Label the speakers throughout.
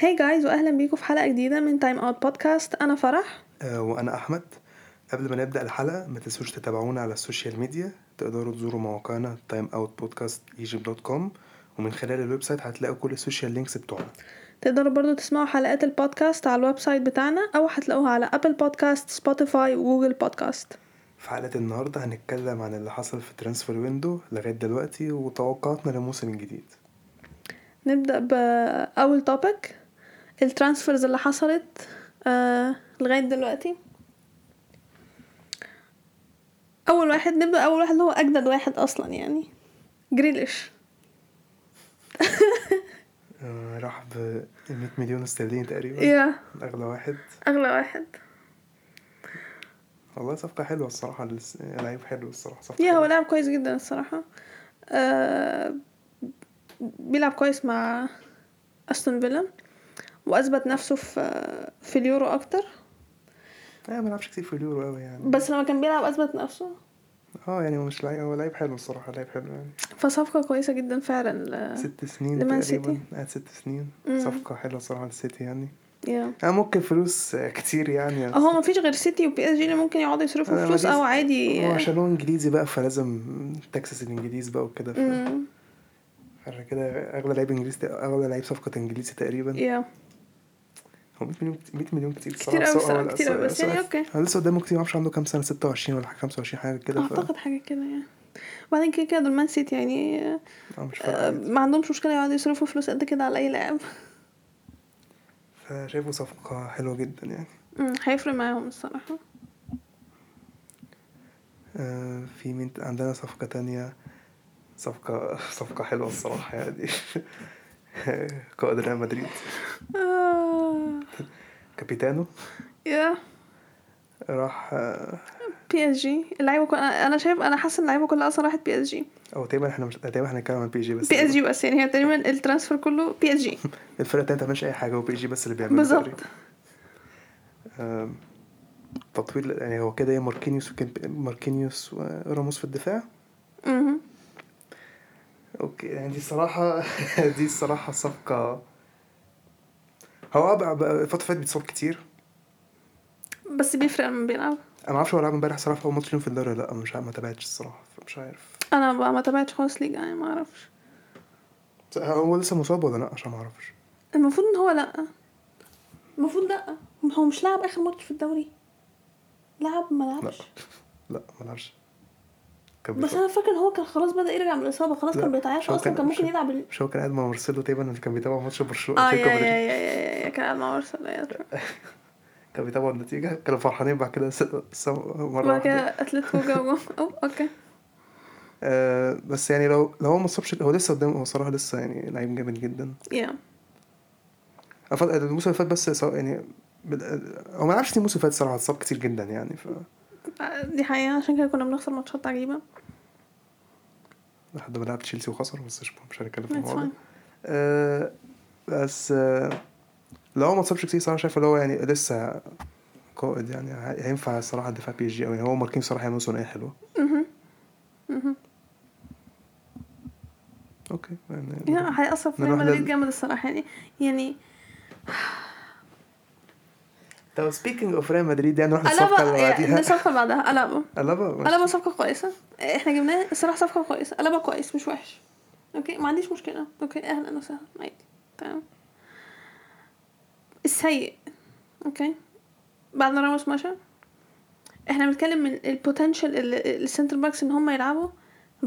Speaker 1: هاي جايز واهلا بيكم في حلقه جديده من تايم اوت بودكاست انا فرح
Speaker 2: آه، وأنا أحمد قبل ما نبدأ الحلقة ما تنسوش تتابعونا على السوشيال ميديا تقدروا تزوروا مواقعنا timeoutpodcastegypt.com ومن خلال الويب سايت هتلاقوا كل السوشيال لينكس بتوعنا
Speaker 1: تقدروا برضو تسمعوا حلقات البودكاست على الويب سايت بتاعنا او هتلاقوها على ابل بودكاست سبوتيفاي وجوجل بودكاست
Speaker 2: في حلقة النهاردة هنتكلم عن اللي حصل في ترانسفير ويندو لغاية دلوقتي وتوقعاتنا للموسم الجديد
Speaker 1: نبدا باول توبيك الترانسفيرز اللي حصلت آه لغايه دلوقتي اول واحد نبدا اول واحد اللي هو اجدد واحد اصلا يعني جريليش
Speaker 2: آه، راح ب 100 مليون استرليني تقريبا
Speaker 1: يا
Speaker 2: أغلى واحد
Speaker 1: اغلى واحد
Speaker 2: والله صفقة حلوة الصراحة للس- لعيب حلو الصراحة صفقة
Speaker 1: يا هو
Speaker 2: حلوة.
Speaker 1: لاعب كويس جدا الصراحة آه بيلعب كويس مع أستون فيلا وأثبت نفسه في في اليورو أكتر
Speaker 2: آه، ما لعبش كتير في اليورو أوي يعني
Speaker 1: بس لما كان بيلعب أثبت نفسه
Speaker 2: اه يعني هو مش لعيب هو لعيب حلو الصراحة لعيب حلو يعني
Speaker 1: فصفقة كويسة جدا فعلا
Speaker 2: ست سنين
Speaker 1: لمان
Speaker 2: تقريبا
Speaker 1: آه. سيتي.
Speaker 2: قعد ست سنين
Speaker 1: مم.
Speaker 2: صفقة حلوة صراحة للسيتي يعني
Speaker 1: يا
Speaker 2: أنا ممكن فلوس آه، كتير يعني آه،
Speaker 1: هو مفيش غير سيتي وبي اس جي اللي ممكن يقعدوا يصرفوا
Speaker 2: أنا
Speaker 1: فلوس
Speaker 2: ماليش-
Speaker 1: أو عادي
Speaker 2: هو عشان هو إنجليزي بقى فلازم تكسس الإنجليز بقى وكده ف-
Speaker 1: مم،
Speaker 2: عشان كده أغلى لعيب إنجليزي تق- أغلى لعيب صفقة إنجليزي تقريبا
Speaker 1: يا
Speaker 2: هو 100 مليون كت- 100 مليون كتير
Speaker 1: إيه. كتير
Speaker 2: الصراحة،
Speaker 1: أوي الصراحة،
Speaker 2: سواء ولا-
Speaker 1: كتير أوي، بس
Speaker 2: سواء-
Speaker 1: يعني أوكي.
Speaker 2: هو لسه قدامه كتير معرفش عنده كام سنة 26 ولا 25 حاجة كده ف
Speaker 1: أعتقد حاجة كده يعني وبعدين كده كده دول مان سيتي يعني آه،
Speaker 2: آه، مش
Speaker 1: آه،
Speaker 2: فارقة
Speaker 1: ما عندهمش مشكلة يقعدوا يصرفوا فلوس قد كده على أي لاعب
Speaker 2: فشايفه صفقة حلوة جدا يعني
Speaker 1: مم، هيفرق معاهم الصراحة
Speaker 2: آه، في مين ت- عندنا صفقة تانية صفقة صفقة حلوة الصراحة يعني قائد ريال مدريد
Speaker 1: آه،
Speaker 2: كابيتانو
Speaker 1: يا
Speaker 2: راح آه،
Speaker 1: بي اس جي اللعيبه كل... انا شايف انا حاسه ان اللعيبه كلها اصلا راحت بي اس جي
Speaker 2: او تقريبا احنا مش تقريبا احنا هنتكلم عن بي جي بس
Speaker 1: بي اس جي بس يعني هي تقريبا الترانسفير كله بي اس جي
Speaker 2: الفرقة التانية ما بتعملش أي حاجة وبي جي بس اللي بيعمله
Speaker 1: بالظبط
Speaker 2: تقريباً. آم، تطويل يعني هو كده يا ماركينيوس وكان ماركينيوس وراموس في الدفاع
Speaker 1: مهم.
Speaker 2: اوكي يعني دي الصراحة دي الصراحة صفقة هو بقى- بقى الفترة اللي فاتت بيتصاب كتير
Speaker 1: بس بيفرق لما بيلعب
Speaker 2: انا ما اعرفش هو لعب امبارح صراحه في اول ماتش ليهم في الدوري ولا لا مش عارف ما تابعتش الصراحه مش عارف
Speaker 1: انا بقى ما تابعتش خالص ليج يعني ما اعرفش
Speaker 2: هو لسه مصاب ولا لا عشان ما اعرفش
Speaker 1: المفروض ان هو لا المفروض لا هو مش لعب اخر ماتش في الدوري لعب ما
Speaker 2: لا
Speaker 1: لعبش
Speaker 2: لا ما لعبش كان
Speaker 1: بس
Speaker 2: بيصاب.
Speaker 1: انا فاكره ان هو كان خلاص بدا يرجع من الاصابه خلاص
Speaker 2: لا،
Speaker 1: كان
Speaker 2: مش
Speaker 1: بيتعافى
Speaker 2: هو
Speaker 1: اصلا
Speaker 2: كان-
Speaker 1: كان
Speaker 2: مش
Speaker 1: ممكن
Speaker 2: هو-
Speaker 1: يلعب ال-
Speaker 2: مش هو كان قاعد مع مارسيلو تقريبا اللي كان بيتابع ماتش برشلونه
Speaker 1: اه
Speaker 2: أتلتيكو
Speaker 1: يا
Speaker 2: مدريد.
Speaker 1: يا يا يا- يا كان قاعد مع ارسنال أيوة.
Speaker 2: كان بيتابع النتيجه كانوا فرحانين بعد كده س... س... مره
Speaker 1: بعد
Speaker 2: واحده
Speaker 1: كده اتلتيكو جابوا أو- اوكي
Speaker 2: آه بس يعني لو لو هو ما اتصابش هو لسه قدامه هو صراحه لسه يعني لعيب جامد جدا
Speaker 1: يا
Speaker 2: أفضل- الموسم اللي فات بس سواء يعني بال- هو ما لعبش كتير الموسم اللي فات صراحه اتصاب كتير جدا يعني ف
Speaker 1: دي حقيقة عشان كده كنا بنخسر ماتشات عجيبة
Speaker 2: لحد ما لعب تشيلسي وخسر بس مش مش هنتكلم في
Speaker 1: That's
Speaker 2: الموضوع ده
Speaker 1: fine.
Speaker 2: آه، بس آه، لو هو ما اتصابش كتير صراحه شايف اللي هو يعني لسه قائد يعني هي- هينفع الصراحه دفاع بي اس جي قوي هو ماركين صراحه هيعملوا ثنائيه حلوه
Speaker 1: مهم. مهم.
Speaker 2: اوكي يعني
Speaker 1: يعني هيأثر في ريال
Speaker 2: نروح
Speaker 1: مدريد
Speaker 2: لل-
Speaker 1: جامد الصراحة يعني يعني
Speaker 2: طب سبيكينج اوف ريال مدريد يعني نروح للصفقه
Speaker 1: ألابا
Speaker 2: اللي
Speaker 1: يعني
Speaker 2: بعديها
Speaker 1: الصفقة اللي بعدها ألابا
Speaker 2: ألابا ماشي.
Speaker 1: ألابا صفقة كويسة احنا جبناه الصراحة صفقة كويسة ألابا كويس مش وحش اوكي ما عنديش مشكلة اوكي اهلا وسهلا عادي تمام السيء اوكي بعد ما راموس مشى احنا بنتكلم من البوتنشال اللي السنتر باكس ان هم يلعبوا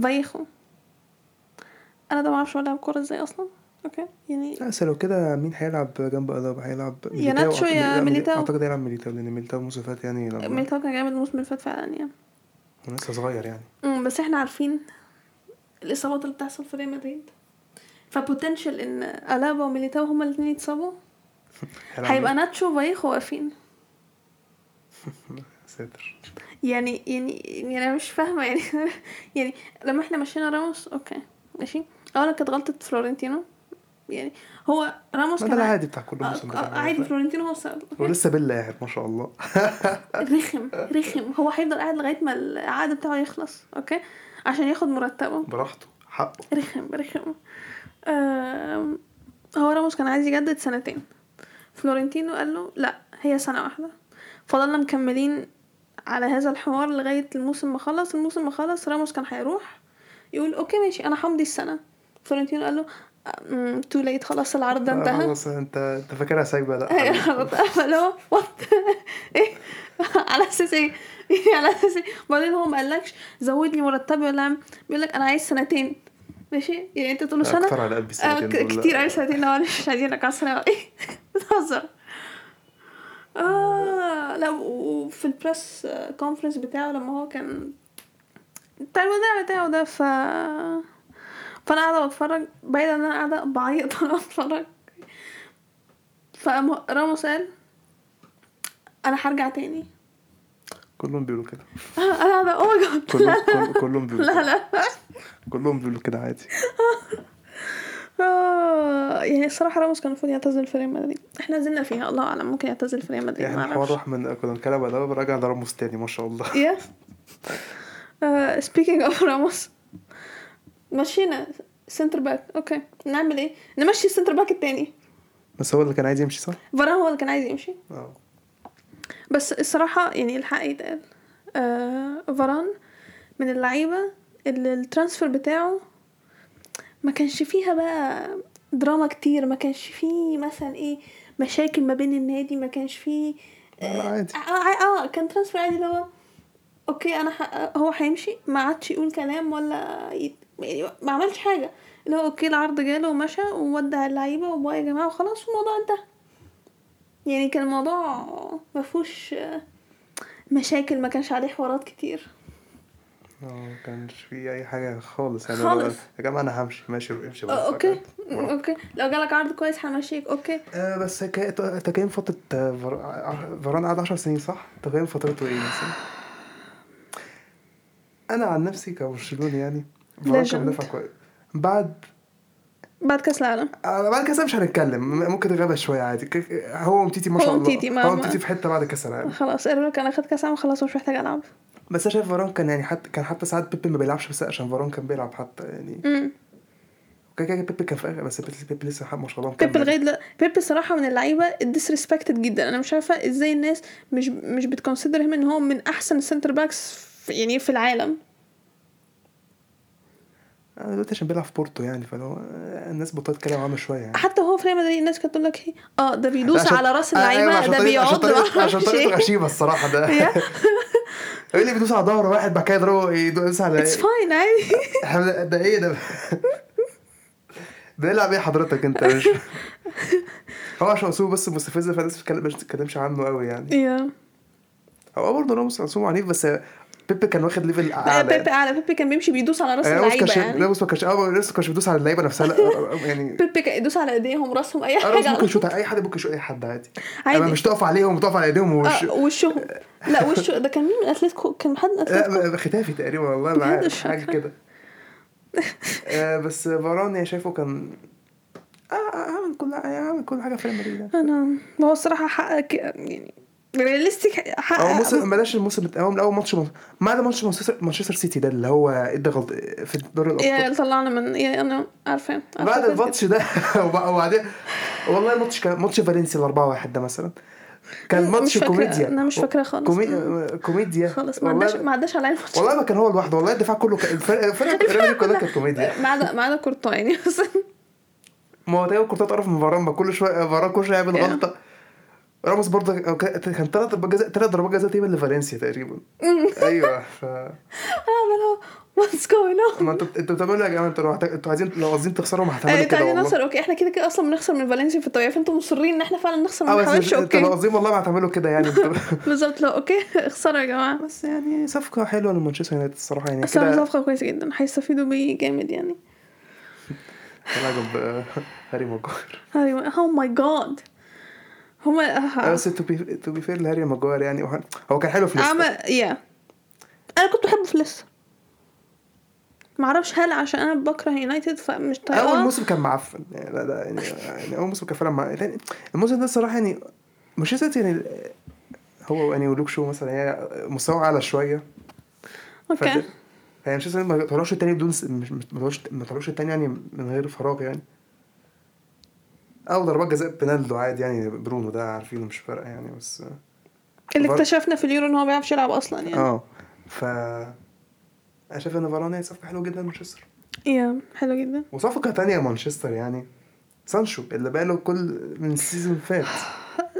Speaker 1: فايخو انا ده معرفش هو لعب كورة ازاي اصلا اوكي يعني
Speaker 2: لا، بس لو كده مين هيلعب جنب ألابا هيلعب
Speaker 1: يا
Speaker 2: ميليتاو.
Speaker 1: ناتشو يا
Speaker 2: لا، ميلي-
Speaker 1: ميليتاو.
Speaker 2: اعتقد هيلعب ميليتاو لان ميليتاو الموسم اللي فات يعني لما
Speaker 1: ميليتاو كان جامد الموسم اللي فات فعلا يعني
Speaker 2: هو لسه صغير يعني
Speaker 1: أمم، بس احنا عارفين الاصابات اللي بتحصل في ريال مدريد فبوتنشال ان الابا وميليتاو هما الاثنين يتصابوا
Speaker 2: هيلعب
Speaker 1: هيبقى ناتشو وفايخو واقفين
Speaker 2: مين؟ ساتر
Speaker 1: يعني يعني يعني انا مش فاهمه يعني يعني لما احنا مشينا راموس اوكي ماشي اولا كانت غلطه فلورنتينو يعني هو راموس
Speaker 2: ما ده
Speaker 1: كان عادي,
Speaker 2: العادي بتاع كل موسم بتاع
Speaker 1: آه، عادي فلورنتينو هو السبب أوكي؟
Speaker 2: ولسه بيلا قاعد ما شاء الله
Speaker 1: رخم رخم هو هيفضل قاعد لغايه ما العقد بتاعه يخلص اوكي عشان ياخد مرتبه
Speaker 2: براحته حقه
Speaker 1: رخم رخم آم، هو راموس كان عايز يجدد سنتين فلورنتينو قال له لا هي سنة واحدة فضلنا مكملين على هذا الحوار لغاية الموسم ما خلص الموسم ما خلص راموس كان هيروح يقول اوكي ماشي انا همضي السنة فلورنتينو قال له تو ليت خلاص العرض ده
Speaker 2: آه،
Speaker 1: انتهى
Speaker 2: خلاص انت انت فاكرها سايبه
Speaker 1: ايوه
Speaker 2: لا
Speaker 1: خلاص اللي هو وات ايه على اساس ايه يعني على اساس ايه وبعدين هو ما قالكش زودني مرتبي ولا عم- بيقول لك انا عايز سنتين ماشي يعني انت تقول له سنه
Speaker 2: اكتر على قلبي
Speaker 1: آه،
Speaker 2: السنتين
Speaker 1: ك-
Speaker 2: دول.
Speaker 1: كتير قوي سنتين لو مش عايزينك على السنه ايه بتهزر اه لا و- وفي البريس كونفرنس بتاعه لما هو كان بتاع الوداع بتاعه ده ف فانا قاعده بتفرج بعيد ان انا قاعده بعيط وانا بتفرج فراموس قال انا هرجع تاني
Speaker 2: كلهم بيقولوا كده
Speaker 1: آه، انا قاعده اوه ماي جاد
Speaker 2: كلهم كل- كلهم بيقولوا
Speaker 1: لا
Speaker 2: كده.
Speaker 1: لا
Speaker 2: كلهم بيقولوا كده عادي
Speaker 1: آه، يعني الصراحه راموس كان المفروض يعتزل في ريال مدريد احنا نزلنا فيها الله اعلم ممكن يعتزل في ريال مدريد
Speaker 2: يعني
Speaker 1: ما
Speaker 2: الحوار
Speaker 1: اعرفش
Speaker 2: راح من كنا بنتكلم على ده راجع لراموس تاني ما شاء الله
Speaker 1: يا سبيكينج اوف راموس مشينا سنتر باك اوكي نعمل ايه نمشي السنتر باك التاني
Speaker 2: بس هو اللي كان عايز يمشي صح؟
Speaker 1: فران هو اللي كان عايز يمشي
Speaker 2: اه
Speaker 1: بس الصراحة يعني الحق يتقال آه فاران من اللعيبة اللي الترانسفير بتاعه ما كانش فيها بقى دراما كتير ما كانش فيه مثلا ايه مشاكل ما بين النادي ما كانش فيه
Speaker 2: لا، عادي
Speaker 1: اه اه آه، كان ترانسفير عادي اللي هو اوكي انا ح... آه، هو هيمشي ما عادش يقول كلام ولا يت... يعني ما عملش حاجه اللي هو اوكي العرض جاله ومشى وودع اللعيبه وباي يا جماعه وخلاص والموضوع انتهى يعني كان الموضوع ما فيهوش آه، مشاكل ما كانش عليه حوارات كتير
Speaker 2: اه ما كانش في اي حاجه خالص يعني
Speaker 1: خالص.
Speaker 2: أنا- يا جماعه انا همشي ماشي روح امشي بقى.
Speaker 1: آه، اوكي
Speaker 2: ورا.
Speaker 1: اوكي لو جالك عرض كويس همشيك اوكي
Speaker 2: آه بس كا- ت- تقييم فترة آه، فر- ع- فران قعد 10 سنين صح؟ تقييم فترته ايه مثلا؟ أنا عن نفسي كبرشلوني يعني فران كان
Speaker 1: Legend.
Speaker 2: مدافع كويس بعد
Speaker 1: بعد كاس العالم
Speaker 2: على آه، بعد كاس مش هنتكلم م- ممكن غابة شوية عادي ك- هو ومتيتي ما
Speaker 1: هو
Speaker 2: شاء الله
Speaker 1: ومتيتي، ما-
Speaker 2: هو
Speaker 1: ما-
Speaker 2: ومتيتي في حتة بعد كاس العالم
Speaker 1: خلاص قالوا لك انا خدت كاس العالم خلاص مش محتاج العب
Speaker 2: بس أنا شايف فران كان يعني حتى كان حتى ساعات بيبي ما بيلعبش بس عشان فران كان بيلعب حتى يعني
Speaker 1: امم
Speaker 2: كده كده بيبي كان في آخر- بس بيبي- بيبي لسه ما شاء الله
Speaker 1: بيب
Speaker 2: مكمل.
Speaker 1: لغايه دلوقتي بيب صراحه من اللعيبه الديسريسبكتد جدا انا مش عارفه ازاي الناس مش مش بتكونسيدر هيم ان هو من احسن السنتر باكس في يعني في العالم
Speaker 2: أنا آه، دلوقتي عشان بيلعب في بورتو يعني فلو آه، الناس بطلت تتكلم عنه شويه يعني
Speaker 1: حتى هو في ريال مدريد الناس كانت تقول لك إيه، اه ده بيدوس
Speaker 2: عشان-
Speaker 1: على راس
Speaker 2: آه، أيوة،
Speaker 1: اللعيبه
Speaker 2: عشان
Speaker 1: ده
Speaker 2: طريقة- عشان
Speaker 1: بيقعد
Speaker 2: طريقة-
Speaker 1: ما
Speaker 2: عشان
Speaker 1: أعرفش
Speaker 2: طريقته
Speaker 1: إيه.
Speaker 2: غشيمه الصراحه ده
Speaker 1: يا.
Speaker 2: يقول لي بيدوس على ظهر واحد بعد كده يضربه يدوس على
Speaker 1: اتس فاين عادي
Speaker 2: إحنا- ده ايه ده بيلعب ايه حضرتك انت مش هو عشان اسلوبه بس مستفزه فالناس بتتكلم- مش بتتكلمش عنه قوي يعني
Speaker 1: يا
Speaker 2: هو برضه راموس اسلوبه عنيف بس بيب كان واخد ليفل
Speaker 1: لا،
Speaker 2: اعلى
Speaker 1: بيب على بيب كان بيمشي بيدوس على راس
Speaker 2: يعني راموس
Speaker 1: اللعيبه
Speaker 2: كانش
Speaker 1: يعني
Speaker 2: راموس ما كانش اه راموس ما كانش بيدوس على اللعيبه نفسها لا يعني آه،
Speaker 1: بيب كان يدوس على ايديهم راسهم اي
Speaker 2: راموس ممكن
Speaker 1: حاجه
Speaker 2: يشوط على اي حد ممكن يشوط اي حد عادي
Speaker 1: عادي.
Speaker 2: عادي مش تقف عليهم وتقف على ايديهم وش
Speaker 1: آه، وشهم لا وشه ده كان مين من اتلتيكو كان حد من اتلتيكو
Speaker 2: لا ب- ختافي تقريبا والله ما
Speaker 1: بجد
Speaker 2: عارف
Speaker 1: مش
Speaker 2: حاجه
Speaker 1: فاكرة.
Speaker 2: كده آه، بس فاران يعني شايفه كان آه، آه، عمل كل عمل كل حاجه في ريال مدريد يعني.
Speaker 1: انا ما هو الصراحه حقق ك- يعني رياليستيك
Speaker 2: هو
Speaker 1: حقق
Speaker 2: موسم بلاش الموسم الت- هو من اول ماتش من- ما عدا ماتش مانشستر مانشستر سيتي ده اللي هو ادى غلط في دوري
Speaker 1: يا
Speaker 2: الابطال
Speaker 1: طلعنا من يا انا عارفه عارفة
Speaker 2: بعد
Speaker 1: كده.
Speaker 2: الماتش ده وب- وبعدين والله الماتش كان ماتش فالنسيا ال 4 1 ده مثلا كان
Speaker 1: مش
Speaker 2: ماتش
Speaker 1: فاكرة-
Speaker 2: كوميديا
Speaker 1: أنا مش فاكرة خالص.
Speaker 2: كومي...
Speaker 1: مم.
Speaker 2: كوميديا
Speaker 1: خلاص ما
Speaker 2: والله-
Speaker 1: عداش ما عداش عليا الماتش
Speaker 2: والله ما كان هو لوحده والله الدفاع كله كان الفرق الفرق الفرق كلها كانت كوميديا
Speaker 1: ما عدا ما عدا كورتوا يعني بس
Speaker 2: ما هو دايما كنت اتقرف من فاران ما كل شويه فاران كل شويه يعمل
Speaker 1: Yeah.
Speaker 2: غلطه راموس برضه كان- كان ثلاث ضربات جزاء ثلاث ضربات جزاء تقريبا لفالنسيا تقريبا
Speaker 1: آه،
Speaker 2: ايوه ف
Speaker 1: هذا واتس جوينج اون
Speaker 2: ما انتوا انتوا بتعملوا ايه يا جماعه انتوا لو محتاج- انتوا عايزين لو عايزين تخسروا ما هتعملوا كده
Speaker 1: إيه، تعالي
Speaker 2: والله
Speaker 1: نخسر اوكي احنا كده كده اصلا بنخسر من فالنسيا في الطبيعه فانتوا مصرين ان احنا فعلا نخسر
Speaker 2: اه
Speaker 1: من
Speaker 2: بس مش-
Speaker 1: حوالي
Speaker 2: انتوا لو
Speaker 1: اوكي
Speaker 2: عايزين والله ما هتعملوا كده يعني انتوا
Speaker 1: بالظبط لو اوكي اخسروا يا جماعه
Speaker 2: بس يعني صفقه حلوه لمانشستر يونايتد الصراحه يعني
Speaker 1: اصلا
Speaker 2: كده
Speaker 1: صفقه كويسه جدا هيستفيدوا بيه جامد يعني
Speaker 2: تلاعب آه، هاري ماجواير
Speaker 1: اوه ماي جاد
Speaker 2: آه،
Speaker 1: هما
Speaker 2: بس تو بي تو بي فير لهاري ماجواير يعني وه- هو كان حلو في ليستر
Speaker 1: عمل يا انا كنت بحبه في لسه معرفش هل عشان انا بكره يونايتد فمش طايقاه
Speaker 2: اول موسم كان معفن يعني لا لا يعني, يعني اول موسم كان فعلا مع... يعني الموسم ده الصراحه يعني مش لسه يعني هو يعني ولوك شو مثلا هي مستوى اعلى شويه ف-
Speaker 1: اوكي
Speaker 2: يعني مش لسه ما طلعوش التاني بدون س... مش- مش- ما طلعوش ما طلعوش التاني يعني من غير فراغ يعني او ضربات جزاء بينالدو عادي يعني برونو ده عارفينه مش فارقه يعني بس
Speaker 1: اللي
Speaker 2: فار-
Speaker 1: اكتشفنا في اليورو ان هو ما بيعرفش يلعب اصلا يعني
Speaker 2: اه ف انا شايف ان فاران يعني هي صفقه حلوه جدا لمانشستر
Speaker 1: يا حلو جدا
Speaker 2: وصفقه تانية مانشستر يعني سانشو اللي بقاله كل من السيزون فات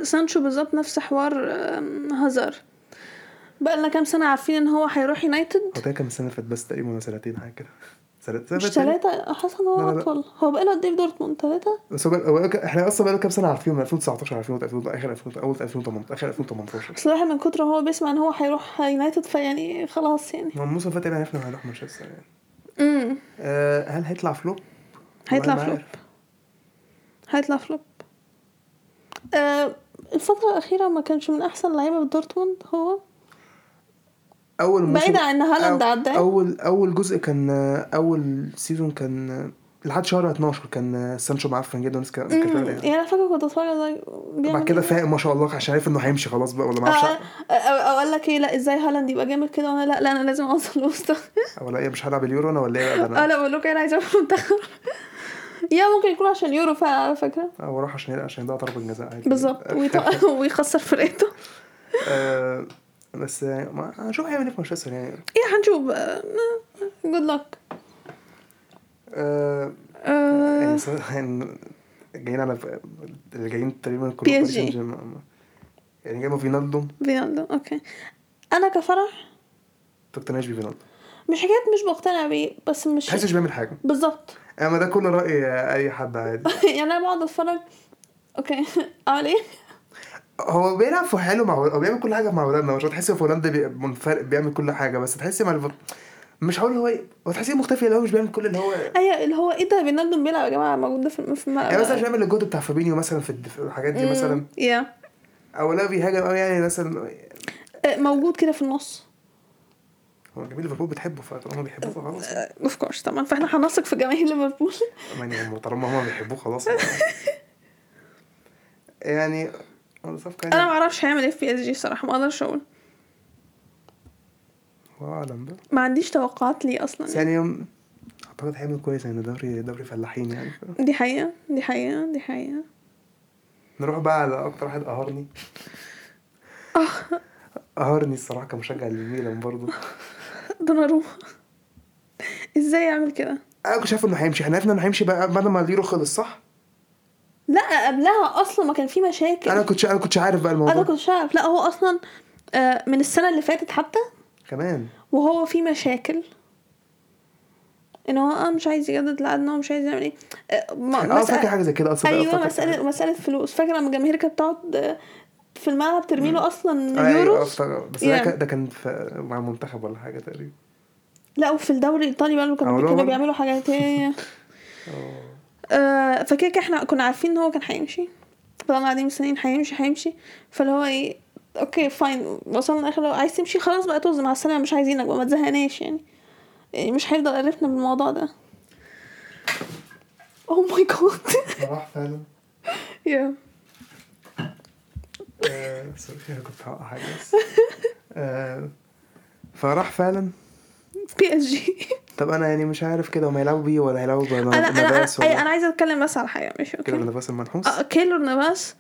Speaker 1: سانشو بالظبط نفس حوار آم، هازار بقالنا كام سنه عارفين ان هو هيروح يونايتد
Speaker 2: هو تاني كان من السنه اللي فاتت بس تقريبا ولا سنتين حاجه كده سنتين
Speaker 1: مش
Speaker 2: سنتين.
Speaker 1: ثلاثة حاسة ان
Speaker 2: لا، لا،
Speaker 1: هو
Speaker 2: لا.
Speaker 1: اطول هو بقاله قد ايه في دورتموند ثلاثة؟
Speaker 2: بس هو بقى- هو بقى- احنا اصلا بقالنا كام سنه عارفين من 2019 عارفين من 2000 اخر 2000 اول 2018 اخر 2018
Speaker 1: بس الواحد من كتر ما هو بيسمع ان هو هيروح يونايتد فيعني خلاص يعني
Speaker 2: هو الموسم اللي فات تقريبا عرفنا إنه هيروح مانشستر يعني
Speaker 1: امم
Speaker 2: أه هل هيطلع فلوب؟
Speaker 1: هيطلع
Speaker 2: والله ما
Speaker 1: فلوب
Speaker 2: عارف.
Speaker 1: هيطلع فلوب آه الفترة الأخيرة ما كانش من أحسن لعيبة في دورتموند هو
Speaker 2: اول موسم
Speaker 1: بعيد عن إن هالاند
Speaker 2: أو-
Speaker 1: عداه.
Speaker 2: اول اول جزء كان اول سيزون كان آه، لحد شهر 12 كان آه، سانشو معفن جدا والناس كانت كانت
Speaker 1: مم.
Speaker 2: بتقول
Speaker 1: يعني
Speaker 2: يعني
Speaker 1: أنا فاكرة كنت أتفرج على بيعمل
Speaker 2: بعد كده
Speaker 1: إيه.
Speaker 2: فاهم ما شاء الله عشان عارف انه هيمشي خلاص بقى ولا ما
Speaker 1: آه،
Speaker 2: اعرفش
Speaker 1: آه، أو أو قال لك إيه لا إزاي هالاند يبقى جامد كده وأنا لا لا أنا لازم أوصل لوسط
Speaker 2: ولا ايه مش هلعب اليورو انا ولا ايه بقى ده
Speaker 1: أه
Speaker 2: انا
Speaker 1: لا بقول لكم أنا عايزة أروح المنتخب يا ممكن يكون عشان يورو فعلا على فكرة
Speaker 2: آه، واروح عشان يلعب- عشان يضيع ضربه جزاء عادي
Speaker 1: بالظبط ويط- ويخسر فرقته
Speaker 2: آه، بس يعني ما- هنشوف هيعمل ايه في مانشستر يعني
Speaker 1: ايه هنشوف جود لك
Speaker 2: آه، يعني س- يعني جايين على اللي جايين تقريبا كلهم
Speaker 1: PSG.
Speaker 2: باريس سان جيرمان. يعني جابوا فينالدو
Speaker 1: فينالدو اوكي انا كفرح
Speaker 2: ما اقتنعش بفينالدو
Speaker 1: مش حكايه مش مقتنع بيه بس مش
Speaker 2: تحسش بيعمل حاجه
Speaker 1: بالظبط
Speaker 2: اما ده كل راي اي حد عادي
Speaker 1: يعني انا بقعد اتفرج اوكي اعمل ايه
Speaker 2: هو بيلعب في حاله مع هو بيعمل كل حاجه مع ولادنا مش هتحس في هولندا بي- منفرد بيعمل كل حاجه بس تحس مع الف... مش هقول هو إيه، هو تحسيه مختفي اللي هو مش بيعمل كل اللي هو
Speaker 1: ايوه اللي هو ايه ده فينالدو بيلعب يا جماعه موجود ده في في
Speaker 2: يعني مثلا
Speaker 1: الملعب
Speaker 2: مش بيعمل الجهد بتاع فابينيو مثلا في الدف- الحاجات دي مثلا
Speaker 1: مم، يا
Speaker 2: او لا بيهاجم قوي يعني مثلا
Speaker 1: آه، موجود كده في النص
Speaker 2: هو جماهير ليفربول بتحبه فطالما بيحبوه خلاص
Speaker 1: اوف كورس طبعا فاحنا هنثق في جماهير ليفربول
Speaker 2: يعني هم طالما هما بيحبوه خلاص يعني هو صفقة
Speaker 1: انا
Speaker 2: يعني
Speaker 1: ما اعرفش هيعمل ايه في بي اس جي صراحه ما اقدرش اقول
Speaker 2: الله اعلم بقى
Speaker 1: ما عنديش توقعات ليه اصلا
Speaker 2: بس يعني اعتقد هيعمل كويس يعني دوري دوري فلاحين يعني
Speaker 1: دي حقيقه دي حقيقه دي حقيقه
Speaker 2: نروح بقى على اكتر واحد قهرني
Speaker 1: آه.
Speaker 2: قهرني الصراحه كمشجع للميلان برضه
Speaker 1: دوناروما ازاي يعمل كده
Speaker 2: انا كنت شايف انه هيمشي احنا عرفنا انه هيمشي بقى بعد ما اليورو خلص صح
Speaker 1: لا قبلها اصلا ما كان في مشاكل
Speaker 2: انا كنت انا كنت عارف بقى
Speaker 1: انا
Speaker 2: الموضوع
Speaker 1: كنت شايف لا هو اصلا آه، من السنه اللي فاتت حتى
Speaker 2: كمان
Speaker 1: وهو في مشاكل ان هو اه مش عايز يجدد العقد ان هو مش عايز يعمل ايه آه، ما-
Speaker 2: اه
Speaker 1: مسألة-
Speaker 2: فاكر حاجه زي كده اصلا
Speaker 1: ايوه
Speaker 2: أفتكر-
Speaker 1: مساله مساله فلوس فاكره لما الجماهير كانت بتقعد آه، في الملعب ترمي له اصلا
Speaker 2: ايوه
Speaker 1: يورو
Speaker 2: أفتكر. بس
Speaker 1: يعني.
Speaker 2: ده كان- ده كان في مع المنتخب ولا حاجه تقريبا
Speaker 1: لا وفي الدوري الايطالي بقى
Speaker 2: أو
Speaker 1: كانوا
Speaker 2: لو
Speaker 1: كانوا
Speaker 2: برضه.
Speaker 1: بيعملوا حاجات إيه؟ هي آه، فكده كده احنا كنا عارفين ان هو كان هيمشي فضلنا قاعدين مستنيين هيمشي هيمشي فاللي هو ايه اوكي فاين وصلنا اخر لو عايز تمشي خلاص بقى طز مع السلامه مش عايزينك بقى ما تزهقناش يعني يعني مش هيفضل قرفنا بالموضوع ده Oh اوه ماي جاد
Speaker 2: راح فعلا
Speaker 1: يا
Speaker 2: آه، سوري انا كنت هوقع حاجه بس آه، فراح فعلا
Speaker 1: بي اس جي
Speaker 2: طب انا يعني مش عارف كده هم هيلعبوا بيه ولا هيلعبوا بنا-
Speaker 1: انا انا
Speaker 2: بنباس
Speaker 1: انا,
Speaker 2: ولا
Speaker 1: أنا عايزه اتكلم بس على حاجه ماشي
Speaker 2: كده
Speaker 1: اوكي
Speaker 2: بنباس المنحوس
Speaker 1: آه، كيلور نافاس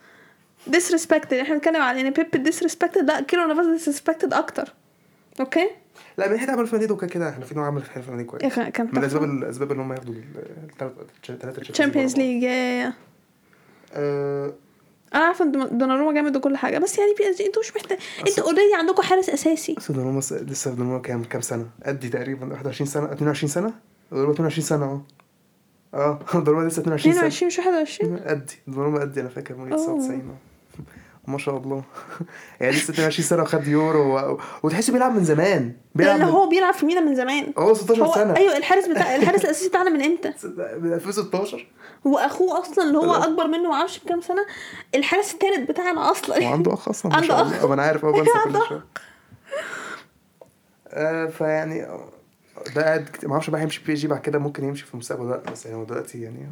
Speaker 1: ديسريسبكتد احنا بنتكلم على ان بيب ديسريسبكتد لا كيلور نافاس ديسريسبكتد اكتر اوكي
Speaker 2: لا من حته عمل فرنانديز وكده كده احنا فينا عمل فرنانديز
Speaker 1: يا
Speaker 2: كويس
Speaker 1: أخي، كان
Speaker 2: من الاسباب الاسباب ان هم ياخدوا الثلاثه
Speaker 1: تشامبيونز ليج يا
Speaker 2: آه،
Speaker 1: انا عارفه إن دون- دوناروما جامد وكل حاجه بس يعني بي اس جي انتوا مش محتاج انتوا اوريدي عندكم حارس اساسي
Speaker 2: بس دوناروما س- لسه دوناروما كام كام إيه سنه؟ قدي تقريبا 21 سنه 22 سنه؟ دوناروما 22 سنه اهو اه دوناروما لسه 22 سنه
Speaker 1: 22 مش 21
Speaker 2: قدي دوناروما قدي انا فاكر من
Speaker 1: أوه.
Speaker 2: 99 آه. ما شاء الله يعني لسه 22 سنه وخد يورو و... وتحسه بيلعب من زمان بيلعب
Speaker 1: لان
Speaker 2: من...
Speaker 1: هو بيلعب في ميلان من زمان
Speaker 2: هو 16
Speaker 1: هو
Speaker 2: سنه
Speaker 1: ايوه الحارس بتاع الحارس الاساسي بتاعنا من امتى
Speaker 2: من 2016
Speaker 1: واخوه اصلا اللي هو
Speaker 2: بالظبط.
Speaker 1: اكبر منه معرفش بكام سنه الحارس الثالث بتاعنا
Speaker 2: هو
Speaker 1: اصلا
Speaker 2: عنده اخ اصلا ما
Speaker 1: عنده
Speaker 2: شاء
Speaker 1: أخ.
Speaker 2: الله أه، ما انا عارف هو بنسى
Speaker 1: عنده
Speaker 2: كل شويه آه، فيعني آه، ده قاعد كت- ما اعرفش بقى هيمشي بي جي بعد كده ممكن يمشي في المستقبل ولا لا بس يعني هو دلوقتي يعني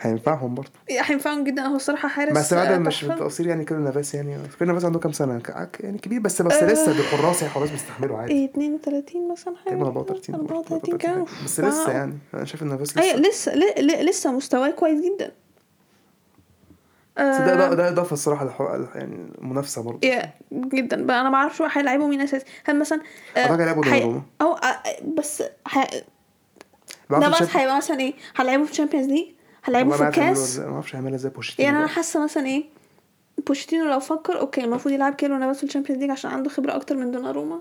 Speaker 2: هينفعهم برضه
Speaker 1: هينفعهم جدا هو الصراحه حارس
Speaker 2: بس بعد
Speaker 1: آه،
Speaker 2: مش
Speaker 1: تحفة.
Speaker 2: بالتقصير يعني كده نافاس يعني كده نافاس عنده كام سنه ك- ك- يعني كبير بس بس
Speaker 1: آه.
Speaker 2: لسه دول حراس يعني حراس بيستحملوا عادي
Speaker 1: ايه 32 مثلا حاجه
Speaker 2: تقريبا 34
Speaker 1: 34 يعني كام
Speaker 2: حاجة. بس لسه
Speaker 1: واو. أيوة،
Speaker 2: يعني انا شايف ان نافاس
Speaker 1: ايوه
Speaker 2: لسه
Speaker 1: لسه إيه، ل- ل- لسه مستواه كويس جدا
Speaker 2: بس ده ده, ده اضافه الصراحه للحو- يعني المنافسه برضه
Speaker 1: يا جدا بقى انا ما اعرفش بقى هيلعبوا مين اساسي هل مثلا آه،
Speaker 2: اعتقد هيلعبوا
Speaker 1: هي-
Speaker 2: دوناروما
Speaker 1: او آه، بس ه-
Speaker 2: ما
Speaker 1: ده
Speaker 2: اعرفش
Speaker 1: بقى
Speaker 2: الشاب-
Speaker 1: هيبقى مثلا ايه هنلعبه في الشامبيونز ليج هنلعبه
Speaker 2: والله
Speaker 1: في
Speaker 2: ما عارف يعملوها
Speaker 1: الكاس
Speaker 2: ازاي، ما اعرفش هيعملها ازاي بوشيتينو
Speaker 1: يعني انا
Speaker 2: بقى.
Speaker 1: حاسه مثلا ايه بوشيتينو لو فكر اوكي المفروض يلعب كيلو نافاس في الشامبيونز ليج عشان عنده خبره اكتر من دوناروما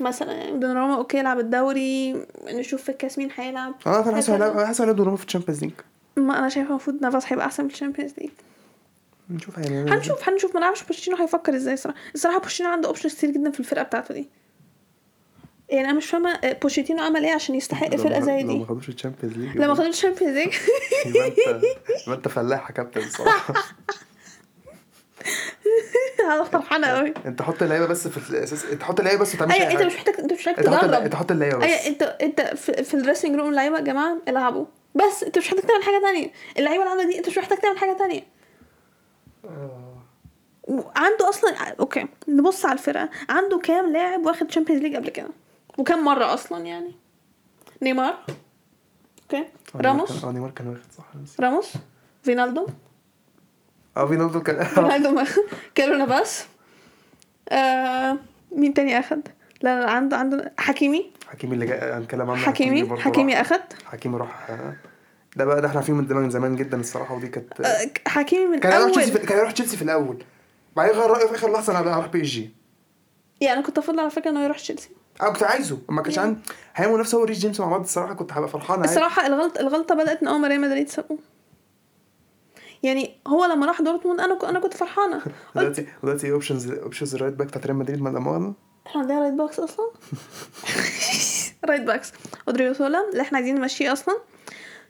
Speaker 1: مثلا يعني دوناروما اوكي يلعب الدوري نشوف في الكاس مين هيلعب
Speaker 2: اه فانا حاسس
Speaker 1: هكذا.
Speaker 2: هيلعب- حاسس هيلعب دوناروما في الشامبيونز ليج
Speaker 1: ما انا شايفه المفروض نافاس هيبقى احسن في الشامبيونز ليج
Speaker 2: نشوف هيعملها ازاي.
Speaker 1: هنشوف هنشوف ما نعرفش بوشيتينو هيفكر ازاي الصراحه الصراحه بوشيتينو عنده اوبشنز كتير جدا في الفرقه بتاعته دي يعني انا مش فاهمه آه، بوشيتينو عمل ايه عشان يستحق
Speaker 2: لو ما
Speaker 1: فرقه
Speaker 2: خد-
Speaker 1: زي
Speaker 2: إيه. لو ما
Speaker 1: دي
Speaker 2: خدوش الشامبيونز ليج
Speaker 1: لما خدوا الشامبيونز ليج
Speaker 2: يبقى انت يبقى انت فلاح يا كابتن الصراحه
Speaker 1: انا فرحانه قوي
Speaker 2: انت حط اللعيبه بس في الاساس انت حط اللعيبه بس ما تعملش
Speaker 1: ايوه
Speaker 2: اي
Speaker 1: انت مش
Speaker 2: حاجه
Speaker 1: محتاج انت مش محتاج
Speaker 2: انت حط
Speaker 1: تدرب
Speaker 2: الل- انت حط اللعيبه
Speaker 1: ايوه
Speaker 2: بس
Speaker 1: انت انت في, في الدريسنج روم اللعيبه يا جماعه العبوا بس انت مش محتاج تعمل حاجه تانية اللعيبه اللي عندك دي انت مش محتاج تعمل حاجه تانية
Speaker 2: آه.
Speaker 1: عنده اصلا اوكي نبص على الفرقه عنده كام لاعب واخد تشامبيونز ليج قبل كده وكام مره اصلا يعني نيمار اوكي
Speaker 2: آه، نيمار
Speaker 1: راموس
Speaker 2: كان- اه نيمار كان واخد صح أنا نسيت.
Speaker 1: راموس فينالدو
Speaker 2: اه فينالدو كان آه،
Speaker 1: فينالدو كيلو نافاس آه مين تاني اخد لا لا عنده عنده حكيمي
Speaker 2: حكيمي اللي جاي هنتكلم عنه
Speaker 1: حكيمي
Speaker 2: برضه
Speaker 1: حكيمي
Speaker 2: راح.
Speaker 1: اخد
Speaker 2: حكيمي راح آه. ده بقى ده احنا عارفينه من زمان من زمان جدا الصراحه ودي كانت
Speaker 1: آه، حكيمي من
Speaker 2: كان هيروح تشيلسي
Speaker 1: اول
Speaker 2: في- كان هيروح تشيلسي في الاول بعدين غير رايه في اخر لحظه انا هروح بي اس جي
Speaker 1: يعني انا كنت افضل على فكره انه يروح تشيلسي
Speaker 2: انا كنت عايزه ما كانش عندي هيعملوا نفسه هو وريس جيمس مع بعض الصراحه كنت هبقى فرحان عادي.
Speaker 1: الصراحه الغلط الغلطه بدات من اول ما ريال مدريد سابوه يعني هو لما راح دورتموند انا ك- انا كنت فرحانه قلت
Speaker 2: دلوقتي دلوقتي اوبشنز اوبشنز الرايت باك بتاعت ريال مدريد ما مؤاخذه
Speaker 1: احنا عندنا رايت باكس اصلا رايت باكس اودريوسولا اللي احنا عايزين نمشيه اصلا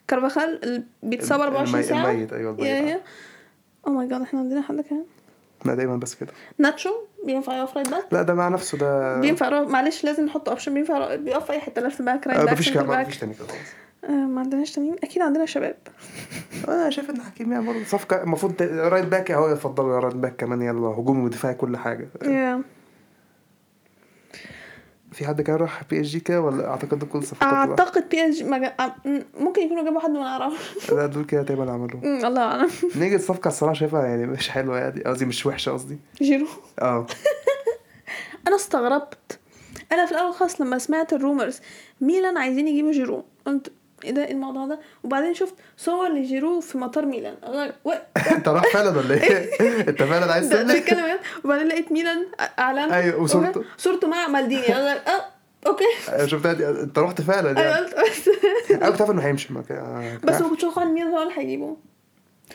Speaker 1: كارفاخال اللي بيتصاب 24
Speaker 2: المي-
Speaker 1: ساعه
Speaker 2: الميت ايوه الميت آه.
Speaker 1: يا Oh او ماي جاد احنا عندنا حد كمان
Speaker 2: لا دايما بس كده
Speaker 1: ناتشو بينفع يقف رايت باك
Speaker 2: لا ده مع نفسه ده
Speaker 1: بينفع يقف- معلش لازم نحط اوبشن بينفع بيقف في اي حته لفت باك رايت
Speaker 2: آه
Speaker 1: باك
Speaker 2: مفيش
Speaker 1: سنتر
Speaker 2: كلام
Speaker 1: باك
Speaker 2: مفيش تاني كده خلاص
Speaker 1: آه، ما عندناش تمرين اكيد عندنا شباب
Speaker 2: انا شايف ان حكيم يعني برضه صفقه المفروض ت- رايت باك اهو يفضلوا رايت باك كمان يلا هجومي ودفاعي كل حاجه
Speaker 1: yeah.
Speaker 2: في حد كان راح بي اس جي كده ولا اعتقد دول كل صفقات لا.
Speaker 1: اعتقد بي اس جي ما جا- أم- ممكن يكونوا جابوا حد ما نعرفش
Speaker 2: لا دول كده تقريبا عملوا
Speaker 1: أم، الله اعلم
Speaker 2: نيجي الصفقه الصراحه شايفها يعني مش حلوه يعني قصدي مش وحشه قصدي
Speaker 1: جيرو
Speaker 2: اه
Speaker 1: انا استغربت انا في الاول خالص لما سمعت الرومرز ميلان عايزين يجيبوا جيرو قلت ايه ده إيه الموضوع ده وبعدين شفت صور لجيرو في مطار ميلان أنا- و-
Speaker 2: انت راح فعلا ولا ايه؟ انت فعلا عايز
Speaker 1: ده ده
Speaker 2: تقول إيه؟
Speaker 1: الكلام يعني. وبعدين لقيت ميلان أ- اعلان
Speaker 2: أيوة، وصورته.
Speaker 1: أوكي. صورته مع مالديني أنا- اه اوكي
Speaker 2: شفتها دي انت رحت فعلا
Speaker 1: انا
Speaker 2: يعني
Speaker 1: أيوة، قلت بس-
Speaker 2: انا كنت عارف انه هيمشي ما كان- أنا كنت
Speaker 1: بس
Speaker 2: عارف.
Speaker 1: ما كنتش واثقه ان ميلان هو اللي هيجيبه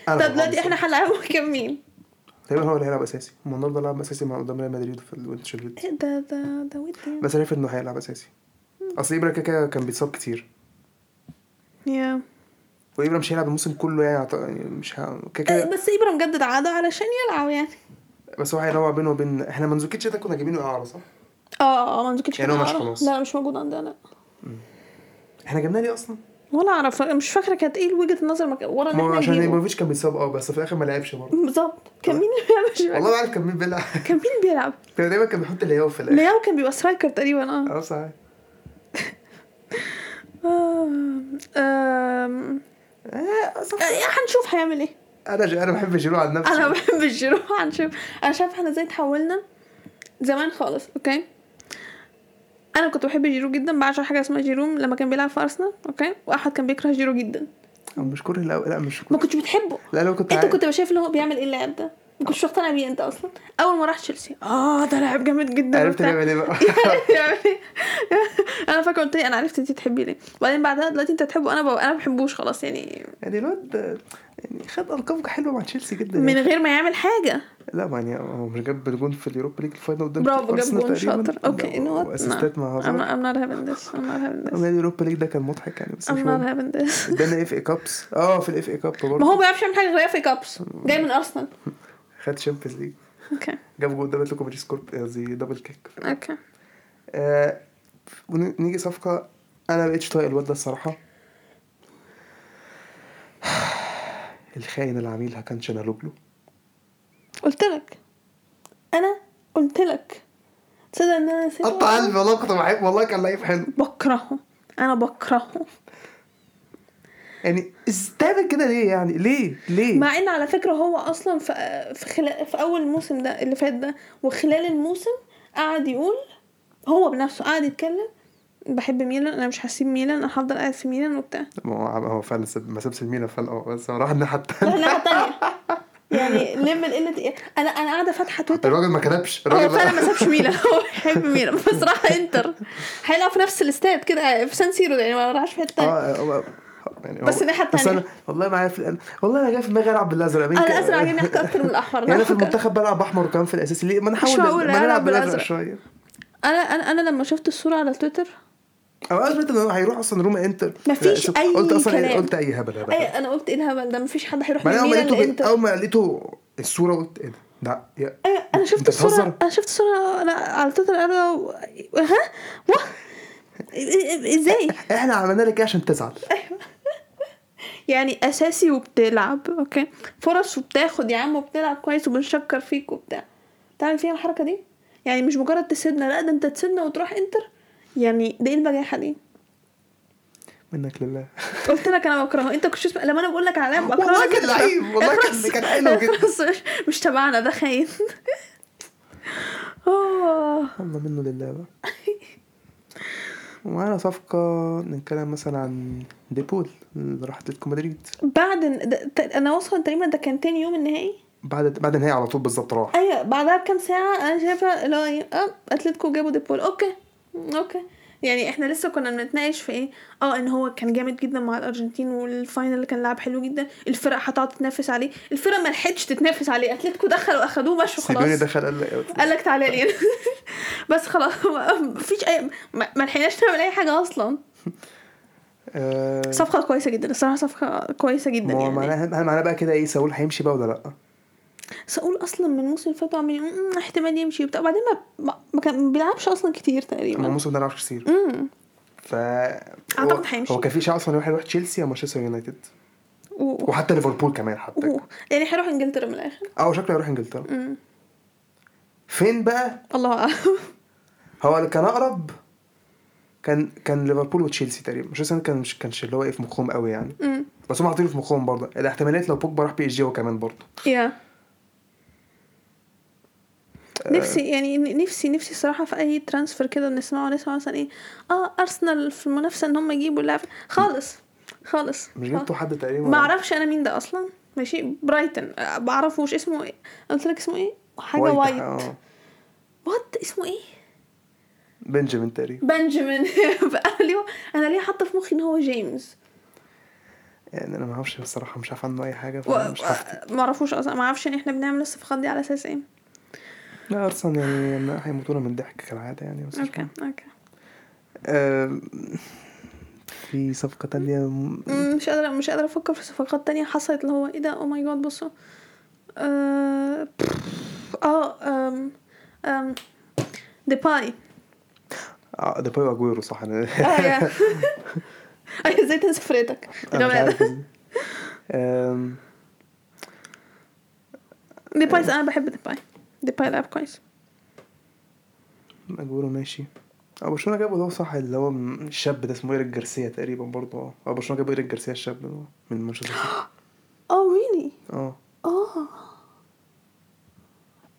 Speaker 2: أنا
Speaker 1: طب
Speaker 2: كنت
Speaker 1: دلوقتي
Speaker 2: عارف.
Speaker 1: احنا هنلعبهم كام مين؟
Speaker 2: تقريبا هو اللي هيلعب اساسي هو النهارده لعب اساسي مع قدام ريال مدريد في الوينتشيلد
Speaker 1: إيه ده ده ده ودي
Speaker 2: بس عارف انه هيلعب اساسي اصل ابرا كده كده كان بيتصاب كتير
Speaker 1: يا
Speaker 2: وابرا مش هيلعب الموسم كله يعني أعت- يعني مش ه... كده
Speaker 1: آه،
Speaker 2: كده
Speaker 1: بس ابرا مجدد عقده علشان يلعب يعني
Speaker 2: بس هو هينوع بينه وبين احنا منزوكيتش ده كنا جايبينه اعاره صح؟
Speaker 1: اه اه ما عندكش
Speaker 2: يعني هو مش خلاص.
Speaker 1: لا مش موجود عندنا لا
Speaker 2: احنا جبناه ليه اصلا؟
Speaker 1: ولا اعرف مش فاكره كانت ايه وجهه النظر مك... ورا ان
Speaker 2: ما هو
Speaker 1: احنا
Speaker 2: عشان
Speaker 1: نجيبه
Speaker 2: ايبوفيتش كان بيتصاب اه بس في الاخر ما لعبش برضه
Speaker 1: بالظبط كان مين اللي مش فاكرة.
Speaker 2: والله ما عارف كان مين بيلعب
Speaker 1: كان مين بيلعب؟
Speaker 2: كان دايما كان بيحط اللي هو في الاخر
Speaker 1: لياو كان بيبقى سترايكر تقريبا اه
Speaker 2: اه صحيح
Speaker 1: آم، آم،
Speaker 2: آه، صح.
Speaker 1: آه، هنشوف هيعمل ايه
Speaker 2: انا ج... انا بحب جيرو عن نفسي
Speaker 1: انا بحب الجروح هنشوف انا شايفه احنا ازاي تحولنا زمان خالص اوكي انا كنت بحب جيرو جدا بعشق حاجه اسمها جيرو لما كان بيلعب في ارسنال اوكي واحد كان بيكره جيرو جدا
Speaker 2: أنا مش كره لا لا مش
Speaker 1: ما كنتش بتحبه
Speaker 2: لا لو كنت
Speaker 1: انت
Speaker 2: عاي-
Speaker 1: كنت شايف اللي هو بيعمل ايه اللاعب ده ما كنتش مقتنع بيه انت اصلا اول ما راح تشيلسي اه ده لاعب جامد جدا
Speaker 2: عرفت
Speaker 1: وبتاع.
Speaker 2: بيعمل ايه بقى
Speaker 1: يعني انا فاكره قلت لي انا عرفت انت تحبي ليه وبعدين بعدها دلوقتي انت تحبه انا بقى انا ما بحبوش خلاص يعني
Speaker 2: يعني الواد يعني خد ارقام حلوه مع تشيلسي جدا
Speaker 1: من
Speaker 2: يعني.
Speaker 1: غير ما يعمل حاجه
Speaker 2: لا ما يعني هو مش جاب جون في اليوروبا ليج الفاينل قدام
Speaker 1: برافو جاب
Speaker 2: أرسنال
Speaker 1: جون
Speaker 2: تقريبا.
Speaker 1: شاطر اوكي نو وات
Speaker 2: واسيستات مع هازارد
Speaker 1: I'm not having this I'm not having this
Speaker 2: أما اليوروبا ليج ده كان مضحك يعني بس مش
Speaker 1: I'm not
Speaker 2: مهم
Speaker 1: having this
Speaker 2: ادانا اف اي كابس اه في الاف اي كاب
Speaker 1: ما
Speaker 2: برضه
Speaker 1: هو بيعرفش يعمل حاجه غير في كابس جاي من ارسنال
Speaker 2: خد شامبيونز ليج
Speaker 1: اوكي
Speaker 2: جاب جول قدام اتلتيكو مدريد سكورب قصدي دبل كيك
Speaker 1: اوكي
Speaker 2: آه ونيجي صفقه انا مبقتش طايق الواد ده الصراحه الخاين اللي عاملها كان شانالوجلو
Speaker 1: قلت لك انا قلت لك تصدق ان انا نسيت
Speaker 2: قطع قلبي والله كنت بحب والله كان لعيب حلو
Speaker 1: بكرهه انا بكرهه
Speaker 2: يعني استهبل كده ليه يعني ليه ليه
Speaker 1: مع ان على فكره هو اصلا في في, خلال في اول الموسم ده اللي فات ده وخلال الموسم قعد يقول هو بنفسه قعد يتكلم بحب ميلان انا مش هسيب ميلان انا هفضل قاعد في ميلان وبتاع
Speaker 2: ما هو هو فعلا ساب- ما سابش المينا فعلا اه بس هو راح الناحيه
Speaker 1: راح
Speaker 2: التانية
Speaker 1: ناحيه تانية يعني لم القله إيه؟ انا انا قاعده فاتحه تويتر
Speaker 2: الراجل ما كتبش
Speaker 1: هو
Speaker 2: الراجل
Speaker 1: فعلا ما سابش ميلان هو بيحب ميلان بس راح انتر هيلعب في نفس الاستاد كده في سان سيرو يعني ما راحش في حته تانية.
Speaker 2: اه هو- يعني هو-
Speaker 1: بس الناحية
Speaker 2: بس
Speaker 1: التانية.
Speaker 2: انا والله معايا في القلب. والله انا جاي في دماغي العب بالازرق
Speaker 1: انا الازرق عاجبني اكتر اكتر من الاحمر
Speaker 2: يعني انا في
Speaker 1: أنا فاكرة-
Speaker 2: المنتخب بلعب احمر كمان في الاساسي ليه ما نحاول
Speaker 1: معقول
Speaker 2: ما
Speaker 1: ألعب
Speaker 2: نلعب بالازرق
Speaker 1: بالأزرق.
Speaker 2: شويه
Speaker 1: انا انا انا لما شفت الصوره على تويتر
Speaker 2: او ازمه ان هو هيروح اصلا روما انتر
Speaker 1: مفيش
Speaker 2: لا،
Speaker 1: أي
Speaker 2: قلت اصلا
Speaker 1: كلام.
Speaker 2: قلت اي هبل هبل
Speaker 1: اي انا قلت ايه الهبل ده مفيش حد هيروح
Speaker 2: بعدين
Speaker 1: من
Speaker 2: اول ما
Speaker 1: ميلان
Speaker 2: لقيته بي-
Speaker 1: لانتر
Speaker 2: اول ما لقيته الصوره قلت ايه ده؟ ده يا-
Speaker 1: أيوة، انا شفت
Speaker 2: أنت
Speaker 1: الصوره
Speaker 2: بتهزر؟
Speaker 1: انا شفت الصوره انا على تويتر انا و... ها و... ازاي
Speaker 2: احنا عملنا لك ايه عشان تزعل
Speaker 1: يعني اساسي وبتلعب اوكي فرص وبتاخد يا عم وبتلعب كويس وبنشكر فيك وبتاع تعمل فيها الحركه دي يعني مش مجرد تسيبنا لا ده انت تسيبنا وتروح انتر يعني ده ايه البجاحه دي
Speaker 2: منك لله
Speaker 1: قلت لك انا بكرهه انت كنتش اسمع لما انا بقول لك على لعب بكرهه
Speaker 2: والله كان لعيب والله كان كان حلو جدا
Speaker 1: بس مش, مش تبعنا ده خاين آه.
Speaker 2: الله منه لله بقى ومعانا صفقة نتكلم مثلا عن ديبول اللي راح اتلتيكو مدريد
Speaker 1: بعد إن- ده- ت- انا واصله تقريبا ده كان تاني يوم النهائي
Speaker 2: بعد بعد النهائي على طول بالظبط راح
Speaker 1: ايوه بعدها بكام ساعه انا شايفه اللي هو إيه، اه اتلتيكو جابوا ديبول اوكي اوكي يعني احنا لسه كنا بنتناقش في ايه اه ان هو كان جامد جدا مع الارجنتين والفاينل اللي كان لعب حلو جدا الفرق هتقعد تتنافس عليه الفرق ما لحقتش تتنافس عليه اتلتيكو دخل واخدوه مشوا
Speaker 2: سيبوني
Speaker 1: خلاص
Speaker 2: دخل قال لك
Speaker 1: قال لك تعالى لي بس خلاص ما- مفيش اي ما ما لحقناش نعمل اي حاجه اصلا
Speaker 2: أيوة. آه،
Speaker 1: صفقه كويسه جدا الصراحه صفقه كويسه جدا
Speaker 2: ما هو
Speaker 1: يعني
Speaker 2: معناها هل معناها بقى كده ايه ساول هيمشي بقى ولا لا؟
Speaker 1: ساقول اصلا من الموسم اللي فات وعمال يقول، "أمم، احتمال يمشي وبتاع بعدين ما- ما ما كان ما بيلعبش اصلا كتير
Speaker 2: هو
Speaker 1: تقريبا
Speaker 2: الموسم ده ما لعبش كتير
Speaker 1: امم
Speaker 2: ف
Speaker 1: أعتقد
Speaker 2: هو-
Speaker 1: هيمشي.
Speaker 2: هو كان في اشاعه اصلا إنه هيروح تشيلسي او مانشستر يونايتد
Speaker 1: و...
Speaker 2: وحتى ليفربول كمان حتى
Speaker 1: و... يعني هيروح انجلترا من الاخر
Speaker 2: اه شكله هيروح انجلترا
Speaker 1: امم
Speaker 2: فين بقى
Speaker 1: الله اعلم
Speaker 2: هو اللي كان اقرب كان كان ليفربول وتشيلسي تقريبا مانشستر يونايتد كان مش كانش اللي هو ايه في مخهم قوي يعني
Speaker 1: أمم.
Speaker 2: بس هم حاطين في مخهم برضه الاحتمالات لو بوجبا راح بي اس جي هو كمان برضه
Speaker 1: يا
Speaker 2: آه.
Speaker 1: نفسي يعني ن- نفسي نفسي الصراحه في اي ترانسفير كده نسمعه نسمع مثلا ايه اه ارسنال في المنافسه ان هم يجيبوا اللاعب خالص خالص
Speaker 2: مش جبتوا حد تقريبا
Speaker 1: آه. ما اعرفش انا مين ده اصلا ماشي برايتن أه، ما اعرفوش اسمه ايه قلت لك اسمه ايه حاجه
Speaker 2: وايت.
Speaker 1: وايت
Speaker 2: آه.
Speaker 1: وات اسمه ايه
Speaker 2: بنجامين تقريبا
Speaker 1: بنجامين بقى ليه انا ليه حاطه في مخي ان هو جيمس
Speaker 2: يعني انا ما اعرفش الصراحه مش عارف عنه اي حاجه
Speaker 1: و-
Speaker 2: فمش عارف
Speaker 1: ما اعرفوش اصلا ما اعرفش ان احنا بنعمل الصفقات دي على اساس ايه
Speaker 2: لا ارسنال يعني يعني هيموتونا من الضحك كالعاده يعني بس مش
Speaker 1: اوكي اوكي
Speaker 2: آه، في صفقة تانية م-
Speaker 1: مم، مش قادره مش قادره افكر في صفقات تانية حصلت اللي هو ايه ده او ماي جاد بصوا اه اه آم، آم، ديباي
Speaker 2: اه ده بايو اجويرو صح انا
Speaker 1: اه يا أيوة، ازاي تنسى فرقتك
Speaker 2: أنا مش عارف إزاي. آم،
Speaker 1: ديباي انا بحب ديباي ديباي لعب كويس
Speaker 2: اجويرو ماشي اه برشلونة جابوا اللي هو صح اللي هو م- الشاب ده اسمه ايريك جارسيا تقريبا برضه اه اه برشلونة جابوا ايريك جارسيا الشاب ده من مانشستر سيتي
Speaker 1: اه ريلي
Speaker 2: اه
Speaker 1: اه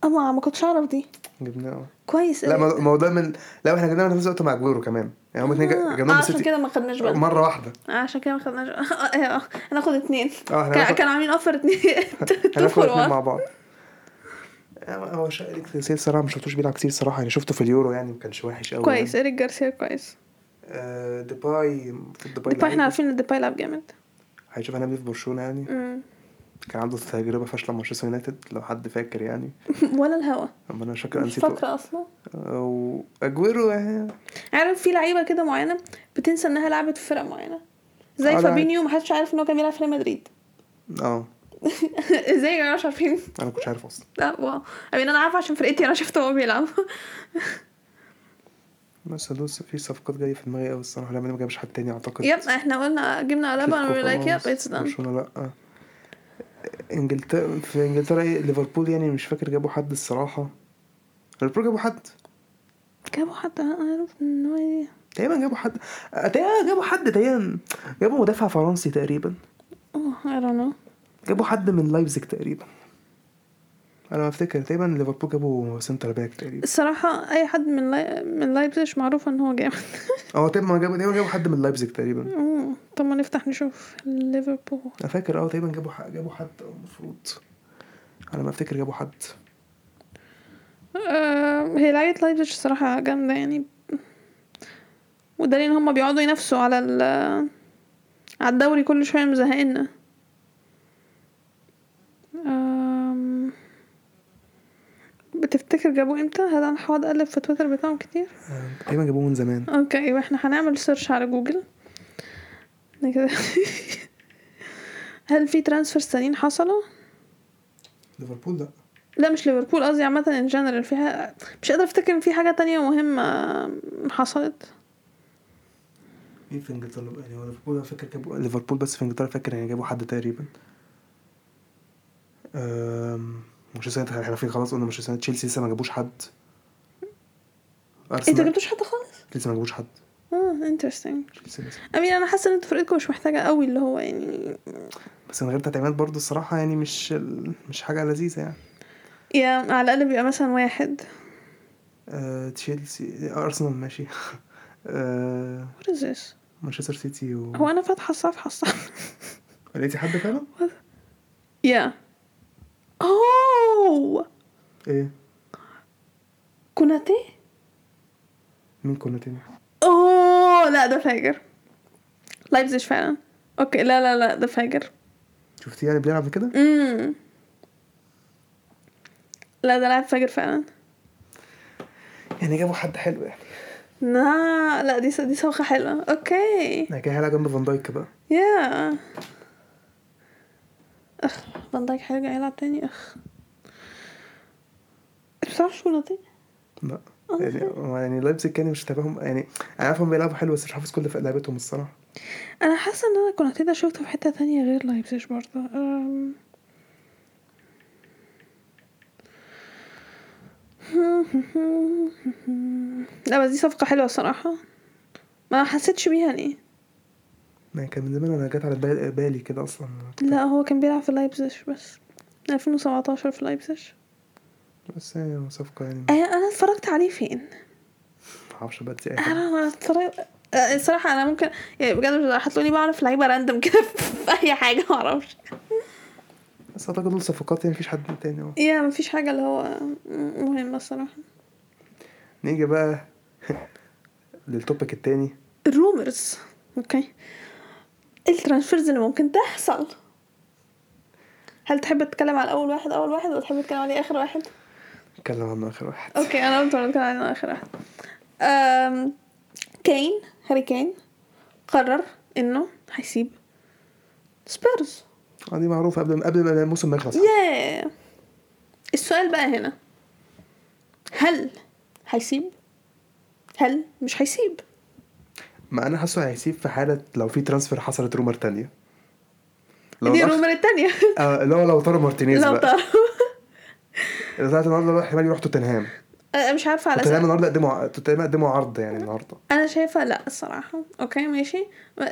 Speaker 1: اما ما كنتش اعرف دي
Speaker 2: جبناه اه
Speaker 1: كويس
Speaker 2: لا
Speaker 1: أوي.
Speaker 2: ما ما هو ده من لا احنا جبناه في نفس الوقت مع اجويرو كمان يعني هم اتنين
Speaker 1: آه،
Speaker 2: جا- جبناهم من
Speaker 1: عشان
Speaker 2: السيتي
Speaker 1: كده ما خدناش بالنا
Speaker 2: مرة واحدة
Speaker 1: آه، عشان كده ما خدناش آه، آه، آه، هناخد اتنين
Speaker 2: اه احنا
Speaker 1: كان-
Speaker 2: هناخد-
Speaker 1: كانوا عاملين اوفر اتنين تو
Speaker 2: هناخد
Speaker 1: فور
Speaker 2: الاثنين مع
Speaker 1: وان
Speaker 2: بعض آه، هو شا- ايريك جارسيا الصراحة ما شفتوش بيلعب كتير الصراحة يعني شفته في اليورو يعني ما كانش وحش قوي
Speaker 1: كويس اريك جارسيا كويس
Speaker 2: آه، ديباي المفروض ديباي
Speaker 1: ديباي احنا
Speaker 2: لعيب.
Speaker 1: عارفين ان ديباي لعب جامد
Speaker 2: هيشوف هنعمل ايه في برشلونه يعني
Speaker 1: مم.
Speaker 2: كان عنده تجربه فاشله مع مانشستر يونايتد لو حد فاكر يعني
Speaker 1: ولا الهوا
Speaker 2: اما انا مش فاكر أنا
Speaker 1: مش
Speaker 2: نسيته
Speaker 1: فاكره اصلا
Speaker 2: واجويرو يعني
Speaker 1: عارف في لعيبه كده معينه بتنسى انها لعبت في فرق معينه زي
Speaker 2: آه، لا.
Speaker 1: فابينيو محدش عارف ان هو كان بيلعب في ريال مدريد
Speaker 2: اه
Speaker 1: ازاي يا جماعه مش عارفين
Speaker 2: انا ما كنتش عارف اصلا
Speaker 1: لا واو I mean، انا عارفه عشان فرقتي انا شفته وهو بيلعب
Speaker 2: بس دوس في صفقات جايه في دماغي قوي الصراحه لما ما جابش حد تاني اعتقد
Speaker 1: يب احنا قلنا جبنا قلبه
Speaker 2: أتلتيكو
Speaker 1: انا لايك يب
Speaker 2: خلاص،
Speaker 1: اتس دان
Speaker 2: برشلونه لا انجلترا في انجلترا ايه ليفربول يعني مش فاكر جابوا حد الصراحه ليفربول جابوا حد
Speaker 1: جابوا حتى انا عارف ان هو إيه.
Speaker 2: تقريبا جابوا حد تقريبا جابوا حد تقريبا جابوا مدافع فرنسي تقريبا
Speaker 1: اوه Oh، I don't know
Speaker 2: جابوا حد من لايبزيج تقريبا انا ما افتكر تقريبا ليفربول جابوا سنتر باك تقريبا
Speaker 1: الصراحة أي حد من لاي... من لايبزيش معروف إن هو جامد
Speaker 2: اه تقريبا جابوا تقريبا جابوا حد من لايبزيج تقريبا
Speaker 1: أوه، طب ما نفتح نشوف ليفربول
Speaker 2: انا فاكر اه تقريبا جابوا حد جابوا حد آه، المفروض انا ما افتكر جابوا حد
Speaker 1: آه، هي لعيبة لايبزيج الصراحة جامدة يعني ودليل ان هما بيقعدوا ينافسوا على ال على الدوري كل شوية مزهقنا آم، بتفتكر جابوه امتى؟ هل انا هقعد اقلب في تويتر بتاعهم كتير؟
Speaker 2: آه، تقريبا جابوه من زمان
Speaker 1: اوكي واحنا هنعمل سيرش على جوجل إحنا كده هل في ترانسفير تانيين حصلوا؟
Speaker 2: ليفربول لا
Speaker 1: لا مش ليفربول قصدي عامة ان جنرال فيها مش قادرة افتكر ان في حاجة تانية مهمة حصلت
Speaker 2: مين في انجلترا يعني هو ليفربول أنا فاكر جابوا ليفربول بس في انجلترا فاكر يعني جابوا حد تقريبا أم، مانشستر يونايتد احنا في خلاص قلنا مانشستر يونايتد تشيلسي لسه ما جابوش حد
Speaker 1: إيه، انت
Speaker 2: ارسنال
Speaker 1: جبتوش حد خالص؟
Speaker 2: لسه ما جابوش حد
Speaker 1: اه انترستنج
Speaker 2: تشيلسي لسه
Speaker 1: امين انا حاسه ان انتوا فرقتكم مش محتاجه قوي اللي هو يعني
Speaker 2: بس من غير تدعيمات برضه الصراحه يعني مش ال- مش حاجه لذيذه يعني
Speaker 1: يا على الاقل بيبقى مثلا واحد
Speaker 2: أه، تشيلسي ارسنال ماشي أه،
Speaker 1: what is this
Speaker 2: مانشستر سيتي و...
Speaker 1: هو انا فاتحه الصفحه الصح
Speaker 2: لقيتي حد فعلا؟
Speaker 1: يا اوه
Speaker 2: ايه
Speaker 1: كوناتي
Speaker 2: مين كنا تاني؟
Speaker 1: اوه لا ده فاجر لايبزيج فعلا اوكي لا لا لا ده فاجر
Speaker 2: شفتيه يعني بيلعب كده؟
Speaker 1: امم لا ده لاعب فاجر فعلا
Speaker 2: يعني جابوا حد حلو يعني
Speaker 1: لا لا دي دي صوخه حلوه اوكي
Speaker 2: يعني كان هيلعب جنب فان دايك بقى
Speaker 1: يا اخ فان دايك هيرجع يلعب تاني اخ بتعرفش شو نطيق
Speaker 2: لا
Speaker 1: آه.
Speaker 2: يعني يعني لايبزيج كان مش تابعهم يعني انا عارف هم بيلعبوا حلو بس مش حافظ كل لعبتهم الصراحه
Speaker 1: انا حاسه ان انا كنت ده شفته في حته تانية غير لايبزيج برضه أم. لا بس دي صفقه حلوه الصراحه ما حسيتش بيها ليه
Speaker 2: يعني كان من زمان انا جت على بال- بالي كده اصلا
Speaker 1: لا هو كان بيلعب في لايبزيج بس 2017 في لايبزيج
Speaker 2: بس يعني صفقه يعني
Speaker 1: أه، انا اتفرجت عليه فين
Speaker 2: ما اعرفش بقى دي أي حاجة.
Speaker 1: انا ما اتفرج آه، الصراحه انا ممكن يعني بجد مش هتلاقوني بعرف لعيبه راندم كده في اي حاجه ما اعرفش
Speaker 2: بس اعتقد دول صفقات يعني مفيش حد تاني اهو
Speaker 1: يا مفيش حاجه اللي هو مهمه الصراحه
Speaker 2: نيجي بقى للتوبيك التاني
Speaker 1: الرومرز اوكي الترانسفيرز اللي ممكن تحصل هل تحب تتكلم على اول واحد اول واحد ولا تحب تتكلم عليه اخر واحد
Speaker 2: نتكلم عن اخر واحد
Speaker 1: اوكي انا قلت هنتكلم عن اخر واحد أم، كين هاري كين قرر انه هيسيب سبيرز
Speaker 2: اه دي معروفه قبل ما- قبل ما الموسم ما يخلص
Speaker 1: ياه السؤال بقى هنا هل هيسيب هل مش هيسيب
Speaker 2: ما انا حاسه هيسيب في حاله لو في ترانسفير حصلت رومر تانية لو
Speaker 1: دي
Speaker 2: الأخ-
Speaker 1: الرومر التانية
Speaker 2: آه لو لو طارو مارتينيز
Speaker 1: لو
Speaker 2: بقى
Speaker 1: تعرف
Speaker 2: اللي طلعت النهارده راح احتمال يروح توتنهام
Speaker 1: أنا مش عارفه على
Speaker 2: توتنهام
Speaker 1: اساس
Speaker 2: النهارده قدموا توتنهام قدموا عرض يعني النهارده
Speaker 1: انا شايفه لا الصراحه اوكي ماشي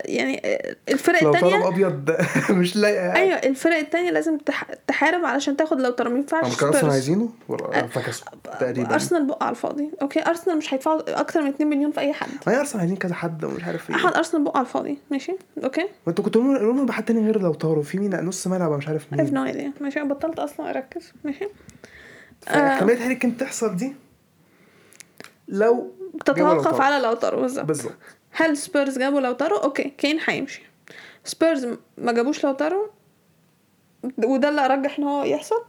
Speaker 1: يعني الفرق
Speaker 2: لو طلب
Speaker 1: التانية
Speaker 2: ابيض مش لاقي
Speaker 1: ايوه الفرق التانية لازم تح- تحارب علشان تاخد لو ترى ما
Speaker 2: هم
Speaker 1: ينفعش
Speaker 2: كانوا اصلا
Speaker 1: سبيرز.
Speaker 2: عايزينه ولا- فكسوا تقريبا
Speaker 1: ارسنال بقى على الفاضي اوكي ارسنال مش هيدفعوا اكتر من 2 مليون في اي حد
Speaker 2: ما هي ارسنال عايزين كذا حد ومش عارف ايه
Speaker 1: احد ارسنال بقى على الفاضي ماشي اوكي
Speaker 2: ما انتوا كنتوا قولوا- قولوا لهم بحد تاني غير لو طاروا في مين نص ملعب أنا مش عارف
Speaker 1: I have
Speaker 2: مين
Speaker 1: no idea ماشي انا بطلت اصلا اركز ماشي آه.
Speaker 2: فاحتماليه هاري كين تحصل دي لو جابوا لو
Speaker 1: تتوقف
Speaker 2: طاروا.
Speaker 1: على لوتارو بالظبط
Speaker 2: بالظبط
Speaker 1: هل سبيرز جابوا لوتارو اوكي كين هيمشي سبيرز ما جابوش لوتارو وده اللي ارجح ان هو يحصل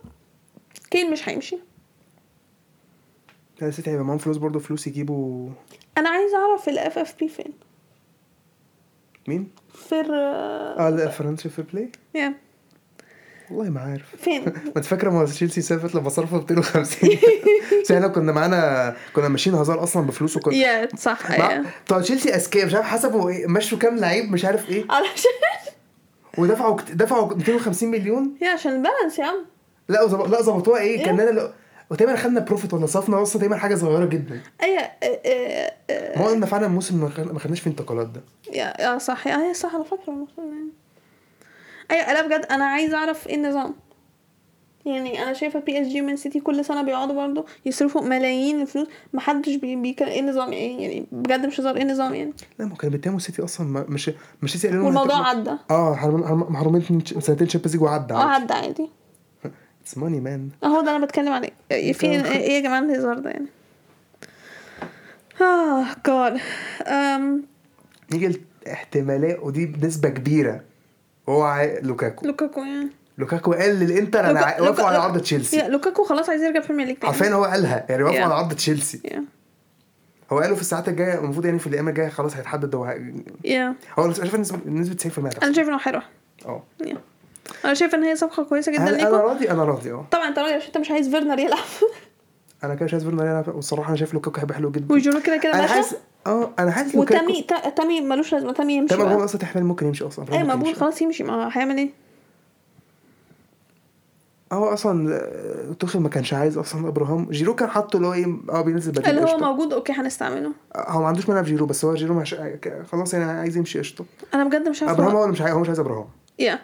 Speaker 1: كين مش هيمشي
Speaker 2: انا نسيت هيبقى معاهم فلوس برضه فلوس يجيبوا
Speaker 1: انا عايزه اعرف الاف اف بي فين
Speaker 2: مين؟
Speaker 1: في آه.
Speaker 2: اه لا فرنسي في بلاي
Speaker 1: يا
Speaker 2: والله ما عارف
Speaker 1: فين
Speaker 2: ما انت فاكره ما تشيلسي سافرت لما صرفوا 250 بس احنا كنا معانا كنا ماشيين هزار اصلا بفلوسه كنا
Speaker 1: يا صح
Speaker 2: مع-
Speaker 1: يا
Speaker 2: بتوع تشيلسي اذكياء مش عارف حسبوا ايه مشوا كام لعيب مش عارف ايه
Speaker 1: علشان
Speaker 2: ودفعوا كت- دفعوا 250 مليون
Speaker 1: يا عشان البالانس يا عم
Speaker 2: لا وزب... لا ظبطوها ايه
Speaker 1: إيه؟
Speaker 2: كان انا لو... وتقريبا خدنا بروفيت ونصفنا اصلا تقريبا حاجه صغيره جدا
Speaker 1: ايوه آه، آه، آه،
Speaker 2: ما هو ان فعلا الموسم ما خد- ما خدناش فيه انتقالات ده
Speaker 1: يا يا صح يا هي صح انا فاكره المفروض يعني ايوه لا بجد انا عايزه اعرف ايه النظام يعني انا شايفه بي اس جي ومان سيتي كل سنه بيقعدوا برضه يصرفوا ملايين الفلوس محدش بي- بيتكلم ايه النظام يعني يعني بجد مش هزار ايه النظام يعني
Speaker 2: لا ما هو كانوا بيتهموا السيتي اصلا ما مش مش سيتي قالوا لهم
Speaker 1: والموضوع
Speaker 2: هتبقى-
Speaker 1: عدى
Speaker 2: اه محرومين- محروم- محرومين من سنتين تشامبيونز ليج وعدى
Speaker 1: اه
Speaker 2: عادي
Speaker 1: عدى عادي
Speaker 2: اتس ماني مان
Speaker 1: اهو ده انا بتكلم عليه إيه- في
Speaker 2: تمام.
Speaker 1: ايه يا جماعه الهزار ده يعني اه جاد أم،
Speaker 2: نيجي لاحتمالات ودي بنسبه كبيره هو لوكاكو
Speaker 1: لوكاكو يعني
Speaker 2: لوكاكو قال للانتر انا
Speaker 1: لوكا-
Speaker 2: ع- وافقوا
Speaker 1: لوكا-
Speaker 2: على
Speaker 1: لوكا-
Speaker 2: عرض تشيلسي
Speaker 1: يا لوكاكو خلاص عايز يرجع بريمير ليج تاني.
Speaker 2: حرفيا هو قالها يعني وافقوا
Speaker 1: Yeah.
Speaker 2: على عرض تشيلسي
Speaker 1: يا
Speaker 2: هو قالوا في الساعات الجايه المفروض يعني في الايام الجايه خلاص هيتحدد هو
Speaker 1: يا
Speaker 2: هو انا شايف نسبه نسبه 90% هتحصل.
Speaker 1: انا شايف انه هيروح
Speaker 2: اه
Speaker 1: يا. انا شايفه ان هي صفقه كويسه جدا
Speaker 2: هل انا
Speaker 1: ليكم
Speaker 2: راضي انا راضي اه
Speaker 1: طبعا انت راجل عشان انت مش عايز فيرنر يلعب
Speaker 2: انا كده يعني مش عايز فيرنر يلعب والصراحه انا شايف لوكاكو هيبقى حلو جدا
Speaker 1: وجيرو كده كده
Speaker 2: انا
Speaker 1: ماشي
Speaker 2: حاسس اه انا حاسس لوكاكو
Speaker 1: وتامي تا- تامي ملوش لازمه تامي يمشي
Speaker 2: تمام هو
Speaker 1: بقى
Speaker 2: اصلا احتمال ممكن يمشي اصلا
Speaker 1: ايوه
Speaker 2: ممكن
Speaker 1: مقبول
Speaker 2: يمشي.
Speaker 1: خلاص يمشي ما هو هيعمل ايه
Speaker 2: هو اصلا آه، توخيل ما كانش عايز اصلا ابراهام جيرو كان حاطه اللي هو ايه اه بينزل بديل
Speaker 1: اللي هو
Speaker 2: قشطة.
Speaker 1: موجود اوكي هنستعمله
Speaker 2: آه، هو ما عندوش مانع في جيرو بس هو جيرو مش خلاص يعني عايز يمشي قشطه
Speaker 1: انا بجد مش عارفه
Speaker 2: ابراهام
Speaker 1: هو-
Speaker 2: هو اللي مش عايز هو مش عايز ابراهام
Speaker 1: يا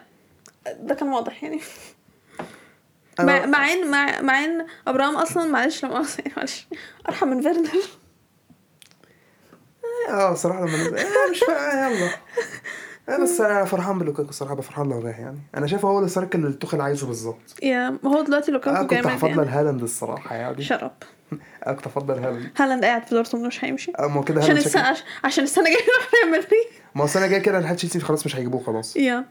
Speaker 1: ده كان واضح يعني
Speaker 2: أنا-
Speaker 1: مع مع ان مع, مع ان ابراهام اصلا معلش لا مؤاخذه يعني معلش ارحم من فيرنر
Speaker 2: اه بصراحه لما نزل آه، مش فاهم يلا آه، بس انا فرحان بلوكاكو الصراحه ببقى فرحان لو جه يعني انا شايف هو اللي السرك اللي توخيل عايزه بالظبط
Speaker 1: يا ما هو دلوقتي
Speaker 2: انا
Speaker 1: لوكاكو
Speaker 2: آه، كنت
Speaker 1: جامد
Speaker 2: هفضل
Speaker 1: يعني
Speaker 2: هالاند الصراحه يعني
Speaker 1: شرب
Speaker 2: انا كنت هفضل هالاند
Speaker 1: هالاند قاعد في دورتموند مش هيمشي
Speaker 2: اما كده
Speaker 1: عشان
Speaker 2: هالاند شكله-
Speaker 1: السنه عش- عشان السنه الجايه يروح ريال مدريد
Speaker 2: ما هو السنه الجايه كده لحد تشيلسي خلاص مش هيجيبوه خلاص
Speaker 1: يا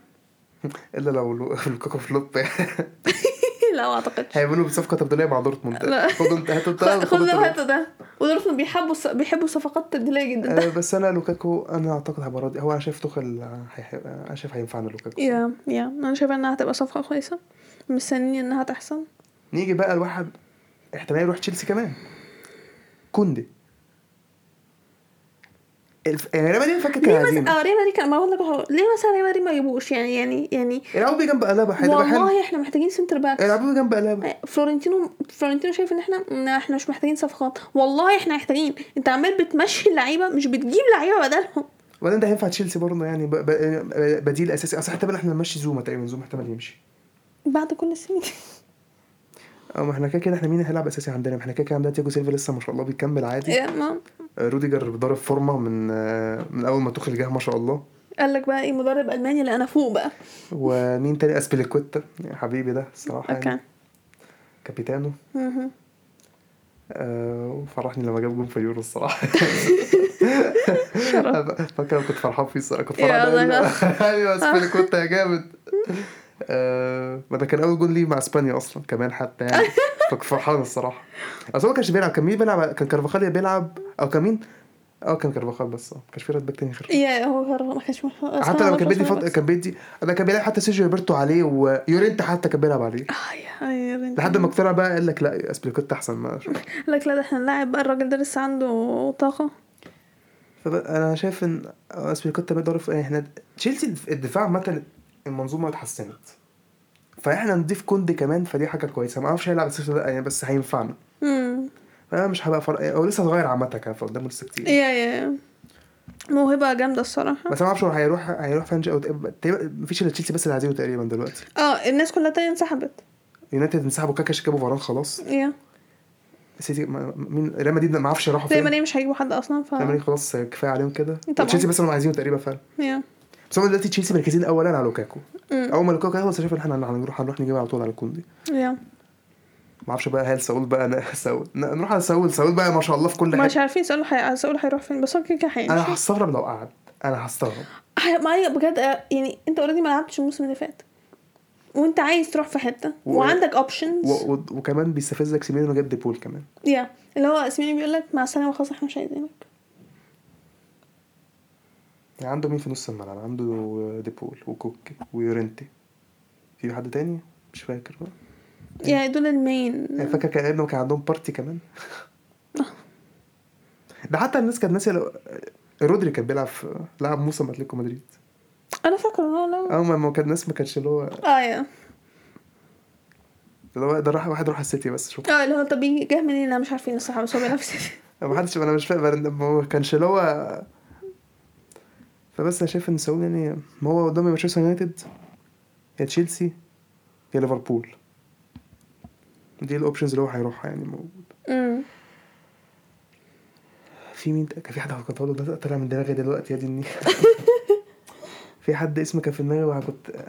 Speaker 2: الا لو لو- لوكاكو فلوب
Speaker 1: لا ما اعتقدش
Speaker 2: هيعملوا بصفقه تبديليه مع دورتموند
Speaker 1: لا.
Speaker 2: خدوا انت هاتوا
Speaker 1: خد
Speaker 2: ده،
Speaker 1: خد ده
Speaker 2: طيب، خدوا
Speaker 1: وهات ده ودورتموند بيحبوا الص- بيحبوا الصفقات التبديليه جدا
Speaker 2: آه، بس انا لوكاكو انا اعتقد هبقى راضي هو انا شايف توخيل آه، هيح- آه، انا شايف هينفعنا لوكاكو
Speaker 1: يا يا انا شايفه انها هتبقى صفقه كويسه مستنيين انها تحصل
Speaker 2: نيجي بقى لواحد احتمال يروح تشيلسي كمان كوندي الف... يعني ريال مدريد فكت
Speaker 1: ليه مثلا
Speaker 2: العزيمه
Speaker 1: اه ريال مدريد كان ما بقول لك أهو، ليه مثلا ريال مدريد ما يجيبوش يعني يعني يعني
Speaker 2: يلعبوا بيه جنب قلابه هيبقى حلو
Speaker 1: والله احنا محتاجين سنتر باك آه،
Speaker 2: يلعبوا بيه جنب قلابه
Speaker 1: فلورنتينو فلورنتينو شايف ان احنا إن احنا مش محتاجين صفقات والله احنا محتاجين انت عمال بتمشي اللعيبه مش بتجيب لعيبه بدلهم
Speaker 2: وبعدين ده هينفع تشيلسي برضه يعني ب... ب... بديل اساسي اصل احتمال احنا نمشي زوما تقريبا زوما احتمال يمشي
Speaker 1: بعد كل السنين دي
Speaker 2: اه ما احنا كده كده احنا مين هيلعب اساسي عندنا ما احنا كده كده عندنا تياجو سيلفا لسه ما شاء الله بيكمل عادي
Speaker 1: يا ما
Speaker 2: آه، روديجر ضارب فورمه من آه، من اول ما توخيل جه ما شاء الله
Speaker 1: قال لك بقى ايه مدرب الماني اللي انا فوق بقى
Speaker 2: ومين تاني اسبليكوتا يا حبيبي ده الصراحه
Speaker 1: اوكي
Speaker 2: يعني كابيتانو
Speaker 1: مهم.
Speaker 2: آه، وفرحني لما جاب جون في اليورو الصراحه
Speaker 1: شرف
Speaker 2: فاكر أنا كنت فرحان فيه الصراحه كنت
Speaker 1: يا
Speaker 2: فرحان
Speaker 1: الله
Speaker 2: أوي.
Speaker 1: يا
Speaker 2: ايوه اسبانيا كنت يا جامد آه، ما ده كان اول جون ليه مع اسبانيا اصلا كمان حتى يعني فكنت فرحان الصراحه اصل هو ما كانش بيلعب كان مين بيلعب كان كارفاخال بيلعب او كان مين اه كان كارفاخال بس اه ما كانش في رد باك تاني غير
Speaker 1: يا هو غير ما كانش محمد
Speaker 2: حتى لما كان بيدي فط... كان بيدي انا كان بيلعب حتى سيرجيو روبرتو عليه ويورينتا حتى كان بيلعب عليه لحد ما اقتنع بقى قال لك لا اسبليكوتا احسن ما
Speaker 1: لك لا ده احنا نلاعب بقى الراجل ده لسه عنده طاقة
Speaker 2: فانا شايف ان اسبليكوتا بيقدر في احنا إيه، تشيلسي الدف- الدفاع عامه المنظومه اتحسنت فاحنا نضيف كوندي كمان فدي حاجه كويسه ما اعرفش هيلعب اساسي ولا لا يعني بس هينفعنا
Speaker 1: امم
Speaker 2: فانا مش هبقى فرق هو لسه صغير عامه كان فقدامه لسه كتير
Speaker 1: يا يا موهبة جامدة الصراحة
Speaker 2: إيه. بس انا ما اعرفش هو هيروح هيروح فين او تقريبا مفيش الا تشيلسي بس اللي هزيله تقريبا دلوقتي
Speaker 1: اه الناس كلها تانية انسحبت
Speaker 2: يونايتد انسحبوا كاكاش جابوا فاران خلاص
Speaker 1: يا
Speaker 2: سيتي ما- مين ريال مدريد ما اعرفش راحوا
Speaker 1: زي
Speaker 2: فين
Speaker 1: ما
Speaker 2: ريال
Speaker 1: ليه مش هيجيبوا حد اصلا ف
Speaker 2: مدريد خلاص كفايه عليهم كده
Speaker 1: طبعاً.
Speaker 2: تشيلسي بس اللي هم عايزينه تقريبا فعلا
Speaker 1: يا
Speaker 2: بس هم دلوقتي تشيلسي مركزين اولا على لوكاكو
Speaker 1: مم.
Speaker 2: اول ما لوكاكو يخلص شايف ان احنا هنروح هنروح نجيب على طول على كوندي
Speaker 1: يا
Speaker 2: ما اعرفش بقى هل ساول بقى انا ساول ن- نروح على ساول ساول بقى ما شاء الله في كل
Speaker 1: مش
Speaker 2: حاجه
Speaker 1: عارفين سؤال حي... سؤال هيروح فين بس هو كده كده
Speaker 2: انا
Speaker 1: هيمشي
Speaker 2: هستغرب لو قعد انا هستغرب
Speaker 1: حي- ما هي بجد آه، يعني انت اوريدي ما لعبتش الموسم اللي فات وانت عايز تروح في حتة
Speaker 2: و-
Speaker 1: وعندك اوبشنز
Speaker 2: و... و... وكمان بيستفزك سيمينو جاب ديبول كمان
Speaker 1: يا اللي هو اسميني بيقول لك مع السلامة خلاص احنا مش عايزينك
Speaker 2: يعني عنده مين في نص الملعب عنده ديبول وكوكي ويورنتي في حد تاني مش فاكر بقى
Speaker 1: يا دول المين
Speaker 2: يعني فاكر كان انهم كان عندهم بارتي كمان ده حتى الناس كانت ناسيه لو... رودري كان بيلعب في لعب موسم اتلتيكو مدريد
Speaker 1: انا فاكره ان هو لا آه،
Speaker 2: اول ما كان الناس ما كانش اللي هو
Speaker 1: اه يا
Speaker 2: اللي هو ده راح واحد راح السيتي بس شوف
Speaker 1: اه اللي هو طب يجي- جه منين انا مش عارفين الصراحه بس هو بيلعب في السيتي
Speaker 2: ما حدش انا مش فاهم أنا- ما هو كانش اللي هو فبس انا شايف ان ساول يعني ما هو قدام مانشستر يونايتد يا تشيلسي يا ليفربول دي الاوبشنز اللي هو هيروحها يعني مو-
Speaker 1: امم
Speaker 2: في مين كان في حد هكتبه له ده طلع من دماغي دلوقتي يا دي النيل. في حد اسمه كان في دماغي وكنت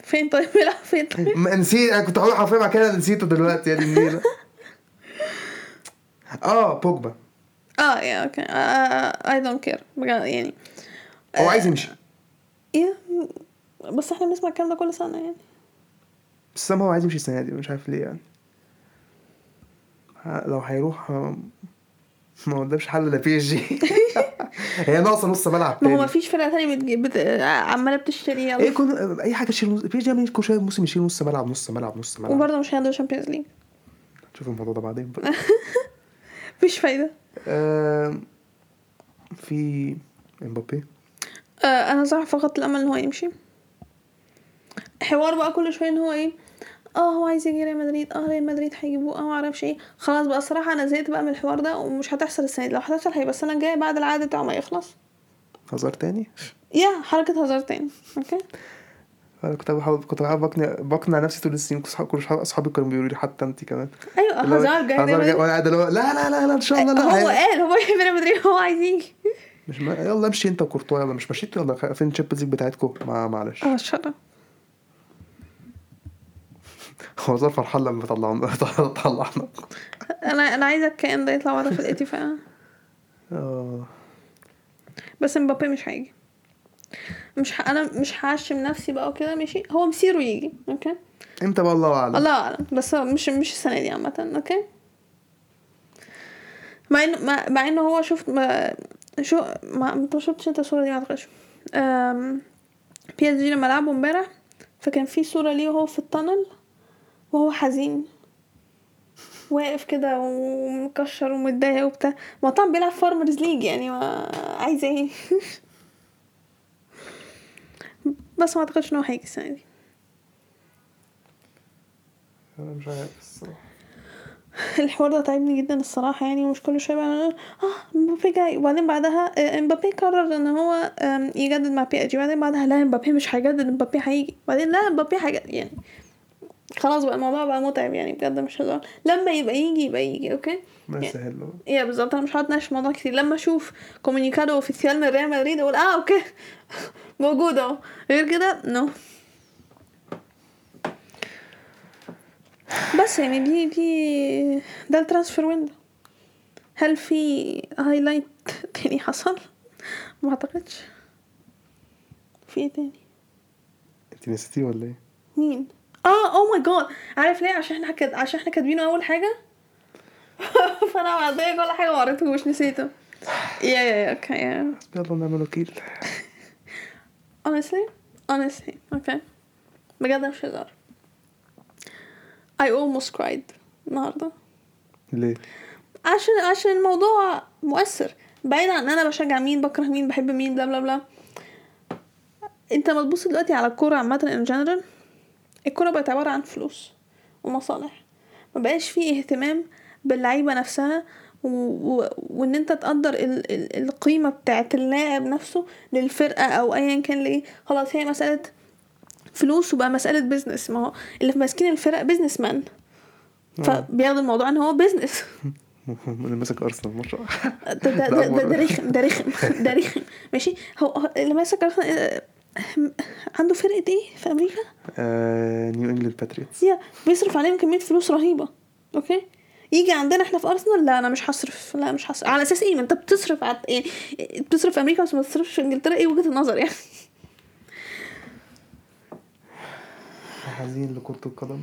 Speaker 1: فين طيب بيلعب فين طيب
Speaker 2: ما نسيت انا كنت هقول حرفيا بعد كده نسيته دلوقتي يا دي إيه النيلة اه بوجبا
Speaker 1: اه يا اوكي اي دونت كير يعني
Speaker 2: هو عايز يمشي
Speaker 1: يا بس احنا بنسمع الكلام ده كل سنه يعني
Speaker 2: بس هو عايز يمشي السنه دي مش عارف ليه يعني ه- لو هيروح آه، ما قدامش حل لا بي اس جي هي ناقصه نص ملعب
Speaker 1: ما هو
Speaker 2: تاني
Speaker 1: مفيش فرقه تانية بتجيب بت... عماله بتشتري
Speaker 2: ايه
Speaker 1: يلا
Speaker 2: كل اي حاجه تشيل نص بي اس جي عاملين إيه؟ كل شويه موسم يشيل نص ملعب نص ملعب نص ملعب
Speaker 1: وبرضه مش هياخدوا الشامبيونز ليج
Speaker 2: شوف الموضوع ده بعدين بقى
Speaker 1: مفيش فايده
Speaker 2: آم، في امبابي
Speaker 1: آه انا صراحه فقدت الامل ان هو يمشي حوار بقى كل شويه ان هو ايه اه هو عايز يجي ريال مدريد اه ريال مدريد هيجيبوه اه معرفش ايه خلاص بقى الصراحه انا زهقت بقى من الحوار ده ومش هتحصل السنه دي لو هتحصل هيبقى السنه الجايه بعد العقد بتاعه ما يخلص
Speaker 2: هزار تاني
Speaker 1: يا حركه هزار تاني اوكي
Speaker 2: انا كنت بحاول كنت بحاول بقنع بقنع نفسي طول السنين كنت صحاب- كل صحاب- اصحابي كانوا بيقولوا لي حتى انت كمان
Speaker 1: ايوه
Speaker 2: اللي هو
Speaker 1: هزار جاي
Speaker 2: هزار
Speaker 1: ريال
Speaker 2: جاي
Speaker 1: مدريد
Speaker 2: وانا قاعد اللي هو لا لا لا لا ان شاء الله لا
Speaker 1: هو
Speaker 2: هي-
Speaker 1: قال هو يحب ريال مدريد هو عايز يجي
Speaker 2: مش ما... يلا امشي انت وكورتوا يلا مش مشيت يلا خ- فين الشامبيونز ليج بتاعتكم ما معلش
Speaker 1: اه شرف
Speaker 2: هو ظرف فرحان لما طلعنا طلعنا
Speaker 1: انا انا عايزه الكائن ده يطلع بره في الاتفاق
Speaker 2: اه
Speaker 1: بس مبابي مش هيجي مش ه... انا مش هعشم نفسي بقى وكده ماشي هو مصيره يجي اوكي
Speaker 2: امتى بقى الله اعلم
Speaker 1: الله اعلم بس هو مش مش السنه دي عامه اوكي مع انه مع, مع انه هو شفت ما شو ما انت ما شفتش انت الصوره دي ما اعتقدش أم... بي اس جي لما لعبوا امبارح فكان في صوره ليه وهو في التنل وهو حزين واقف كده ومكشر ومتضايق وبتاع ما هو طبعا بيلعب فارمرز ليج يعني ما عايز ايه بس ما اعتقدش ان هو هيجي السنه دي
Speaker 2: انا مش عارف الصراحه
Speaker 1: الحوار ده تعبني جدا الصراحة يعني ومش كل شوية بقى أنا- اه مبابي جاي وبعدين بعدها آه، مبابي قرر ان هو آم، يجدد مع بي جي وبعدين بعدها لا مبابي مش هيجدد مبابي هيجي بعدين لا مبابي هيجدد يعني خلاص بقى الموضوع بقى متعب يعني بجد مش هزار لما يبقى يجي يبقى يجي اوكي
Speaker 2: ما يسهل له
Speaker 1: يا إيه، بالظبط انا مش هقعد اتناقش في الموضوع كتير لما اشوف كومينيكادو اوفيسيال من ريال مدريد اقول اه اوكي موجود اهو غير كده نو بس يعني دي دي ده الترانسفير ويندو هل في هايلايت تاني حصل؟ ما اعتقدش في ايه تاني؟
Speaker 2: انت نسيتيه ولا ايه؟
Speaker 1: مين؟ اه او ماي جاد عارف ليه عشان احنا كد... عشان احنا كاتبينه اول حاجه فانا معديه إيه كل حاجه ما قريتهوش نسيته يا يا يا اوكي يا
Speaker 2: يلا نعمل وكيل
Speaker 1: honestly honestly اوكي بجد مش هزار I almost cried النهارده
Speaker 2: ليه؟
Speaker 1: عشان عشان الموضوع مؤثر بعيد عن انا بشجع مين بكره مين بحب مين بلا بلا بلا انت ما تبص دلوقتي على الكوره عامه ان جنرال الكوره بقت عباره عن فلوس ومصالح ما بقاش فيه اهتمام باللعيبه نفسها و... و... وان انت تقدر ال... ال... القيمه بتاعه اللاعب نفسه للفرقه او ايا كان لايه خلاص هي مساله فلوس وبقى مساله بيزنس ما هو اللي ماسكين الفرق بيزنس مان فبياخد الموضوع ان هو بيزنس
Speaker 2: انا ماسك ارسنال ما شاء الله
Speaker 1: ده ده ده- ده ده رخم ده رخم ده رخم ماشي هو هو اللي ماسك أرسنال، آه، عنده فرقة ايه في امريكا؟
Speaker 2: آه، نيو انجلاند باتريوتس
Speaker 1: يا بيصرف عليهم كمية فلوس رهيبة اوكي يجي عندنا احنا في ارسنال لا انا مش هصرف لا مش هصرف على اساس ايه ما انت بتصرف على يعني بتصرف في امريكا بس ما بتصرفش في انجلترا ايه وجهة النظر يعني
Speaker 2: حزين لكرة القدم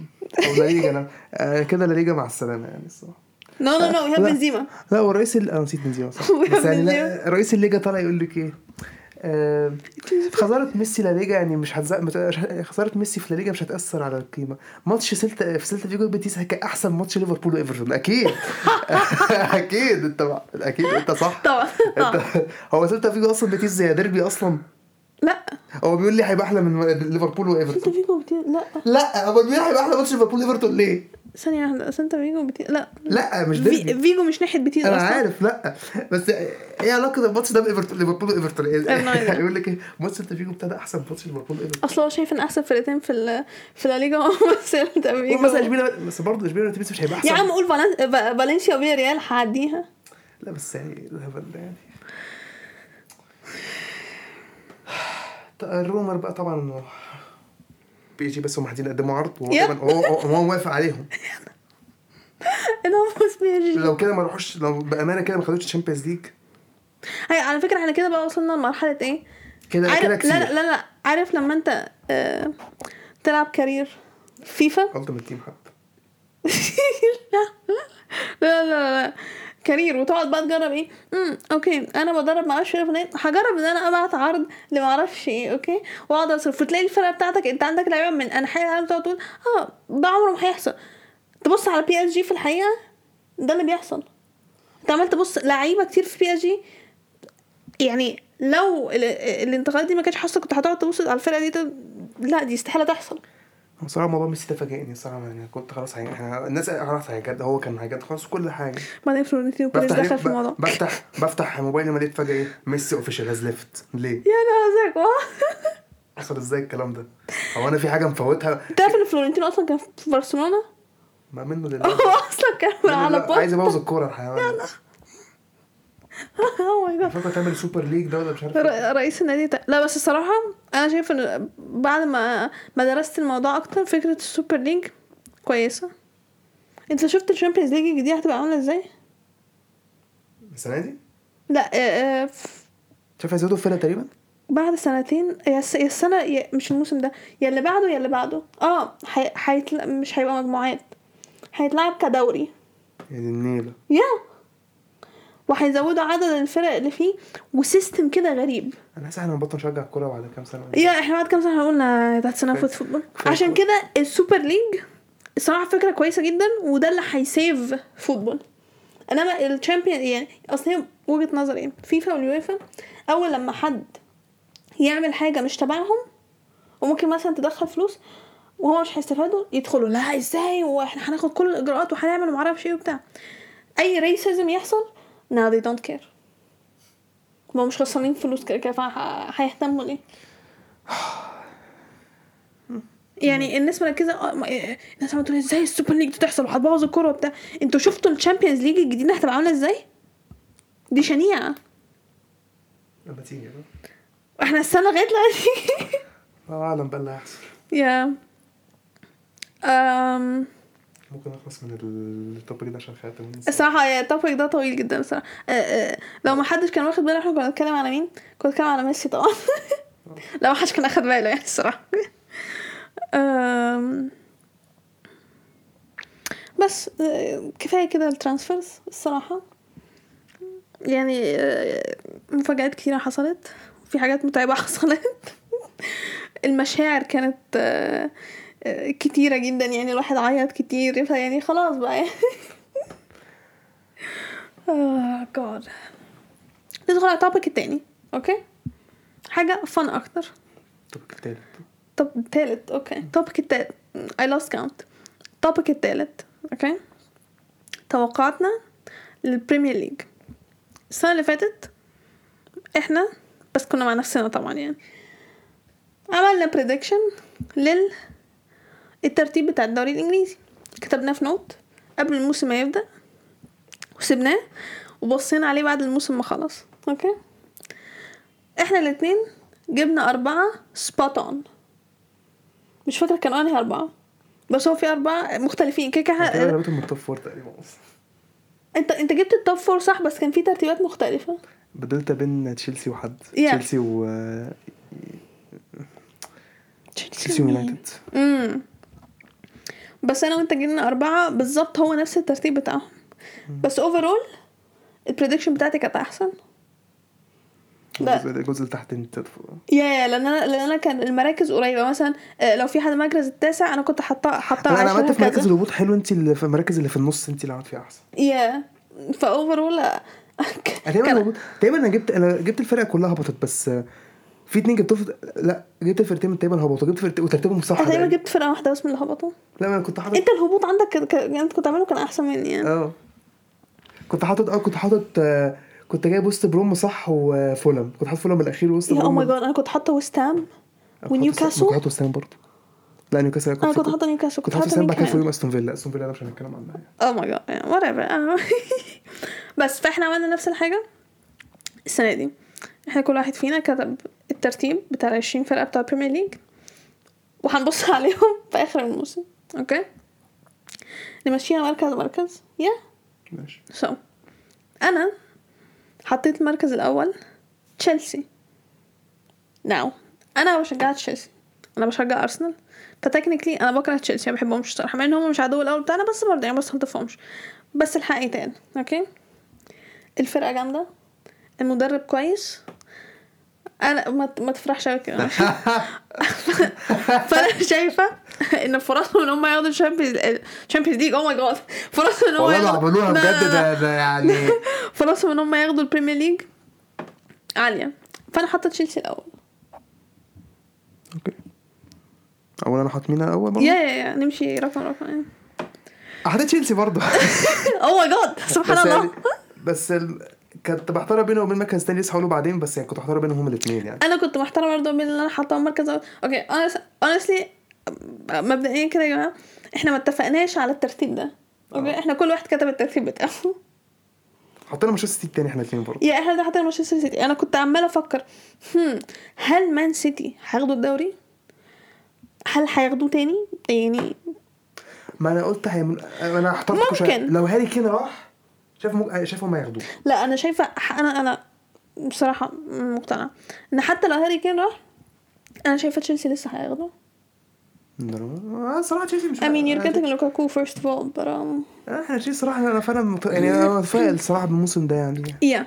Speaker 2: او لا ليجا انا آه، كده لا ليجا مع السلامة يعني الصراحة
Speaker 1: نو نو نو ايهاب
Speaker 2: لا.
Speaker 1: بنزيما
Speaker 2: لا والرئيس ال... انا نسيت بنزيما صح
Speaker 1: ويا
Speaker 2: بس يعني
Speaker 1: بنزيما.
Speaker 2: لا رئيس الليجا طالع يقول لك ايه آه، خسارة ميسي لا ليجا يعني مش هتزق مت... خسارة ميسي في لا ليجا مش هتأثر على القيمة ماتش سلتا في سلتا فيجو بيتيس كان أحسن ماتش ليفربول وإيفرتون أكيد أكيد أنت أكيد أنت صح
Speaker 1: طبعا آه.
Speaker 2: أنت... هو سلتا فيجو أصلا بيتيس زي ديربي أصلا
Speaker 1: لا
Speaker 2: هو بيقول لي هيبقى احلى من ليفربول
Speaker 1: سانتا
Speaker 2: وايفرتون
Speaker 1: فيجو بتي... لا
Speaker 2: لا هو بيقول لي هيبقى احلى ماتش ليفربول وايفرتون ليه؟
Speaker 1: ثانية واحدة سانتا فيجو بتي... لا
Speaker 2: لا مش ديربي
Speaker 1: في... فيجو مش ناحية بتيز
Speaker 2: انا
Speaker 1: اصلا
Speaker 2: عارف لا بس ايه علاقه الماتش ده بايفرتون ليفربول وايفرتون
Speaker 1: أنا عارف.
Speaker 2: إيه؟ هيقول لك ايه ماتش سيلتا فيجو بتاع ده احسن ماتش ليفربول وايفرتون
Speaker 1: اصل هو شايف ان احسن فرقتين في ال... في الليجا هم سانتا فيجو
Speaker 2: مثلا اشبيليه بس برضه اشبيليه بيتيس مش هيبقى احسن
Speaker 1: Oh يا عم قول فالن- ف- فالنسيا وفيا ريال هعديها
Speaker 2: لا بس يعني إيه الهبل ده يعني طيب الرومر بقى طبعا إنه بي جي بس هم عايزين يقدموا عرض وهو
Speaker 1: يب.
Speaker 2: طبعاً- وهو وهو موافق عليهم
Speaker 1: انا بص بيجي
Speaker 2: لو كده ما روحوش لو بامانه كده ما خدوش الشامبيونز ليج
Speaker 1: هي على فكرة احنا كده بقى وصلنا لمرحلة ايه
Speaker 2: كده كده
Speaker 1: عارف
Speaker 2: كتير
Speaker 1: لا لا لا لا عارف لما انت آه... تلعب كارير فيفا
Speaker 2: التيمت تيم حتى
Speaker 1: لا لا لا لا كارير وتقعد بقى تجرب ايه امم اوكي انا بدرب ما اعرفش ايه فلان هجرب ان انا ابعت عرض لما اعرفش ايه اوكي واقعد اصرف وتلاقي الفرقه بتاعتك انت عندك لعيبه من انحاء العالم تقعد تقول اه ده عمره ما هيحصل تبص على بي اس جي في الحقيقه ده اللي بيحصل انت عمال تبص لعيبه كتير في بي اس جي يعني لو ال- الانتقالات دي ما كانتش حاصله كنت هتقعد تبص على الفرقه دي تقول لا دي استحاله تحصل
Speaker 2: بصراحه موضوع ميسي ده فاجئني صراحه يعني كنت خلاص هي... احنا الناس خلاص هيجد هو كان هيجد خلاص كل حاجه
Speaker 1: بعدين فلورنتينو بيريز
Speaker 2: بفتح
Speaker 1: دخل في الموضوع
Speaker 2: ب... بفتح بفتح موبايلي ما لقيت فجاه ايه ميسي اوفيشال هاز ليفت ليه؟
Speaker 1: يا نازك واه
Speaker 2: حصل ازاي الكلام ده؟ هو انا في حاجه مفوتها
Speaker 1: تعرف ان فلورنتينو اصلا كان في برشلونه
Speaker 2: ما منه لله
Speaker 1: هو اصلا كان على
Speaker 2: لا، عايز
Speaker 1: بوست
Speaker 2: ابوظ الكوره الحيوان
Speaker 1: اوه ماي جاد
Speaker 2: فاكر تعمل سوبر ليج ده ولا مش عارف إيه.
Speaker 1: Oh ر- رئيس النادي تا... لا بس الصراحه انا شايف ان بعد ما ما درست الموضوع اكتر فكره السوبر ليج كويسه انت شفت الشامبيونز ليج الجديده هتبقى عامله ازاي؟
Speaker 2: السنه دي
Speaker 1: لا آه، آه، ف-
Speaker 2: إيه؟ شايف هيزودوا فرقه تقريبا
Speaker 1: بعد سنتين يا الس- يا السنه يا مش الموسم ده يا اللي بعده يا اللي بعده اه حي... حيتل... مش هيبقى مجموعات هيتلعب كدوري
Speaker 2: يا إيه دي النيله
Speaker 1: يا وهيزودوا عدد الفرق اللي فيه وسيستم كده غريب
Speaker 2: انا حاسس احنا هنبطل نشجع الكوره بعد كام سنه
Speaker 1: يا احنا بعد كام سنه هنقول ذاتس انف
Speaker 2: كويس.
Speaker 1: فوتبول
Speaker 2: كويس.
Speaker 1: عشان كده السوبر ليج الصراحه فكره كويسه جدا وده اللي هيسيف فوتبول انما الشامبيون يعني اصل هي وجهه نظري يعني فيفا واليويفا اول لما حد يعمل حاجه مش تبعهم وممكن مثلا تدخل فلوس وهو مش هيستفادوا يدخلوا لا ازاي واحنا هناخد كل الاجراءات وهنعمل ومعرفش ايه وبتاع اي ريسيزم يحصل now they don't care هما مش خسرانين فلوس كده كده فه- هيهتموا ليه يعني الناس مركزه آه، ما- آه، الناس عماله تقول ازاي السوبر ليج دي تحصل وهتبوظ الكوره وبتاع انتوا شفتوا الشامبيونز ليج الجديده هتبقى عامله ازاي؟ دي شنيعه
Speaker 2: لما تيجي بقى.
Speaker 1: احنا السنه لغايه دلوقتي
Speaker 2: الله اعلم بقى اللي هيحصل
Speaker 1: يا أم
Speaker 2: ممكن نخلص من التوبيك ده عشان خاطر
Speaker 1: الصراحه يا التوبيك يعني ده طويل جدا بصراحه أه، أه، لو ما حدش كان واخد باله احنا كنا بنتكلم على مين؟ كنا بنتكلم على ميسي طبعا لو ما حدش كان اخد باله يعني الصراحه أم، بس أه، كفايه كده الترانسفيرز الصراحه يعني أه، مفاجآت كتيرة حصلت في حاجات متعبة حصلت المشاعر كانت أه، أه، كتيرة جدا يعني الواحد عيط كتير فيعني خلاص بقى اه جاد ندخل على التوبيك التاني اوكي حاجة فن اكتر
Speaker 2: التوبيك التالت
Speaker 1: طب التالت اوكي توبيك التالت I lost count توبيك التالت اوكي توقعاتنا للبريمير ليج السنة اللي فاتت احنا بس كنا مع نفسنا طبعا يعني عملنا بريدكشن لل الترتيب بتاع الدوري الانجليزي كتبناه في نوت قبل الموسم ما يبدأ وسبناه وبصينا عليه بعد الموسم ما خلص اوكي احنا الاتنين جبنا أربعة سبوت اون مش فاكرة كانوا أنهي أربعة بس هو في أربعة مختلفين كده كده
Speaker 2: كده لعبتهم من التوب فور تقريبا اصلا
Speaker 1: انت انت جبت التوب فور صح بس كان في ترتيبات مختلفة
Speaker 2: بدلت بين تشيلسي وحد
Speaker 1: Yeah.
Speaker 2: تشيلسي و تشيلسي ويونايتد
Speaker 1: امم بس انا وانت جبنا أربعة بالظبط هو نفس الترتيب بتاعهم بس اوفرول البريدكشن بتاعتي كانت أحسن لا.
Speaker 2: الجزء الجزء اللي تحت انت تدخل.
Speaker 1: يا يا لان انا لان انا كان المراكز قريبه مثلا آه، لو في حد مركز التاسع انا كنت حاطاه حاطاه
Speaker 2: لا انا عملت في
Speaker 1: عشرة
Speaker 2: مركز
Speaker 1: كذا.
Speaker 2: الهبوط حلو انت اللي في المراكز اللي في النص انت اللي عملت فيها احسن
Speaker 1: يا فاوفرول
Speaker 2: أنا تقريبا
Speaker 1: كان-
Speaker 2: يعني الهبوط- تقريبا انا جبت انا جبت الفرقه كلها هبطت بس في في اتنين جبتهم في... لا جبت فرقتين تقريبا هبطوا جبت فرقتين وترتيبهم صح
Speaker 1: انا تقريبا
Speaker 2: يعني.
Speaker 1: جبت فرقه واحده بس من اللي هبطوا
Speaker 2: لا ما انا كنت حاطط
Speaker 1: انت الهبوط عندك ك- ك- انت كنت عامله كان احسن مني يعني
Speaker 2: اه كنت حاطط اه كنت حاطط آه، كنت جايب وسط بروم صح وفولم كنت حاطط فولم الاخير وسط
Speaker 1: يا او
Speaker 2: بروم
Speaker 1: ماي جاد انا كنت حاطه ويست هام
Speaker 2: أنا كنت حاطط-
Speaker 1: ونيوكاسل؟
Speaker 2: كنت حاطط وسام برضه لا نيوكاسل أنا
Speaker 1: انا كنت
Speaker 2: كنت
Speaker 1: حاطه نيوكاسل
Speaker 2: كنت
Speaker 1: كنت
Speaker 2: حاطط
Speaker 1: حاطه
Speaker 2: وسام
Speaker 1: مين
Speaker 2: بعد كده فوقيه
Speaker 1: كمان
Speaker 2: استون فيلا استون فيلا ده مش هنتكلم عنها يعني
Speaker 1: او ماي جاد وات ايفر آه. بس فاحنا عملنا نفس الحاجه السنه دي احنا كل واحد فينا كتب الترتيب بتاع ال 20 فرقه بتاع البريمير ليج وهنبص عليهم في اخر الموسم اوكي نمشيها مركز مركز يا
Speaker 2: ماشي
Speaker 1: سو انا حطيت المركز الاول تشيلسي ناو انا بشجع تشيلسي انا بشجع ارسنال فتكنيكلي انا بكره تشيلسي ما بحبهمش الصراحه مع ان هم مش عدو الاول بتاعنا بس برضه يعني بس ما تفهمش بس الحق يتقال اوكي الفرقه جامده المدرب كويس انا ما, ما تفرحش قوي كده ماشي؟ فانا شايفه ان فرصهم ان هم ياخدوا الشامبيونز الشامبيونز ليج او ماي جاد oh فرصهم ان هم
Speaker 2: والله لو
Speaker 1: ياخدوا
Speaker 2: عملوها
Speaker 1: لا، لا،
Speaker 2: بجد
Speaker 1: لا.
Speaker 2: ده ده يعني
Speaker 1: فرصهم ان هم ياخدوا البريمير ليج عاليه فانا حاطه تشيلسي الاول
Speaker 2: اوكي اول انا حاطط مين اول برضه؟
Speaker 1: يا يا يا نمشي رقم رقم يعني.
Speaker 2: حاطط تشيلسي برضه
Speaker 1: اوه ماي جاد سبحان
Speaker 2: بس
Speaker 1: الله
Speaker 2: يعني- بس ال... كنت بحتار بينه وبين مركز تاني لسه هقوله بعدين بس يعني كنت بحتار بينهم هما الاثنين يعني
Speaker 1: انا كنت محتاره برضه بين اللي انا حاطاه مركز اول اوكي اونستلي مبدئيا كده يا جماعه احنا ما اتفقناش على الترتيب ده اوكي
Speaker 2: آه.
Speaker 1: احنا كل واحد كتب الترتيب بتاعه
Speaker 2: حطينا مانشستر سيتي التاني احنا الاثنين برضه
Speaker 1: يا احنا ده حتى مانشستر سيتي انا كنت عماله افكر هم هل مان سيتي هياخدوا الدوري هل هياخدوه تاني يعني
Speaker 2: ما انا قلت هي من... انا احترت
Speaker 1: ممكن.
Speaker 2: لو هاري كين راح شايف ممكن شايف هما ياخدوه
Speaker 1: لا انا شايفه ح- انا انا بصراحه مقتنعه ان حتى لو هاري كين راح انا شايفه تشيلسي لسه هياخده
Speaker 2: آه، صراحه تشيلسي مش
Speaker 1: I mean you're
Speaker 2: آه،
Speaker 1: getting Lukaku first of all but um
Speaker 2: احنا تشيلسي صراحه انا فعلا مت... يعني انا متفائل صراحه بالموسم ده يعني
Speaker 1: yeah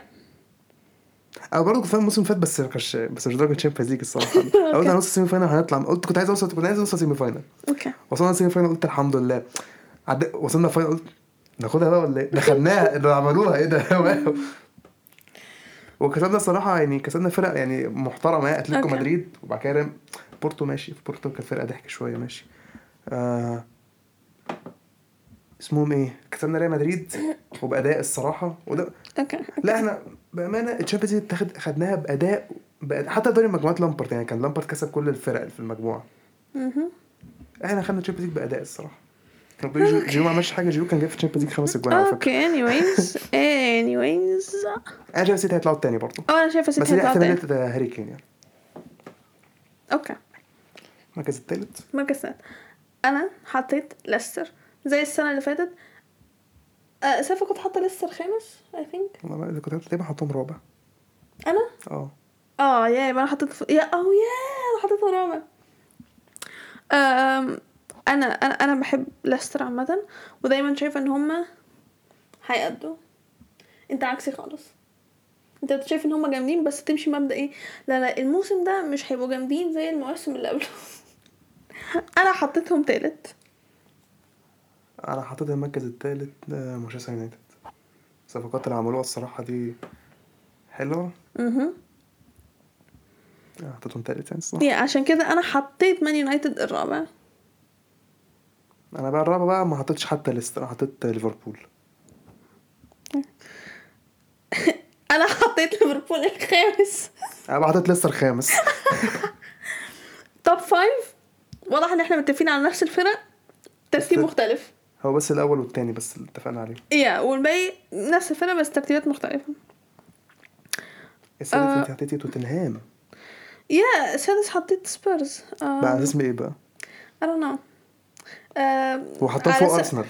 Speaker 2: انا برضه كنت فاهم الموسم اللي فات بس ما كانش بس مش درجه تشامبيونز ليج الصراحه أنا قلت على نص السيمي فاينل هنطلع قلت كنت عايز اوصل كنت عايز اوصل سيمي فاينل
Speaker 1: okay
Speaker 2: وصلنا السيمي فاينل قلت الحمد لله عد... وصلنا فاينل قلت ناخدها بقى ولا ايه؟ دخلناها اللي عملوها ايه ده واو. وكسبنا الصراحه يعني كسبنا فرق يعني محترمه اتلتيكو
Speaker 1: أوكي.
Speaker 2: مدريد وبعد كده رم- بورتو ماشي في بورتو كانت فرقه ضحك شويه ماشي آه... اسمهم ايه؟ كسبنا ريال مدريد وباداء الصراحه وده
Speaker 1: okay
Speaker 2: لا احنا بامانه الشامبيونز ليج اتاخد- خدناها باداء بأداء حتى دوري مجموعات لامبرت يعني كان لامبرت كسب كل الفرق في المجموعه
Speaker 1: mhm
Speaker 2: احنا خدنا الشامبيونز ليج باداء الصراحه طب جيرو- جيرو ما عملش حاجه جيرو كان جايب في الشامبيونز ليج خمس اجوان على فكره
Speaker 1: okay anyways anyways
Speaker 2: انا شايف سيتي هيطلعوا التاني برضه
Speaker 1: اه انا شايفه
Speaker 2: بس
Speaker 1: سيتي
Speaker 2: دي
Speaker 1: هتطلع تاني
Speaker 2: احتماليه هاري كين يعني
Speaker 1: اوكي
Speaker 2: المركز التالت
Speaker 1: مركز ثالث انا حطيت ليستر زي السنه اللي فاتت آه، سافا كنت حاطه ليستر خامس I think
Speaker 2: والله ما- اذا كنت تقريبا هحطهم رابع
Speaker 1: انا
Speaker 2: اه
Speaker 1: اه يا يبقى انا حطيت ف... يا او يا انا حطيتها رابع أم، انا انا انا بحب ليستر عامه ودايما شايفه ان هما هيأدوا انت عكسي خالص انت شايف ان هما جامدين بس تمشي مبدأ ايه لا لا الموسم ده مش هيبقوا جامدين زي المواسم اللي قبله انا حطيتهم تالت
Speaker 2: انا حطيت المركز التالت آه، مانشستر يونايتد الصفقات اللي عملوها الصراحه دي حلوه
Speaker 1: اها
Speaker 2: أنا حطيتهم تالت يعني الصراحه
Speaker 1: يا عشان كده انا حطيت مان يونايتد الرابع طيب.
Speaker 2: انا بقى الرابع بقى ما حطيتش حتى ليستر انا حطيت ليفربول
Speaker 1: انا حطيت ليفربول الخامس
Speaker 2: انا حطيت ليستر خامس
Speaker 1: توب فايف واضح ان احنا متفقين على نفس الفرق ترتيب
Speaker 2: بس-
Speaker 1: مختلف
Speaker 2: هو بس الاول والتاني بس اللي اتفقنا عليه
Speaker 1: يا والباقي نفس الفرق بس ترتيبات مختلفة
Speaker 2: السادس
Speaker 1: آه.
Speaker 2: انت حطيتي توتنهام
Speaker 1: يا سادس حطيت سبيرز آه،
Speaker 2: بقى على
Speaker 1: اي
Speaker 2: اسم ايه بقى؟
Speaker 1: دونت نو
Speaker 2: وحطهم فوق ارسنال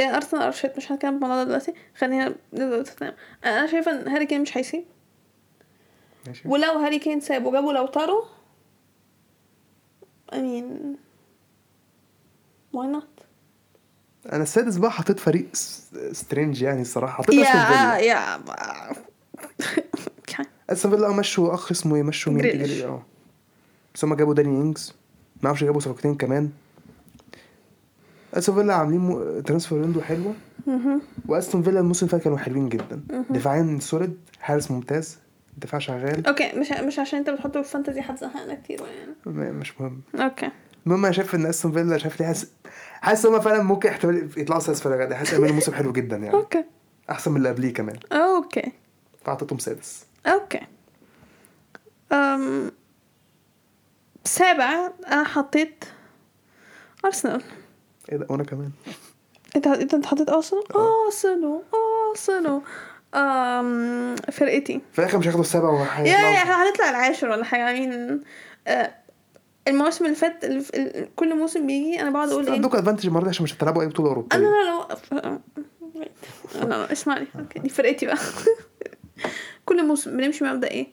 Speaker 1: آه، يا ارسنال ارشيت مش هنتكلم في الموضوع ده دلوقتي خلينا نبدا بتوتنهام آه، انا شايفه ان هاري كين مش هيسيب
Speaker 2: ماشي
Speaker 1: ولو هاري كين ساب وجابوا لو طاروا امين واي نوت
Speaker 2: انا السادس بقى حطيت فريق س- سترينج يعني الصراحه حطيت
Speaker 1: يا
Speaker 2: استون فيلا
Speaker 1: يا أوكي.
Speaker 2: استون فيلا آه، مشوا اخ اسمه ايه مشوا مين
Speaker 1: جريليش.
Speaker 2: جريليش، اه بس هم جابوا داني انجز ما اعرفش جابوا صفقتين كمان استون فيلا عاملين م... ترانسفير ويندو حلوه
Speaker 1: مهم.
Speaker 2: واستون فيلا الموسم اللي فات كانوا حلوين جدا دفاعين سوليد حارس ممتاز الدفاع شغال
Speaker 1: اوكي مش مش عشان انت بتحطه في فانتزي هتزهقنا كتير يعني
Speaker 2: م- مش مهم
Speaker 1: اوكي
Speaker 2: المهم انا شايف ان استون فيلا شايف ليه حاسس حاسس ان هم فعلا ممكن احتمال يطلعوا سادس في الرجاء حاسس يعملوا موسم حلو جدا يعني
Speaker 1: اوكي
Speaker 2: احسن من اللي قبليه كمان
Speaker 1: اوكي
Speaker 2: فاعطيتهم سادس
Speaker 1: اوكي أم سابع انا حطيت ارسنال
Speaker 2: ايه ده وانا كمان
Speaker 1: انت انت انت حطيت ارسنال
Speaker 2: آه.
Speaker 1: ارسنال ارسنال أم فرقتي
Speaker 2: في الاخر مش هياخدوا السبعه
Speaker 1: يا يا
Speaker 2: وهيطلعوا
Speaker 1: احنا هنطلع العاشر ولا حاجه يعني آه، الموسم اللي فات ال- ال- كل موسم بيجي انا بقعد اقول ايه
Speaker 2: عندكم ادفانتج المره دي عشان مش هتلعبوا اي بطوله
Speaker 1: انا
Speaker 2: اوروبيه
Speaker 1: لا لا ف- أه. لا لا اسمعني اوكي دي فرقتي بقى كل موسم بنمشي مبدا ايه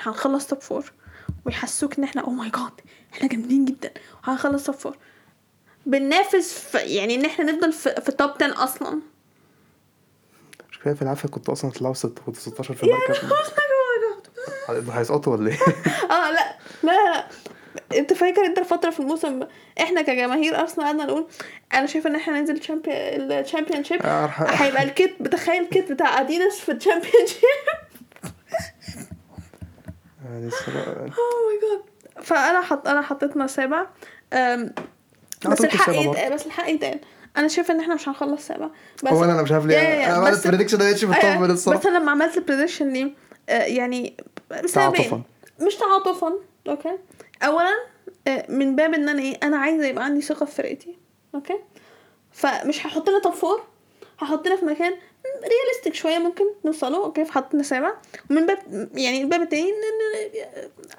Speaker 1: إحنا هنخلص توب فور ويحسوك oh ان احنا او ماي جاد احنا جامدين جدا وهنخلص توب فور بننافس في يعني ان احنا نفضل في, في توب 10 اصلا
Speaker 2: مش كفايه في العافيه كنت اصلا هتطلعوا 16 في
Speaker 1: يا انا
Speaker 2: المركز
Speaker 1: خلاص ماي جاد
Speaker 2: هيسقطوا ولا ايه؟
Speaker 1: اه لا لا لا انت فاكر انت فتره في الموسم احنا كجماهير ارسنال قعدنا نقول انا شايفه ان احنا ننزل الشامبيون شيب
Speaker 2: أرح-
Speaker 1: هيبقى الكيت بتخيل الكيت بتاع اديداس في الشامبيون شيب
Speaker 2: يعني الصراحة-
Speaker 1: اوه ماي جاد فانا حط انا حطيتنا سابع أم، بس
Speaker 2: أعتقد
Speaker 1: الحق
Speaker 2: السابع
Speaker 1: يتقال بس الحق يتقال انا شايفه ان احنا مش هنخلص سابع بس
Speaker 2: هو انا أنا مش عارف
Speaker 1: يا-
Speaker 2: ليه
Speaker 1: يا-
Speaker 2: انا عملت
Speaker 1: بس-
Speaker 2: بريدكشن ده مش
Speaker 1: أيوة،
Speaker 2: مطمن
Speaker 1: بس
Speaker 2: الصراحه
Speaker 1: انا لما عملت البريدكشن دي آه، يعني
Speaker 2: تعاطفاً.
Speaker 1: سببين مش تعاطفا اوكي اولا آه، من باب ان انا ايه انا عايزه يبقى عندي ثقه في فرقتي اوكي فمش هحط لنا توب فور هحطنا في مكان رياليستيك شويه ممكن نوصله اوكي فحطنا سابع ومن باب يعني الباب التاني آه،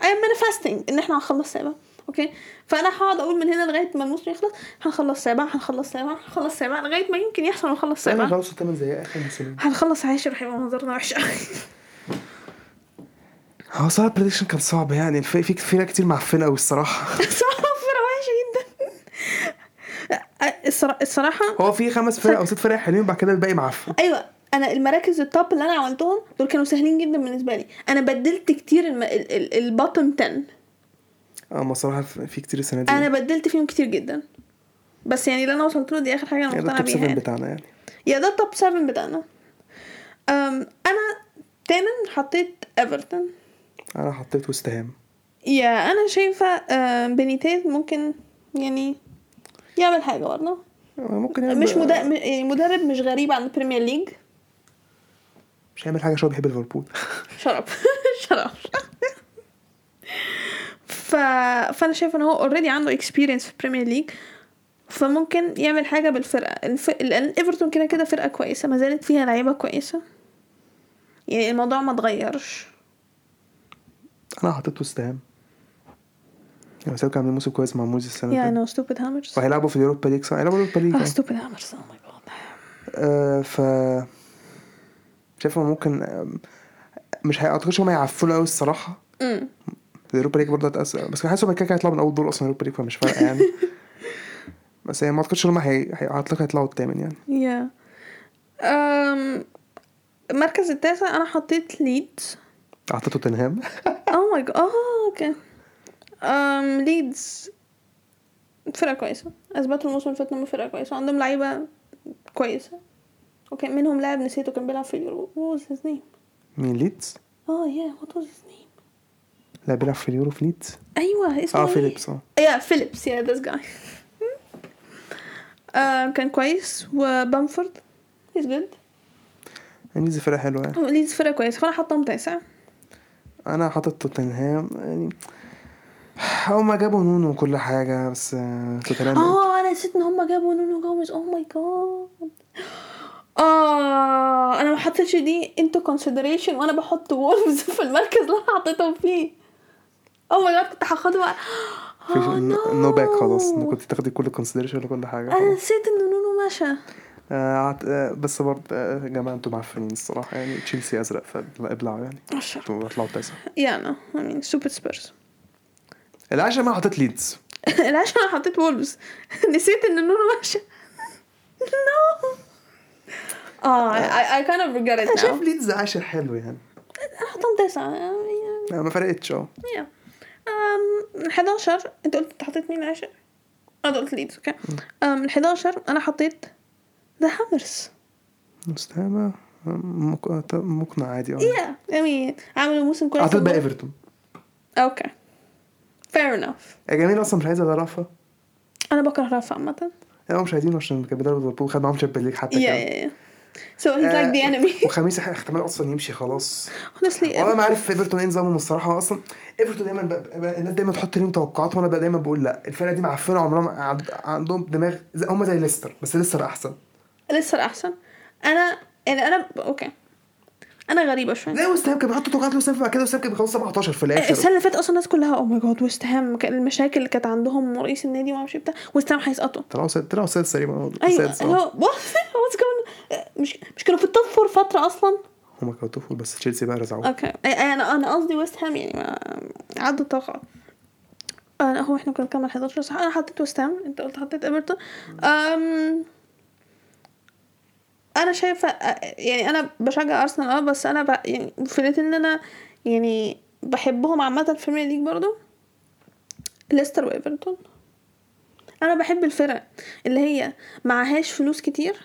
Speaker 1: اي ام مانيفستنج ان احنا هنخلص سابع اوكي فانا هقعد اقول من هنا لغايه ما الموسم يخلص هنخلص سابع هنخلص سابع هنخلص سابع لغايه ما يمكن يحصل ونخلص
Speaker 2: انا
Speaker 1: سابع
Speaker 2: مش عاوز أيوة، تمن زي اخر موسمين
Speaker 1: هنخلص عاشر هيبقى منظرنا وحش قوي
Speaker 2: هو صراحه البريدكشن كان صعب يعني في في فرق كتير معفنه قوي الصراحه
Speaker 1: صفر وحش جدا الصرا- الصراحه
Speaker 2: هو في خمس فرق او ست فرق حلوين بعد كده الباقي معفن
Speaker 1: ايوه انا المراكز التوب اللي انا عملتهم دول كانوا سهلين جدا بالنسبه لي انا بدلت كتير الم... ال- ال- البطن 10
Speaker 2: اه ما صراحه في كتير السنه دي
Speaker 1: انا بدلت فيهم كتير جدا بس يعني اللي انا وصلت له دي اخر حاجه انا
Speaker 2: يعني ده
Speaker 1: مقتنعه
Speaker 2: التوب
Speaker 1: بيها
Speaker 2: 7
Speaker 1: يعني.
Speaker 2: بتاعنا يعني
Speaker 1: يا ده التوب 7 بتاعنا أم انا تامن حطيت ايفرتون
Speaker 2: انا حطيت وست هام
Speaker 1: يا انا شايفه أم، بينيتيز ممكن يعني يعمل حاجه برضه
Speaker 2: آه، ممكن يعمل-
Speaker 1: مش مد... يعني مدرب مش غريب عن البريمير ليج
Speaker 2: مش هيعمل حاجه عشان هو بيحب ليفربول
Speaker 1: شرب شرب ف... فانا شايفه ان هو اوريدي عنده اكسبيرينس في البريمير ليج فممكن يعمل حاجه بالفرقه الف... لان ايفرتون كده كده فرقه كويسه ما زالت فيها لعيبه كويسه يعني الموضوع ما اتغيرش
Speaker 2: انا حطيت وست هام يعني سابقا عاملين موسم كويس مع موزي السنه
Speaker 1: يا
Speaker 2: دي
Speaker 1: نو ستوبيد هامرز
Speaker 2: وهيلعبوا في اليوروبا ليج صح؟ هيلعبوا اليوروبا ليج
Speaker 1: اه
Speaker 2: يعني.
Speaker 1: ستوبيد هامرز او ماي جاد
Speaker 2: آه، ف شايف هو ممكن آم، مش هي- اعتقدش هم هيعفنوا قوي الصراحه
Speaker 1: Mm,
Speaker 2: اليوروبا ليج برضه هتأثر بس حاسس هم كده كده هيطلعوا من اول دور اصلا اليوروبا ليج فمش فارقه يعني بس هي ما اعتقدش ان هم هي... هي... اعتقد هيطلعوا الثامن يعني
Speaker 1: يا أم... المركز Um, التاسع انا حطيت ليدز
Speaker 2: اعطيته توتنهام
Speaker 1: اوه ماي جاد اه اوكي أم ليدز Um, فرقة كويسة اثبتوا الموسم اللي فات انهم فرقة كويسة عندهم لعيبة كويسة اوكي منهم لاعب نسيته كان بيلعب في اليورو وات هيز نيم
Speaker 2: مين ليدز؟
Speaker 1: اه يا وات واز هيز نيم
Speaker 2: لا بيلعب في اليورو في ليدز
Speaker 1: ايوه اسمه
Speaker 2: اه
Speaker 1: إيه؟
Speaker 2: فيليبس اه
Speaker 1: يا فيليبس يا ذس جاي آه، كان كويس وبامفورد هيز جود
Speaker 2: يعني ليدز فرقه حلوه يعني
Speaker 1: ليدز فرقة كويسة فانا حطهم تاسع
Speaker 2: انا حاطط توتنهام يعني هما جابوا نونو وكل حاجه بس آه، توتنهام
Speaker 1: اه انا نسيت ان هما جابوا نونو جوميز Oh اوه ماي جاد اه انا ما حطيتش دي انتو كونسيدريشن وانا بحط وولفز في المركز اللي انا حطيتهم فيه اوه ماي جاد كنت هاخدها آه،
Speaker 2: في
Speaker 1: بقى
Speaker 2: نو باك خلاص إن كنت تاخدي كل كونسيدريشن وكل حاجه
Speaker 1: انا
Speaker 2: خلاص.
Speaker 1: نسيت ان نونو مشى
Speaker 2: آه، عط- آه، بس برضه آه، يا جماعه انتوا معفنين الصراحه يعني تشيلسي ازرق فابلعوا يعني
Speaker 1: عشرة.
Speaker 2: انتوا هتطلعوا تاسع
Speaker 1: يا انا اي مين سوبر سبيرز
Speaker 2: العاشر ما حطيت ليدز
Speaker 1: العشان انا حطيت وولفز نسيت ان نونو مشى نو اه I, I kind of regret it
Speaker 2: انا
Speaker 1: now
Speaker 2: شايف ليدز عاشر حلو يعني
Speaker 1: انا حطيتهم تسعة يعني
Speaker 2: آه، ما فرقتش اه
Speaker 1: يا أم 11 انت قلت انت حطيت مين عشر انا قلت ليدز اوكي أم 11 انا حطيت ذا هامرز
Speaker 2: مستهامة مق- مقنع عادي اه
Speaker 1: يا يعني عملوا موسم كويس
Speaker 2: اعتقد بقى ايفرتون
Speaker 1: اوكي fair enough
Speaker 2: يا جميل اصلا مش عايز ولا رفا
Speaker 1: انا بكره رف عامة
Speaker 2: هم مش عايزينه عشان كان بيدرب ليفربول خد معاهم شامبيونز ليج حتى
Speaker 1: يا
Speaker 2: كده
Speaker 1: يا يا so he's like the
Speaker 2: آه،
Speaker 1: enemy
Speaker 2: وخميس إح- احتمال اصلا يمشي خلاص
Speaker 1: honestly
Speaker 2: والله ما عارف ايفرتون ايه نظامهم الصراحه هو اصلا ايفرتون دايما ب- ب- الناس دايما تحط ليهم توقعات وانا بقى دايما بقول لا الفرقه دي معفنه عمرها ما عند- عندهم دماغ زي- هم زي ليستر بس ليستر احسن
Speaker 1: لسه احسن انا يعني انا اوكي انا غريبه شويه
Speaker 2: زي ويست هام كان بيحطوا توقعات لوسام بعد كده وسام كان بيخلص 17 في
Speaker 1: السنه
Speaker 2: الاخر
Speaker 1: آه، اللي فاتت اصلا الناس كلها oh او ماي جاد ويست هام كان المشاكل اللي كانت عندهم ورئيس النادي وما اعرفش إيه بتاع ويست هام هيسقطوا
Speaker 2: طلعوا سادس طلعوا سادس تقريبا
Speaker 1: ايوه
Speaker 2: سادس
Speaker 1: اللي
Speaker 2: آه.
Speaker 1: هو واتس Uh, مش مش كانوا في التوب فور فتره اصلا
Speaker 2: هم كانوا طفل بس تشيلسي بقى رزعوه
Speaker 1: اوكي أي- أي- انا انا قصدي ويست هام يعني ما عدوا الطاقه انا هو احنا كنا بنتكلم على 11 صح انا حطيت ويست هام انت قلت حطيت ايفرتون أم... انا شايفه أ- يعني انا بشجع ارسنال اه بس انا ب... يعني فرقت ان انا يعني بحبهم عامه في البريمير ليج برضو ليستر وايفرتون انا بحب الفرق اللي هي معهاش فلوس كتير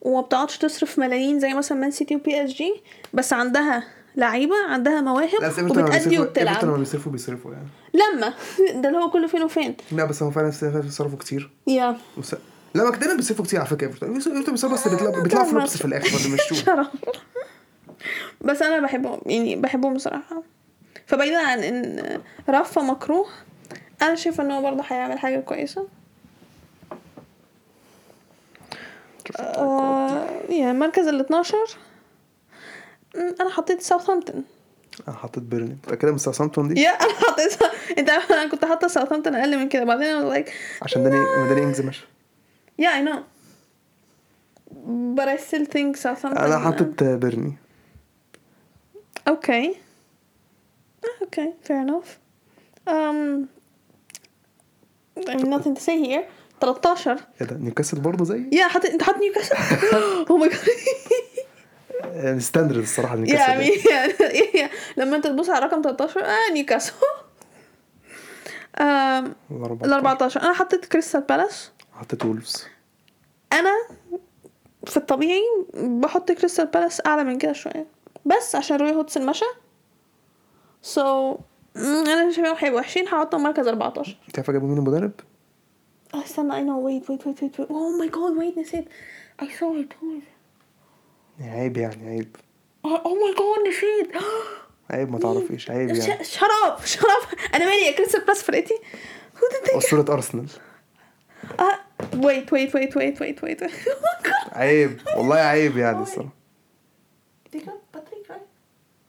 Speaker 1: وما بتقعدش تصرف ملايين زي مثلا مان سيتي وبي اس جي بس عندها لعيبه عندها
Speaker 2: لا بس
Speaker 1: مواهب
Speaker 2: ايفرتون لما
Speaker 1: وبتأدي
Speaker 2: بيصرفوا- ايفرتون لما
Speaker 1: وبتلعب
Speaker 2: بيصرفوا بيصرفوا يعني
Speaker 1: لما ده اللي هو كله فين وفين
Speaker 2: لا بس هم فعلا صرفوا كتير
Speaker 1: يا
Speaker 2: وس... لا ما كده بيصرفوا كتير على فكره ايفرتون ايفرتون بيصرفوا بس بيطلعوا
Speaker 1: أنا
Speaker 2: بيطلعوا
Speaker 1: فاهمة.
Speaker 2: فلوبس في الاخر برضه مش شو
Speaker 1: شرف بس انا بحبهم يعني بحبهم بصراحه فبعيدا عن ان رفا مكروه انا شايفه ان هو برضه هيعمل حاجه كويسه آه يعني المركز ال 12 أمم، انا حطيت ساوثهامبتون
Speaker 2: انا حطيت بيرلي متاكده من ساوثهامبتون دي
Speaker 1: يا انا حطيت انت عارف انا كنت حاطه ساوثهامبتون اقل من كده بعدين انا لايك
Speaker 2: عشان داني ما داني انجز ماشي
Speaker 1: يا اي نو but I still think Southampton
Speaker 2: انا حاطط بيرني
Speaker 1: Okay. Ah, Okay, fair enough. Um, I mean nothing to say here. 13
Speaker 2: ايه ده نيوكاسل برضه زي
Speaker 1: يا حط انت حاطط Oh نيوكاسل اوه ماي جاد
Speaker 2: آه، ستاندرد الصراحه
Speaker 1: يا
Speaker 2: نيوكاسل
Speaker 1: مين يا- يا- لما انت تبص على رقم 13 اه نيوكاسل أم، ال 14 انا Um، حطيت كريستال بالاس
Speaker 2: حطيت وولفز
Speaker 1: انا في الطبيعي بحط كريستال بالاس اعلى من كده شويه بس عشان روي هودسون مشى سو انا شايفهم هيبقوا وحشين هحطهم مركز 14
Speaker 2: انت عارفه جابوا مين المدرب؟
Speaker 1: آه، استنى اي نو ويت ويت ويت ويت اوه ماي جاد ويت نسيت اي سو ات
Speaker 2: عيب يعني عيب
Speaker 1: اوه ماي جاد oh نسيت
Speaker 2: عيب ما تعرفيش عيب يعني
Speaker 1: شراب شراب انا مالي كريستال بالاس فرقتي هو ده
Speaker 2: اسطوره ارسنال
Speaker 1: اه ويت ويت ويت ويت ويت ويت
Speaker 2: عيب والله عيب يعني الصراحه
Speaker 1: دي كانت باتريك رايت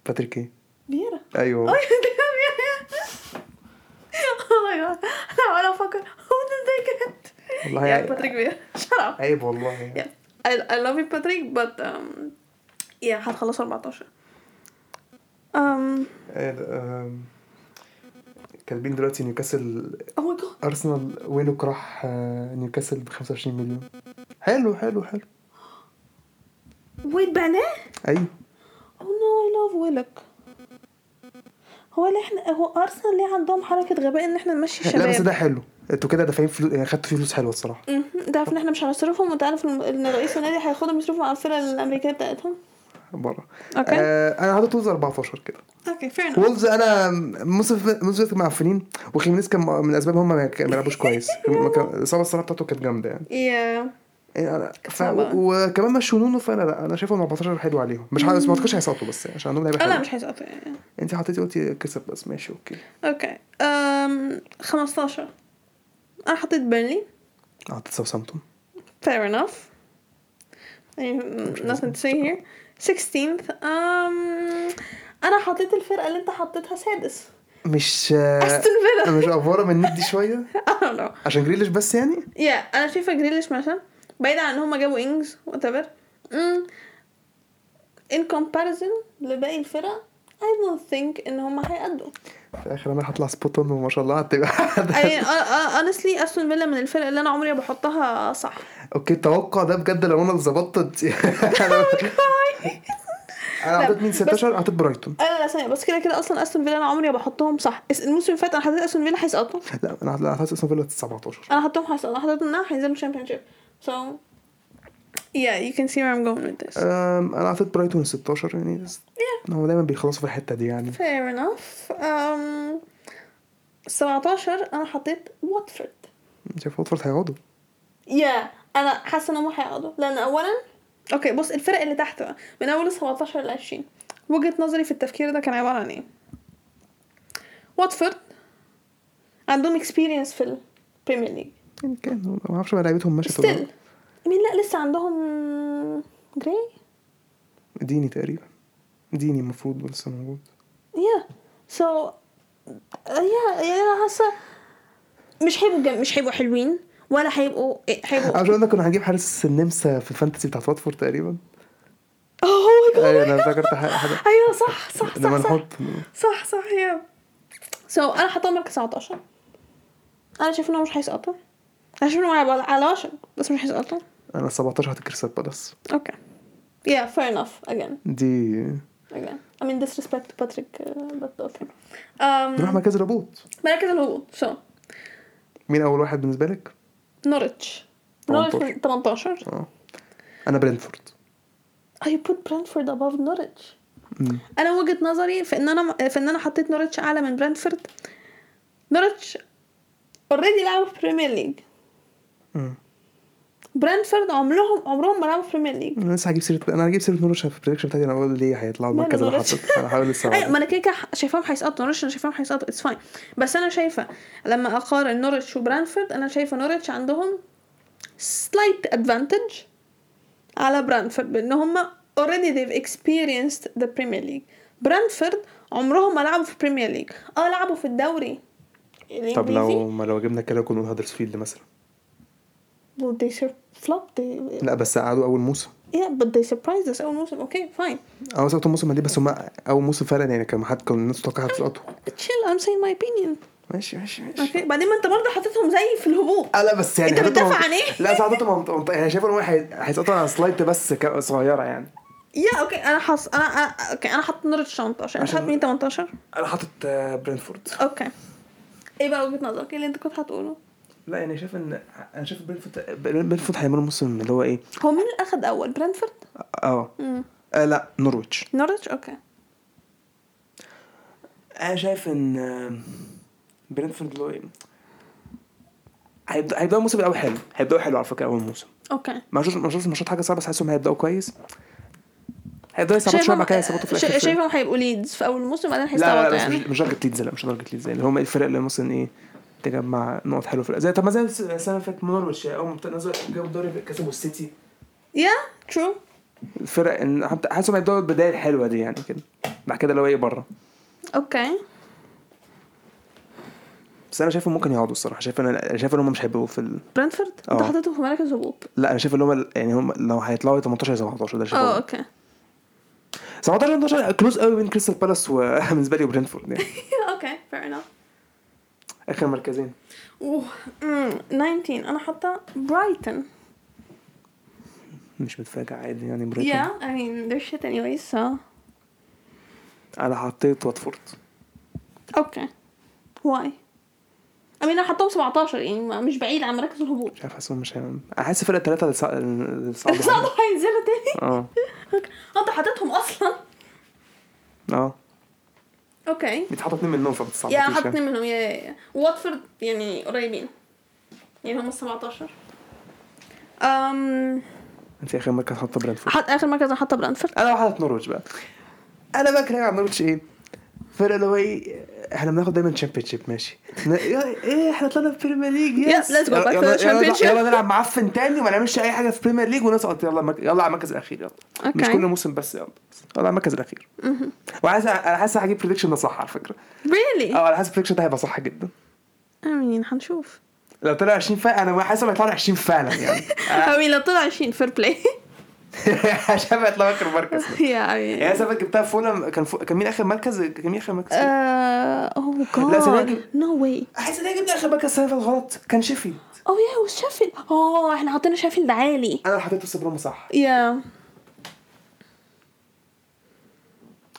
Speaker 2: باتريك ايه؟
Speaker 1: فييرا
Speaker 2: ايوه
Speaker 1: Oh my god. انا عمال افكر who did they get؟
Speaker 2: والله
Speaker 1: يا
Speaker 2: عيب.
Speaker 1: باتريك بير shut up
Speaker 2: عيب والله يعني.
Speaker 1: Yeah. I, I love you باتريك but um yeah هتخلص 14 um
Speaker 2: إيه ده، آم، كاتبين دلوقتي نيوكاسل
Speaker 1: oh my god
Speaker 2: ارسنال وينوك راح آه، نيوكاسل ب 25 مليون حلو حلو حلو
Speaker 1: wait بعناه
Speaker 2: ايوه
Speaker 1: oh no I love ويلك هو اللي احنا هو ارسنال ليه عندهم حركه غباء ان احنا نمشي
Speaker 2: لا بس
Speaker 1: الشباب
Speaker 2: ده حلو انتوا كده دافعين فلوس يعني خدتوا فلوس حلوه الصراحه
Speaker 1: مهم. انت عارف ان احنا مش هنصرفهم وانت عارف ان رئيس النادي هياخدهم يصرفهم على الفرقه الامريكيه بتاعتهم
Speaker 2: بره
Speaker 1: أوكي.
Speaker 2: آه انا حاطط وولز 14 كده
Speaker 1: اوكي fair enough
Speaker 2: وولز انا موسف موسف معفنين وخيمينيز كان من اسباب هم ما كان- ما لعبوش كويس ما كان- الاصابه الصراحه بتاعته كانت جامده يعني
Speaker 1: yeah
Speaker 2: يعني انا ف...
Speaker 1: صعبة.
Speaker 2: وكمان مشوا نونو فانا لا انا شايفهم 14 حلو عليهم مش عايز- ما اعتقدش هيسقطوا بس يعني عشان عندهم لعيبه
Speaker 1: اه لا
Speaker 2: حلوه
Speaker 1: مش هيسقطوا يعني
Speaker 2: انت حطيتي قلتي كسب بس ماشي اوكي
Speaker 1: اوكي أم 15 انا حطيت بيرنلي
Speaker 2: حطيت ساوثامبتون
Speaker 1: fair enough يعني nothing to say here 16th um, انا حطيت الفرقه اللي انت حطيتها سادس
Speaker 2: مش آه،
Speaker 1: استون فيلا
Speaker 2: مش افوره من النت دي شويه
Speaker 1: I don't know
Speaker 2: عشان جريليش بس يعني
Speaker 1: يا yeah, انا شايفه جريليش مثلا بعيد عن ان هما جابوا انجز وات ايفر in comparison لباقي الفرق I don't think ان هما هيأدوا
Speaker 2: في الاخر انا هطلع سبوت اون وما شاء الله هتبقى
Speaker 1: I mean, uh, uh, honestly استون فيلا من الفرق اللي انا عمري ما بحطها صح
Speaker 2: اوكي التوقع ده بجد لو انا ظبطت انا حطيت مين 16 حطيت برايتون
Speaker 1: لا لا ثانية بس كده كده أصلا أستون فيلا أنا عمري ما بحطهم صح الس- الموسم اللي فات أنا حطيت أستون فيلا هيسقطوا
Speaker 2: لا انا حطيت اصلا فيلا 17
Speaker 1: أنا حطيتهم هيسقطوا أنا حطيتهم إنها هينزلوا الشامبيون شيب سو yeah you can see where I'm going with this
Speaker 2: أم، انا اعطيت برايتون 16 يعني بس هم دايما بيخلصوا في الحته دي يعني
Speaker 1: fair enough um, 17 انا حطيت واتفورد
Speaker 2: شايف واتفورد هيقعدوا
Speaker 1: يا انا حاسه ان هم هيقعدوا لان اولا اوكي بص الفرق اللي تحت بقى من اول 17 ل 20 وجهه نظري في التفكير ده كان عباره عن ايه واتفورد عندهم اكسبيرينس في البريمير ليج
Speaker 2: يعني كانوا ما اعرفش بقى لعيبتهم مشت ولا
Speaker 1: ستيل
Speaker 2: لأ.
Speaker 1: مين لا لسه عندهم جراي
Speaker 2: ديني تقريبا ديني المفروض لسه موجود
Speaker 1: يا سو يا يا انا حاسه يعني مش هيبقوا جم... مش هيبقوا حلوين ولا هيبقوا إيه، هيبقوا
Speaker 2: عشان ده كنا هنجيب حارس النمسا في الفانتسي بتاعت واتفورد تقريبا
Speaker 1: اوه ماي
Speaker 2: ايوه
Speaker 1: جاد
Speaker 2: انا فاكرت حاجه حاجة-
Speaker 1: ايوه صح صح صح
Speaker 2: لما
Speaker 1: صح
Speaker 2: نحط
Speaker 1: صح صح يا سو so, انا حطاهم مركز 19 انا شايف انهم مش هيسقطوا انا شايف انهم هيبقوا على 10 بس مش هيسقطوا
Speaker 2: انا 17 هات كريستال بالاس
Speaker 1: اوكي yeah fair enough again
Speaker 2: دي
Speaker 1: again I mean disrespect to Patrick uh, but okay
Speaker 2: نروح
Speaker 1: um,
Speaker 2: مركز الهبوط
Speaker 1: مركز الهبوط so
Speaker 2: مين اول واحد بالنسبه لك؟
Speaker 1: نورتش نورتش
Speaker 2: 18.
Speaker 1: من 18
Speaker 2: اه انا برينفورد
Speaker 1: I put Brentford above Norwich انا وجهة نظري في ان انا في ان انا حطيت نورتش اعلى من برنتفورد نورتش اوريدي لعبوا في بريمير ليج
Speaker 2: مم.
Speaker 1: برنتفورد عمرهم عمرهم ما لعبوا في بريمير ليج
Speaker 2: انا لسه هجيب سيره انا هجيب سيره نورتش في البريدكشن بتاعتي انا بقول ليه هيطلعوا
Speaker 1: ماله
Speaker 2: المركز اللي
Speaker 1: نورتش؟
Speaker 2: حطيته انا هحاول لسه
Speaker 1: أيوة، ما انا كده كده شايفاهم هيسقطوا نورتش انا شايفاهم هيسقطوا اتس فاين بس انا شايفه لما اقارن نورتش وبرانفورد انا شايفه نورتش عندهم سلايت ادفانتج على برانفورد بان هم اوريدي they've experienced the Premier League برانفورد عمرهم ما لعبوا في Premier League اه لعبوا في الدوري
Speaker 2: طب
Speaker 1: الانجليزي
Speaker 2: لو ما لو جبنا كده كنا هدرسفيلد مثلا
Speaker 1: well, they sur- flopped they...
Speaker 2: لا بس قعدوا اول موسم
Speaker 1: yeah but they surprised us اول موسم اوكي فاين
Speaker 2: اه بس اول موسم ما دي بس هم اول موسم فعلا يعني كان حد كان الناس متوقعها هتسقطوا
Speaker 1: chill I'm saying my opinion
Speaker 2: ماشي ماشي ماشي
Speaker 1: اوكي بعدين ما انت برضه حطيتهم زي في الهبوط
Speaker 2: لا بس يعني
Speaker 1: أنت
Speaker 2: حطيتهم-
Speaker 1: بتدافع عن إيه؟
Speaker 2: لا بس حطيتهم منطقة- منطقة. يعني شايف ان هو هي- هيسقطوا على سلايد بس ك- صغيره يعني
Speaker 1: يا اوكي انا حص انا أنا- اوكي انا حاطط نورتش 18 انت
Speaker 2: عشان-
Speaker 1: حاطط مين 18
Speaker 2: انا حاطط آه، برينفورد
Speaker 1: اوكي ايه بقى وجهه نظرك ايه اللي انت كنت هتقوله
Speaker 2: لا يعني شايف ان انا شايف برينفورد برينفورد هيعملوا موسم اللي هو ايه
Speaker 1: هو مين اللي اخد اول برنتفورد
Speaker 2: اه آه، لا نورويتش
Speaker 1: نورتش اوكي
Speaker 2: انا شايف ان آم، برينفورد اللي هو ايه هيبدأ هيبدأوا الموسم الأول حلو هيبدأوا حلو على فكرة أول موسم
Speaker 1: اوكي
Speaker 2: ما شفتش ما شفتش الماتشات حاجة صعبة بس حاسسهم هيبدأوا كويس هيبدأوا يصعبوا شوية
Speaker 1: شايفهم-
Speaker 2: بعد كده يصعبوا في الآخر
Speaker 1: شا-
Speaker 2: شوية.
Speaker 1: شايفهم هيبقوا ليدز في اول الموسم بعدين
Speaker 2: لا لا,
Speaker 1: هيستعبطوا
Speaker 2: لا مش
Speaker 1: يعني
Speaker 2: مش درجة ليدز لا مش درجة ليدز يعني اللي هم الفرق اللي مثلا ايه تجمع نقط حلوة في الأ- زي طب ما زي السنة اللي فاتت نورويتش يعني أول ما نزلوا جابوا الدوري كسبوا السيتي
Speaker 1: يا ترو
Speaker 2: الفرق إن حتى- حاسسهم هيبدأوا البداية الحلوة دي يعني كده بعد كده اللي هو ايه بره
Speaker 1: اوكي
Speaker 2: بس أنا شايفهم ممكن يقعدوا الصراحة شايف أنا شايف إن هم مش هيبقوا في ال...
Speaker 1: برنتفورد انت
Speaker 2: آه.
Speaker 1: حطيته في مراكز هبوط
Speaker 2: لا انا شايف اللي هم يعني هم لو هيطلعوا 18 يا 17 ده
Speaker 1: اه
Speaker 2: شايف
Speaker 1: اوكي
Speaker 2: 17 18 كلوز قوي بين كريستال بالاس وبالنسبه لي وبرينفورد يعني
Speaker 1: اوكي فير انف
Speaker 2: اخر مركزين
Speaker 1: اوه أمم، 19 انا حاطه برايتون
Speaker 2: مش متفاجئ عادي يعني برينفورد
Speaker 1: يا I mean their shit anyways so
Speaker 2: انا حطيت واتفورد
Speaker 1: اوكي واي امين انا حطهم 17 يعني ما- مش بعيد عن مراكز الهبوط
Speaker 2: مش عارف حاسسهم مش هيعمل- انا حاسس فرقه الثلاثه اللي صع- اللي صعبه
Speaker 1: صعبوا
Speaker 2: يعني.
Speaker 1: هينزلوا تاني
Speaker 2: اه
Speaker 1: اوكي انت حاططهم اصلا
Speaker 2: اه
Speaker 1: اوكي
Speaker 2: بيتحطوا اثنين منهم يعني.
Speaker 1: يا
Speaker 2: فبتصعبش
Speaker 1: حط اتنين منهم يا يا يا واتفورد يعني قريبين يعني هم 17 امم
Speaker 2: انت اخر مركز حاطه برينفورد
Speaker 1: حط اخر مركز انا حاطه برانفورد
Speaker 2: انا بقى حاطط نورويتش بقى انا بقى كراجع على نورويتش ايه فرقه اللي هو ايه احنا بناخد دايما شيب ماشي ن- يا- ايه احنا طلعنا في بريمير ليج
Speaker 1: Yeah,
Speaker 2: يس
Speaker 1: let's go back to
Speaker 2: يلا-
Speaker 1: the
Speaker 2: يلا-
Speaker 1: championship.
Speaker 2: يلا نلعب معفن تاني وما نعملش اي حاجه في بريمير ليج ونسقط يلا مك... يلا على المركز الاخير يلا مش
Speaker 1: Okay.
Speaker 2: كل موسم بس يلا يلا على المركز الاخير وعايز انا حاسس هجيب بريدكشن ده صح على فكره
Speaker 1: ريلي
Speaker 2: اه انا حاسس البريدكشن ده هيبقى صح جدا
Speaker 1: امين هنشوف
Speaker 2: لو طلع 20 فعلا انا حاسس انه هيطلع 20 فعلا يعني
Speaker 1: امين لو طلع 20 فير بلاي
Speaker 2: عشان ما يطلعوا اخر مركز
Speaker 1: يا
Speaker 2: يعني
Speaker 1: امين
Speaker 2: سبب جبتها في فولم كان فو... كان مين اخر مركز كان مين اخر مركز
Speaker 1: اوه
Speaker 2: لا، سنة-
Speaker 1: جاد نو واي
Speaker 2: عايز الاقي جبنا اخر مركز السنه اللي فاتت غلط كان شيفيلد
Speaker 1: اوه يا وشافل اه احنا حطينا شافل ده عالي
Speaker 2: انا اللي حطيته سبرم صح
Speaker 1: يا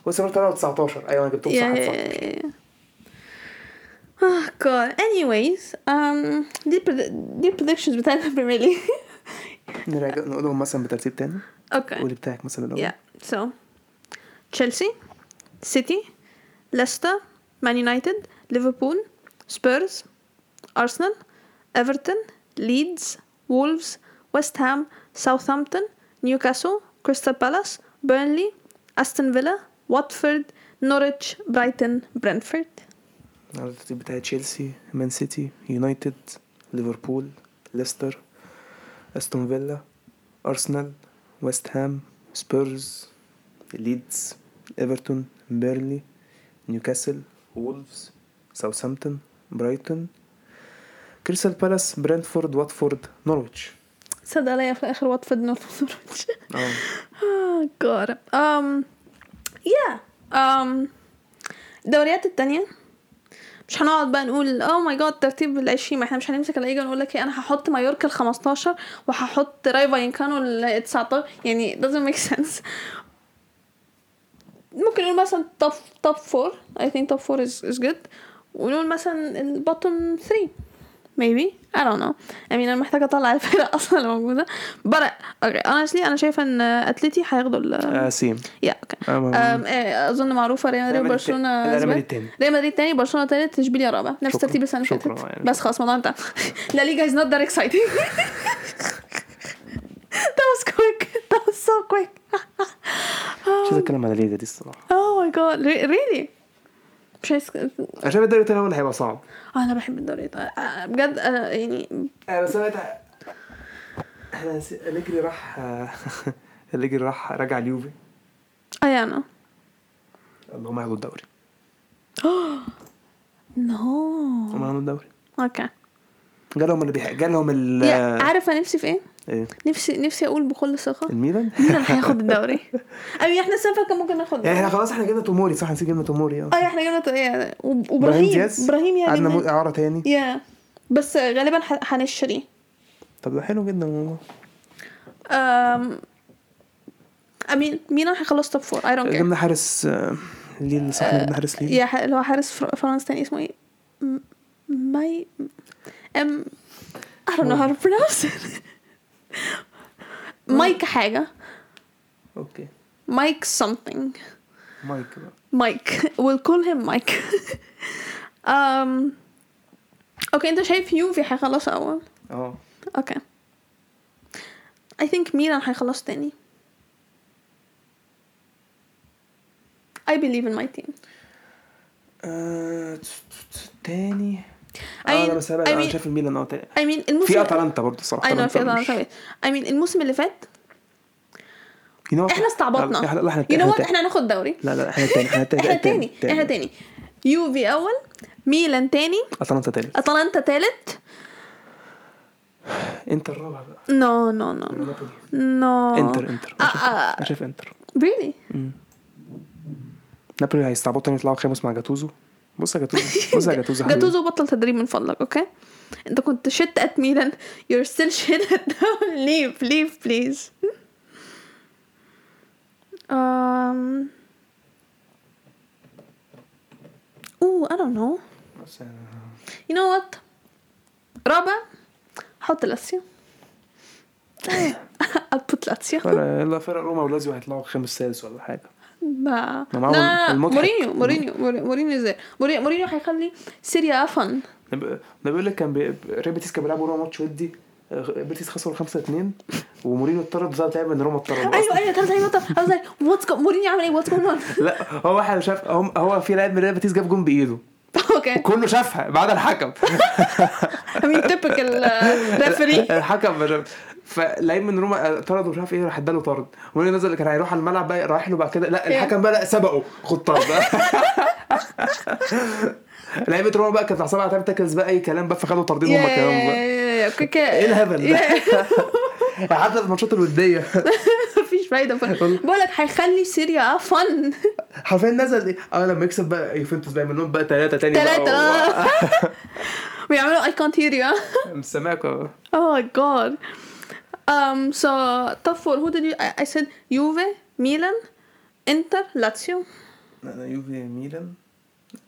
Speaker 2: وسبرم طلع 19 ايوه انا جبتهم
Speaker 1: Yeah,
Speaker 2: صح
Speaker 1: yeah,
Speaker 2: صح
Speaker 1: yeah, yeah. Oh god. Anyways, um, دي ال predict- دي predictions بتاعت البريمير ليج
Speaker 2: نراجع نقولهم مثلا بترتيب تاني
Speaker 1: اوكي
Speaker 2: قولي بتاعك مثلا الاول
Speaker 1: يا سو تشيلسي سيتي ليستر مان يونايتد ليفربول سبيرز ارسنال ايفرتون ليدز وولفز ويست هام ساوثهامبتون نيوكاسل كريستال بالاس بيرنلي استون فيلا واتفورد نورwich برايتون برنتفورد
Speaker 2: على الترتيب بتاعي تشيلسي مان سيتي يونايتد ليفربول ليستر استون فيلا ارسنال ويست هام سبيرز ليدز ايفرتون بيرلي نيوكاسل وولفز ساوثهامبتون برايتون كريستال بالاس برنتفورد واتفورد نورويتش
Speaker 1: صدق عليا في الاخر واتفورد نورwich
Speaker 2: اه
Speaker 1: Oh god. Um yeah. Um الدوريات التانية مش هنقعد بقى نقول اوه ماي جاد ترتيب ال 20 ما احنا مش هنمسك اللعيبه ونقول لك إيه، انا هحط مايوركا ال 15 وهحط رايفا ينكانو ال 19 يعني doesn't make sense ممكن نقول مثلا top top 4 I think top 4 is is good ونقول مثلا ال bottom 3 maybe I don't know I mean انا محتاجه اطلع الفرق اصلا اللي موجوده but okay honestly انا شايفه ان اتلتي هياخدوا ال
Speaker 2: آه، سيم
Speaker 1: yeah okay
Speaker 2: آه، ما-
Speaker 1: أم، إيه، اظن معروفه ريال مدريد
Speaker 2: ريال مدريد
Speaker 1: وبرشلونه
Speaker 2: التاني. لا، ريال
Speaker 1: أسبان.
Speaker 2: مدريد التاني.
Speaker 1: ريال مدريد تاني برشلونه تالت اشبيليا رابع نفس
Speaker 2: شكراً،
Speaker 1: ترتيب السنه اللي
Speaker 2: شكراً،
Speaker 1: فاتت
Speaker 2: يعني
Speaker 1: بس خلاص الموضوع انتهى لا ليجا از نوت ذات اكسايتنج That was quick. That was so quick.
Speaker 2: مش عايز اتكلم على ليلة دي الصراحه
Speaker 1: oh my god. Re- really? مش عايز
Speaker 2: انا شايف الدوري التاني هو اللي هيبقى صعب
Speaker 1: آه، انا بحب الدوري ده آه، بجد آه، يعني
Speaker 2: آه، بس انا تع- احنا نسي- اليجري راح آه، اليجري راح رجع اليوفي
Speaker 1: اي انا
Speaker 2: قال لهم هياخدوا الدوري
Speaker 1: نو
Speaker 2: هم هياخدوا الدوري
Speaker 1: اوكي
Speaker 2: جالهم اللي بيح... جالهم ال
Speaker 1: يا، عارف انا نفسي في ايه؟
Speaker 2: إيه؟
Speaker 1: نفسي نفسي اقول بكل ثقه
Speaker 2: الميلان
Speaker 1: مين هياخد الدوري؟ أي احنا السنه اللي فاتت كان ممكن ناخد
Speaker 2: يعني احنا
Speaker 1: الدوري.
Speaker 2: خلاص احنا جبنا توموري صح نسيت جبنا توموري اه
Speaker 1: اه احنا جبنا ط- يا- وب- وابراهيم ابراهيم يا
Speaker 2: قعدنا مو-
Speaker 1: جماعة.
Speaker 2: اعاره تاني
Speaker 1: يعني يا بس غالبا ح- هنشتريه
Speaker 2: طب ده حلو جدا والله
Speaker 1: أم، امين مين هيخلص توب فور اي دونت كير
Speaker 2: جبنا حارس آه، ليل صح إحنا جبنا حارس ليل
Speaker 1: يا ح- اللي هو حارس فر- فرنسا تاني اسمه ايه؟ م- ماي ام I don't know how to pronounce it مايك حاجة
Speaker 2: اوكي
Speaker 1: مايك something
Speaker 2: مايك بقى
Speaker 1: مايك we'll call him مايك um, اوكي انت شايف يوفي هيخلص اول
Speaker 2: اه
Speaker 1: اوكي I think ميلان هيخلص تاني I believe in my team
Speaker 2: آه، ت- ت- ت- تاني
Speaker 1: I
Speaker 2: اه
Speaker 1: mean-
Speaker 2: انا بس هبعد،
Speaker 1: I
Speaker 2: انا
Speaker 1: mean-
Speaker 2: شايف الميلان اه تاني
Speaker 1: I mean الموسم
Speaker 2: في اتلانتا برضه الصراحه
Speaker 1: I know نعم، في
Speaker 2: أتلانتا مش-
Speaker 1: اتلانتا I mean الموسم اللي فات
Speaker 2: You know what?
Speaker 1: احنا
Speaker 2: لا،
Speaker 1: استعبطنا
Speaker 2: لا، لا، احنا
Speaker 1: you know what
Speaker 2: تاني.
Speaker 1: احنا هناخد دوري
Speaker 2: لا لا احنا تاني احنا تاني
Speaker 1: احنا تاني احنا تاني يوفي اول ميلان تاني
Speaker 2: اتلانتا تالت
Speaker 1: اتلانتا تالت
Speaker 2: انتر رابع بقى
Speaker 1: نو نو نو
Speaker 2: نابولي.
Speaker 1: نو
Speaker 2: انتر انتر
Speaker 1: آه،
Speaker 2: انا شايف-
Speaker 1: آه.
Speaker 2: أنا شايف انتر
Speaker 1: really
Speaker 2: مم. نابولي هيستعبطوا تاني يطلعوا خامس مع جاتوزو بص يا جاتوزو بص يا جاتوزو حبيبي.
Speaker 1: جاتوزو بطل تدريب من فضلك اوكي انت كنت شت ات ميلان you're still shit at them leave leave please um ooh I don't know
Speaker 2: بص يا-
Speaker 1: you know what رابع حط لاتسيو I'll put لاتسيو
Speaker 2: فرق- يلا فرق روما ولازيو هيطلعوا خامس سادس ولا حاجه
Speaker 1: ما
Speaker 2: ما معاهم
Speaker 1: لا
Speaker 2: المضحك.
Speaker 1: مورينيو مورينيو مورينيو ازاي مورينيو مورينيو هيخلي سيريا فن
Speaker 2: أنا ب- أنا بيقول لك كان بي- ريال بيتيس كان بيلعبوا روما ماتش ودي آه، بيتيس خسروا 5 2 ومورينيو اتطرد ده لعيب ان روما اتطرد أصلاً.
Speaker 1: ايوه ايوه تلت ايوه I was like what's go- مورينيو عامل ايه what's going on
Speaker 2: لا هو واحد شاف هم- هو في لاعب من ريال بيتيس جاب جون بايده
Speaker 1: اوكي
Speaker 2: كله شافها ما عدا الحكم
Speaker 1: I mean typical uh, referee
Speaker 2: الحكم مش فلعيب من روما طرد ومش عارف ايه راح اداله طرد وهو نزل كان هيروح على الملعب بقى رايح له بقى كده لا الحكم بقى لا سبقه خد طرد لعيبه روما بقى كانت حصلها على تاكلز بقى اي كلام بقى فخدوا طاردين هم كمان بقى ايه
Speaker 1: ايه
Speaker 2: الهبل ده حتى في الماتشات الوديه
Speaker 1: مفيش فايده بقول لك هيخلي سيريا فن
Speaker 2: حرفيا نزل ايه اه لما يكسب بقى يوفنتوس بقى منهم بقى ثلاثه تاني
Speaker 1: ثلاثه
Speaker 2: بقى
Speaker 1: ويعملوا اي كانت هير يو
Speaker 2: و- مش سامعك اه
Speaker 1: Oh my god. Um, so top four. Who did you? I, I said Juve, Milan, Inter, Lazio.
Speaker 2: انا يوفي ميلان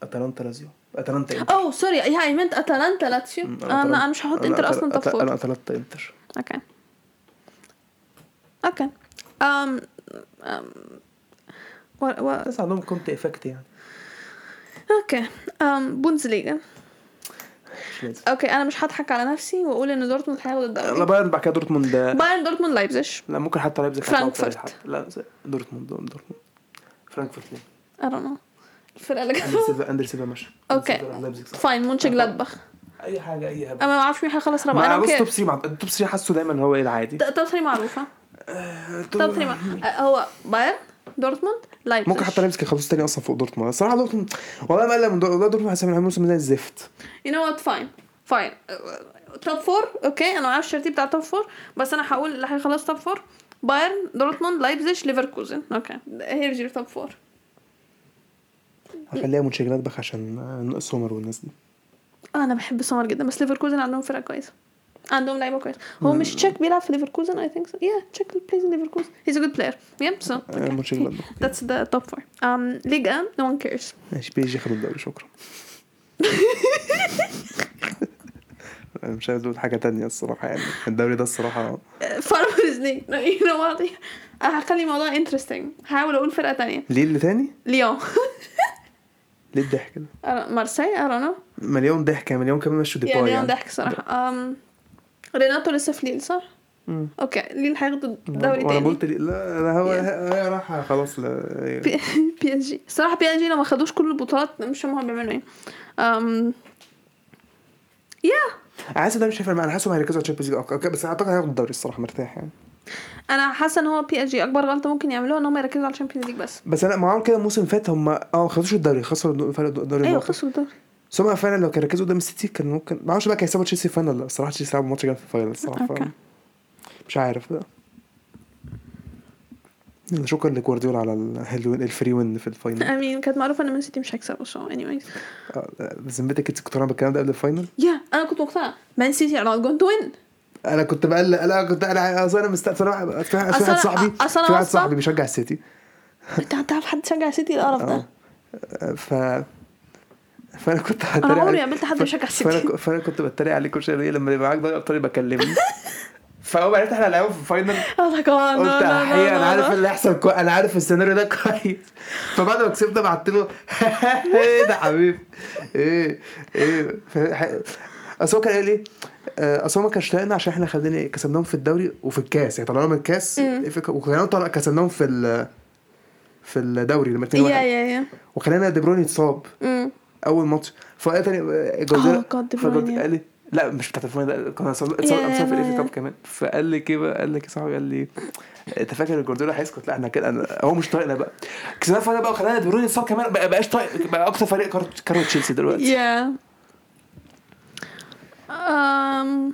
Speaker 2: اتلانتا لازيو اتلانتا انتر
Speaker 1: Oh, sorry. Yeah, I meant Atalanta, Lazio.
Speaker 2: أنا
Speaker 1: أنا أنا
Speaker 2: أتلانتا-
Speaker 1: مش هحط
Speaker 2: أنا
Speaker 1: انتر
Speaker 2: أتل-
Speaker 1: أصلا top
Speaker 2: أتل-
Speaker 1: four.
Speaker 2: انا اتلانتا انتر
Speaker 1: Okay. اوكي أم أم و... و...
Speaker 2: بس عندهم كونت افكت يعني
Speaker 1: اوكي أم بوندسليجا
Speaker 2: مش لازم
Speaker 1: اوكي انا مش هضحك على نفسي واقول ان دورتموند هياخد
Speaker 2: يلا
Speaker 1: الدوري
Speaker 2: بايرن بعد كده دورتموند
Speaker 1: بايرن دورتموند لايبزيش
Speaker 2: لا ممكن حتى لايبزيج حتى أو
Speaker 1: فرانكفورت.
Speaker 2: فرانكفورت. لا دورتموند دورتموند فرانكفورت ليه؟
Speaker 1: I don't know الفرقه اللي
Speaker 2: اندر
Speaker 1: جت
Speaker 2: سيلفا اندر سيلفا ماشي
Speaker 1: أوكي.
Speaker 2: أندر سيلفا راح لايبزيج صح
Speaker 1: فاين مونش جلادباخ
Speaker 2: اي حاجه اي هبل
Speaker 1: انا ما اعرفش مين هيخلص رابع
Speaker 2: ما
Speaker 1: انا
Speaker 2: بص توب
Speaker 1: اوكي
Speaker 2: 3 مع التوب 3 حاسه دايما هو ايه العادي
Speaker 1: توب 3 معروفه
Speaker 2: آه،
Speaker 1: توب 3 مع- آه، هو بايرن دورتموند لايبزيج
Speaker 2: ممكن حتى لايبزيج يخلصوا تاني اصلا فوق دورتموند الصراحه دورتموند والله ما قلق من دور- والله دورتموند هيعمل الموسم ده الزفت
Speaker 1: يو نو وات فاين فاين توب فور اوكي انا ما اعرفش الترتيب بتاع توب فور بس انا هقول اللي هيخلص توب فور بايرن دورتموند لايبزيج ليفركوزن اوكي هيرجي توب فور
Speaker 2: هخليها منشجلات بخ عشان نقص آه، سومر والناس دي
Speaker 1: انا بحب سمر جدا بس ليفركوزن عندهم فرقه كويسه عندهم لعيبه كويسه هو مش تشيك بيلعب في ليفركوزن اي ثينك يا تشيك بلايز ان ليفركوزن هيز ا جود بلاير يا سو
Speaker 2: منشجلات بخ
Speaker 1: ذاتس ذا توب فور um ليجا نو ون كيرز
Speaker 2: ماشي بي اس جي خدوا الدوري شكرا أنا مش عايز اقول حاجه تانية الصراحه يعني الدوري ده الصراحه
Speaker 1: فارمرز ليج يو نو وات انا هخلي الموضوع انترستنج هحاول اقول فرقه تانية
Speaker 2: ليه اللي تاني
Speaker 1: ليون
Speaker 2: ليه الضحك ده
Speaker 1: مارسي اي دونت نو
Speaker 2: مليون ضحك مليون كمان مشوا ديباي
Speaker 1: يعني
Speaker 2: يعني
Speaker 1: انا ضحك صراحه أم... ريناتو لسه في ليل صح؟
Speaker 2: مم.
Speaker 1: اوكي ليل هياخدوا الدوري
Speaker 2: وانا
Speaker 1: تاني يعني
Speaker 2: قلت لي- لا انا هو هي راح خلاص ل-
Speaker 1: بي اس جي الصراحه بي اس جي لو ما خدوش كل البطولات مش هم بيعملوا ايه أم... يا
Speaker 2: حاسس ده مش هيفرق معايا انا حاسسهم هيركزوا على الشامبيونز ليج بس اعتقد هياخدوا الدوري الصراحه مرتاح يعني
Speaker 1: انا حاسه ان هو بي اس جي اكبر غلطه ممكن يعملوها ان هم يركزوا على الشامبيونز ليج بس
Speaker 2: بس انا معاهم كده الموسم اللي فات هم اه ما خدوش الدوري خسروا الدو- فرق الدو- الدوري
Speaker 1: ايوه
Speaker 2: النقطة.
Speaker 1: خسروا الدوري
Speaker 2: بس هم فعلا لو كانوا ركزوا قدام السيتي كان ممكن ما اعرفش بقى كان هيسيبوا تشيلسي فاينل ولا لا الصراحه تشيلسي لعب ماتش جامد في الفاينل الصراحه
Speaker 1: أوكي.
Speaker 2: ف- مش عارف بقى يلا، شكرا لجوارديولا على ال- الفري وين في الفاينل
Speaker 1: امين كانت معروفه ان مان سيتي مش هيكسبوا سو اني وايز
Speaker 2: آه، ذمتك انت كنت رامي بالكلام ده قبل الفاينل
Speaker 1: يا انا كنت مقتنعه مان سيتي ار نوت جوين تو وين
Speaker 2: انا كنت بقلق انا كنت انا اصل انا مستقل في واحد في واحد- في
Speaker 1: أصل
Speaker 2: واحد
Speaker 1: أنا-
Speaker 2: صاحبي
Speaker 1: أصل أنا
Speaker 2: في واحد
Speaker 1: واثقة.
Speaker 2: صاحبي بيشجع السيتي
Speaker 1: انت هتعرف حد يشجع سيتي القرف
Speaker 2: اه
Speaker 1: ده
Speaker 2: ف فانا كنت
Speaker 1: انا
Speaker 2: هتريق
Speaker 1: عمري ما
Speaker 2: عليك.
Speaker 1: قابلت حد بيشجع
Speaker 2: فانا
Speaker 1: سيتي
Speaker 2: ك- فانا كنت بتريق عليك كل شويه إيه لما يبقى معاك ضيق طريق بكلمني فاول ما عرفت احنا هنلعبهم في الفاينل
Speaker 1: اوه ماي جاد
Speaker 2: قلت احيي انا عارف اللي هيحصل كو... انا عارف السيناريو ده كويس فبعد ما كسبنا بعت له ايه ده حبيبي ايه ايه ف... ح- اصل هو كان قال ايه آه، اصل هو ما كانش طايقنا عشان احنا خدنا إيه؟ كسبناهم في الدوري وفي الكاس يعني طلعنا من الكاس في- وخلينا طلع كسبناهم في ال... في الدوري لما 2
Speaker 1: يا
Speaker 2: 1
Speaker 1: يا يا
Speaker 2: وخلينا دي بروين يتصاب
Speaker 1: امم
Speaker 2: اول ماتش فقال تاني جوارديولا
Speaker 1: God، دي
Speaker 2: فجوارديولا
Speaker 1: بروين.
Speaker 2: قال لي لا مش بتاعت الفاينل ده، كنا هنصل-
Speaker 1: Yeah,
Speaker 2: هنصل إيه في الاف
Speaker 1: yeah.
Speaker 2: كاب كمان فقال لي كده بقى، قال لك يا صاحبي قال لي انت فاكر ان جوارديولا هيسكت لا احنا كده أنا- هو مش طايقنا بقى كسبنا الفاينل بقى وخلانا دي بروين يتصاب كمان بقى بقاش طايق بقى اكتر فريق كارو كارو تشيلسي دلوقتي
Speaker 1: يا أم...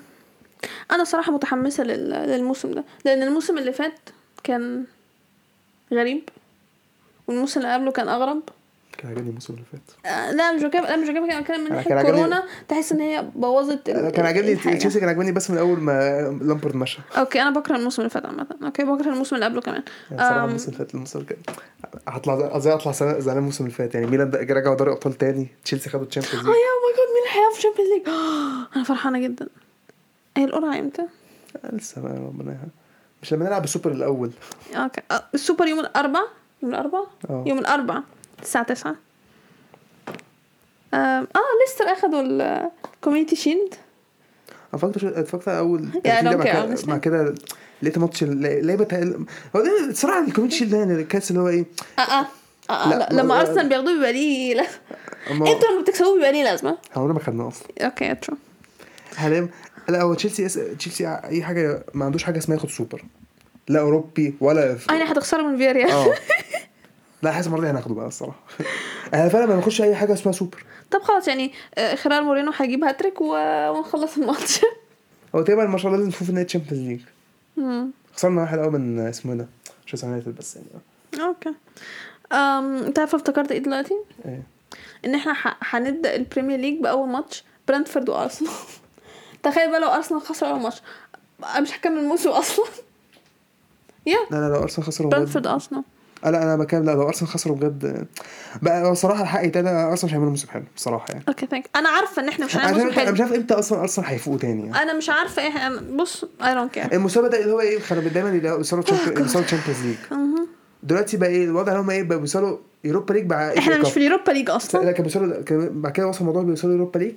Speaker 1: انا صراحه متحمسه لل... للموسم ده لان الموسم اللي فات كان غريب والموسم اللي قبله كان اغرب
Speaker 2: كان عاجبني الموسم اللي فات
Speaker 1: آه، لا مش عجبني لا مش عجبني كان بتكلم من
Speaker 2: أنا
Speaker 1: ناحيه
Speaker 2: كان عاجبني-
Speaker 1: كورونا تحس ان هي بوظت ال-
Speaker 2: كان عاجبني
Speaker 1: الحاجة.
Speaker 2: تشيلسي كان عاجبني بس من اول ما لامبرد مشى
Speaker 1: اوكي انا بكره الموسم اللي فات عامه اوكي بكره الموسم اللي قبله كمان
Speaker 2: يعني صراحه
Speaker 1: أم.
Speaker 2: الموسم اللي فات الموسم اللي كان- هطلع قصدي هطلع سنة- زعلان الموسم اللي فات يعني ميلان ده رجعوا دوري ابطال تاني تشيلسي خدوا
Speaker 1: اه
Speaker 2: الشامبيونز
Speaker 1: يا ماي جاد مين هيلعب في الشامبيونز ليج انا فرحانه جدا هي القرعه امتى؟
Speaker 2: لسه بقى ربنا يهدى. مش لما نلعب السوبر الاول
Speaker 1: اوكي آه، السوبر يوم الاربع يوم الاربع
Speaker 2: اه.
Speaker 1: يوم الاربع الساعه 9 اه ليستر اخدوا الكوميونتي شيلد
Speaker 2: انا فكرت اتفرجت على اول
Speaker 1: Yeah, I don't
Speaker 2: مع
Speaker 1: care,
Speaker 2: كده-
Speaker 1: honestly.
Speaker 2: مع كده لقيت ماتش ال- لعيبه تقل- هو ده الصراحه الكوميونتي شيلد يعني الكاس اللي هو ايه
Speaker 1: اه اه اه
Speaker 2: لا،
Speaker 1: لا
Speaker 2: ما-
Speaker 1: لما
Speaker 2: ما-
Speaker 1: ارسنال بياخدوه بيبقى ليه لازمه
Speaker 2: أما-
Speaker 1: انتوا لما بتكسبوه بيبقى ليه لازمه
Speaker 2: احنا عمرنا ما خدناه اصلا
Speaker 1: اوكي ترو
Speaker 2: هنام لا هو تشيلسي اس- تشيلسي ع- اي حاجه ما عندوش حاجه اسمها ياخد سوبر لا اوروبي ولا ف-
Speaker 1: انا هتخسروا من فياريال
Speaker 2: اه لا حاسس المره دي هناخده بقى الصراحه انا فعلا ما بناخدش اي حاجه اسمها سوبر
Speaker 1: طب خلاص يعني آه، خلال مورينو هيجيب هاتريك و- ونخلص الماتش
Speaker 2: هو تقريبا ما شاء الله لازم نشوف نهائي تشامبيونز ليج
Speaker 1: مم.
Speaker 2: خسرنا واحد قوي من اسمه إيه ده مش عايز يونايتد بس يعني
Speaker 1: اوكي أم، انت عارفه افتكرت ايه دلوقتي
Speaker 2: إيه.
Speaker 1: ان احنا ح- هنبدا البريمير ليج باول ماتش برنتفورد وارسنال تخيل بقى لو ارسنال خسر اول ماتش أنا مش هكمل الموسم اصلا يا
Speaker 2: لا لا لا ارسنال خسروا
Speaker 1: برنتفورد ارسنال
Speaker 2: آه لا انا بكلم لا لو ارسنال خسروا بجد بقى هو صراحه الحق يتقال ارسنال مش هيعملوا موسم حلو بصراحه يعني
Speaker 1: اوكي ثانك انا عارفه ان احنا مش
Speaker 2: انا مش
Speaker 1: هنعمل موسم
Speaker 2: عارف انا
Speaker 1: حلو
Speaker 2: مش عارف امتى اصلا ارسنال هيفوقوا تاني يعني.
Speaker 1: انا مش عارفه ايه أنا- بص اي دونت كير
Speaker 2: المسابقه ده اللي هو ايه كانوا دايما اللي هو بيوصلوا تشامبيونز ليج دلوقتي بقى ايه الوضع اللي هم ايه بقى بيوصلوا يوروبا ليج مع
Speaker 1: احنا
Speaker 2: FA
Speaker 1: مش
Speaker 2: Cup.
Speaker 1: في اليوروبا ليج
Speaker 2: لا
Speaker 1: اصلا
Speaker 2: كان بيوصلوا كان بعد كده وصل الموضوع بيوصلوا يوروبا ليج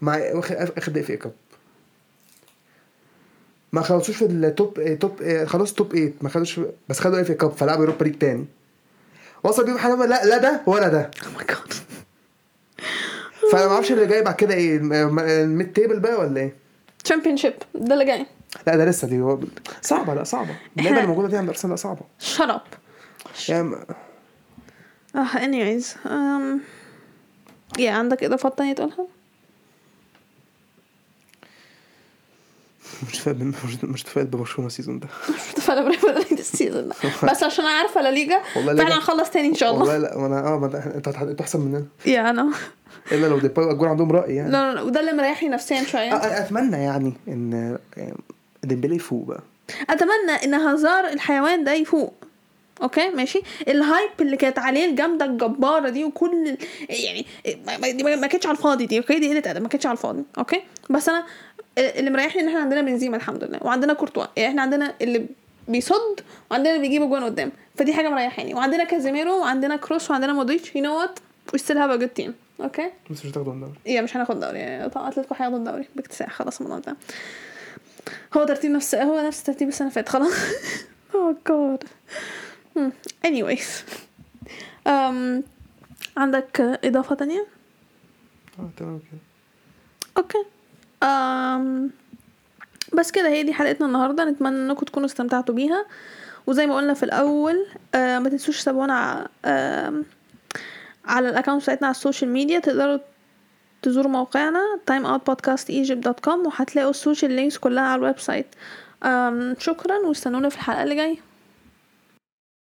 Speaker 2: مع واخد اخد اف اي كاب ما خلصوش في التوب إيه توب إيه خلاص توب 8 ما خدوش بس خدوا اف اي كاب فلعبوا يوروبا ليج تاني وصل بيهم حاجه لا لا ده ولا ده
Speaker 1: او ماي جاد
Speaker 2: فانا ما اعرفش اللي جاي بعد كده ايه الم- الميد تيبل بقى ولا ايه
Speaker 1: تشامبيون شيب ده اللي جاي
Speaker 2: لا ده لسه دي هو- صعبه لا صعبه اللعبه
Speaker 1: إحنا-
Speaker 2: اللي موجوده دي عند ارسنال لا صعبه
Speaker 1: شت اب
Speaker 2: يعني ما-
Speaker 1: اه anyways um... يا عندك اضافات تانية تقولها؟
Speaker 2: مش فاهم مش- مش متفائل ببرشلونه السيزون ده
Speaker 1: مش متفائلة بريال مدريد السيزون ده بس عشان انا عارفه لا ليجا
Speaker 2: والله لا
Speaker 1: فاحنا
Speaker 2: ليجا.
Speaker 1: هنخلص تاني ان شاء الله
Speaker 2: والله لا وانا اه ما ده- انت هت- انت احسن مننا
Speaker 1: يا انا
Speaker 2: الا لو ديباي والجول عندهم راي يعني
Speaker 1: لا لا لا وده اللي مريحني نفسيا
Speaker 2: أ-
Speaker 1: شويه
Speaker 2: أ- اتمنى يعني ان ديمبلي يفوق بقى
Speaker 1: اتمنى ان هزار الحيوان ده يفوق اوكي ماشي الهايب اللي كانت عليه الجامده الجباره دي وكل ال- يعني ما- ما- دي ما كانتش على الفاضي دي اوكي دي قله ادب ما كانتش على الفاضي اوكي بس انا اللي مريحني ان احنا عندنا بنزيما الحمد لله وعندنا كورتوا يعني احنا عندنا اللي بيصد وعندنا اللي بيجيب جوان قدام فدي حاجه مريحاني وعندنا كازيميرو وعندنا كروس وعندنا مودريتش يو نو وات وي ستيل هاف ا جود تيم اوكي
Speaker 2: بس مش هتاخدهم دوري
Speaker 1: يا إيه، مش هناخد دوري طبعا اتلتيكو هياخدوا الدوري باكتساح خلاص الموضوع ده هو ترتيب نفس هو نفس ترتيب السنه اللي فاتت خلاص اوه جاد anyways أم... عندك اضافه تانية
Speaker 2: اه تمام كده
Speaker 1: اوكي أم... بس كده هي دي حلقتنا النهارده نتمنى انكم تكونوا استمتعتوا بيها وزي ما قلنا في الاول آه ما تنسوش تتابعونا ع- آم، على الاكونت بتاعتنا على السوشيال ميديا تقدروا تزوروا موقعنا timeoutpodcastegypt.com وهتلاقوا السوشيال لينكس كلها على الويب سايت أم شكرا واستنونا في الحلقه اللي جايه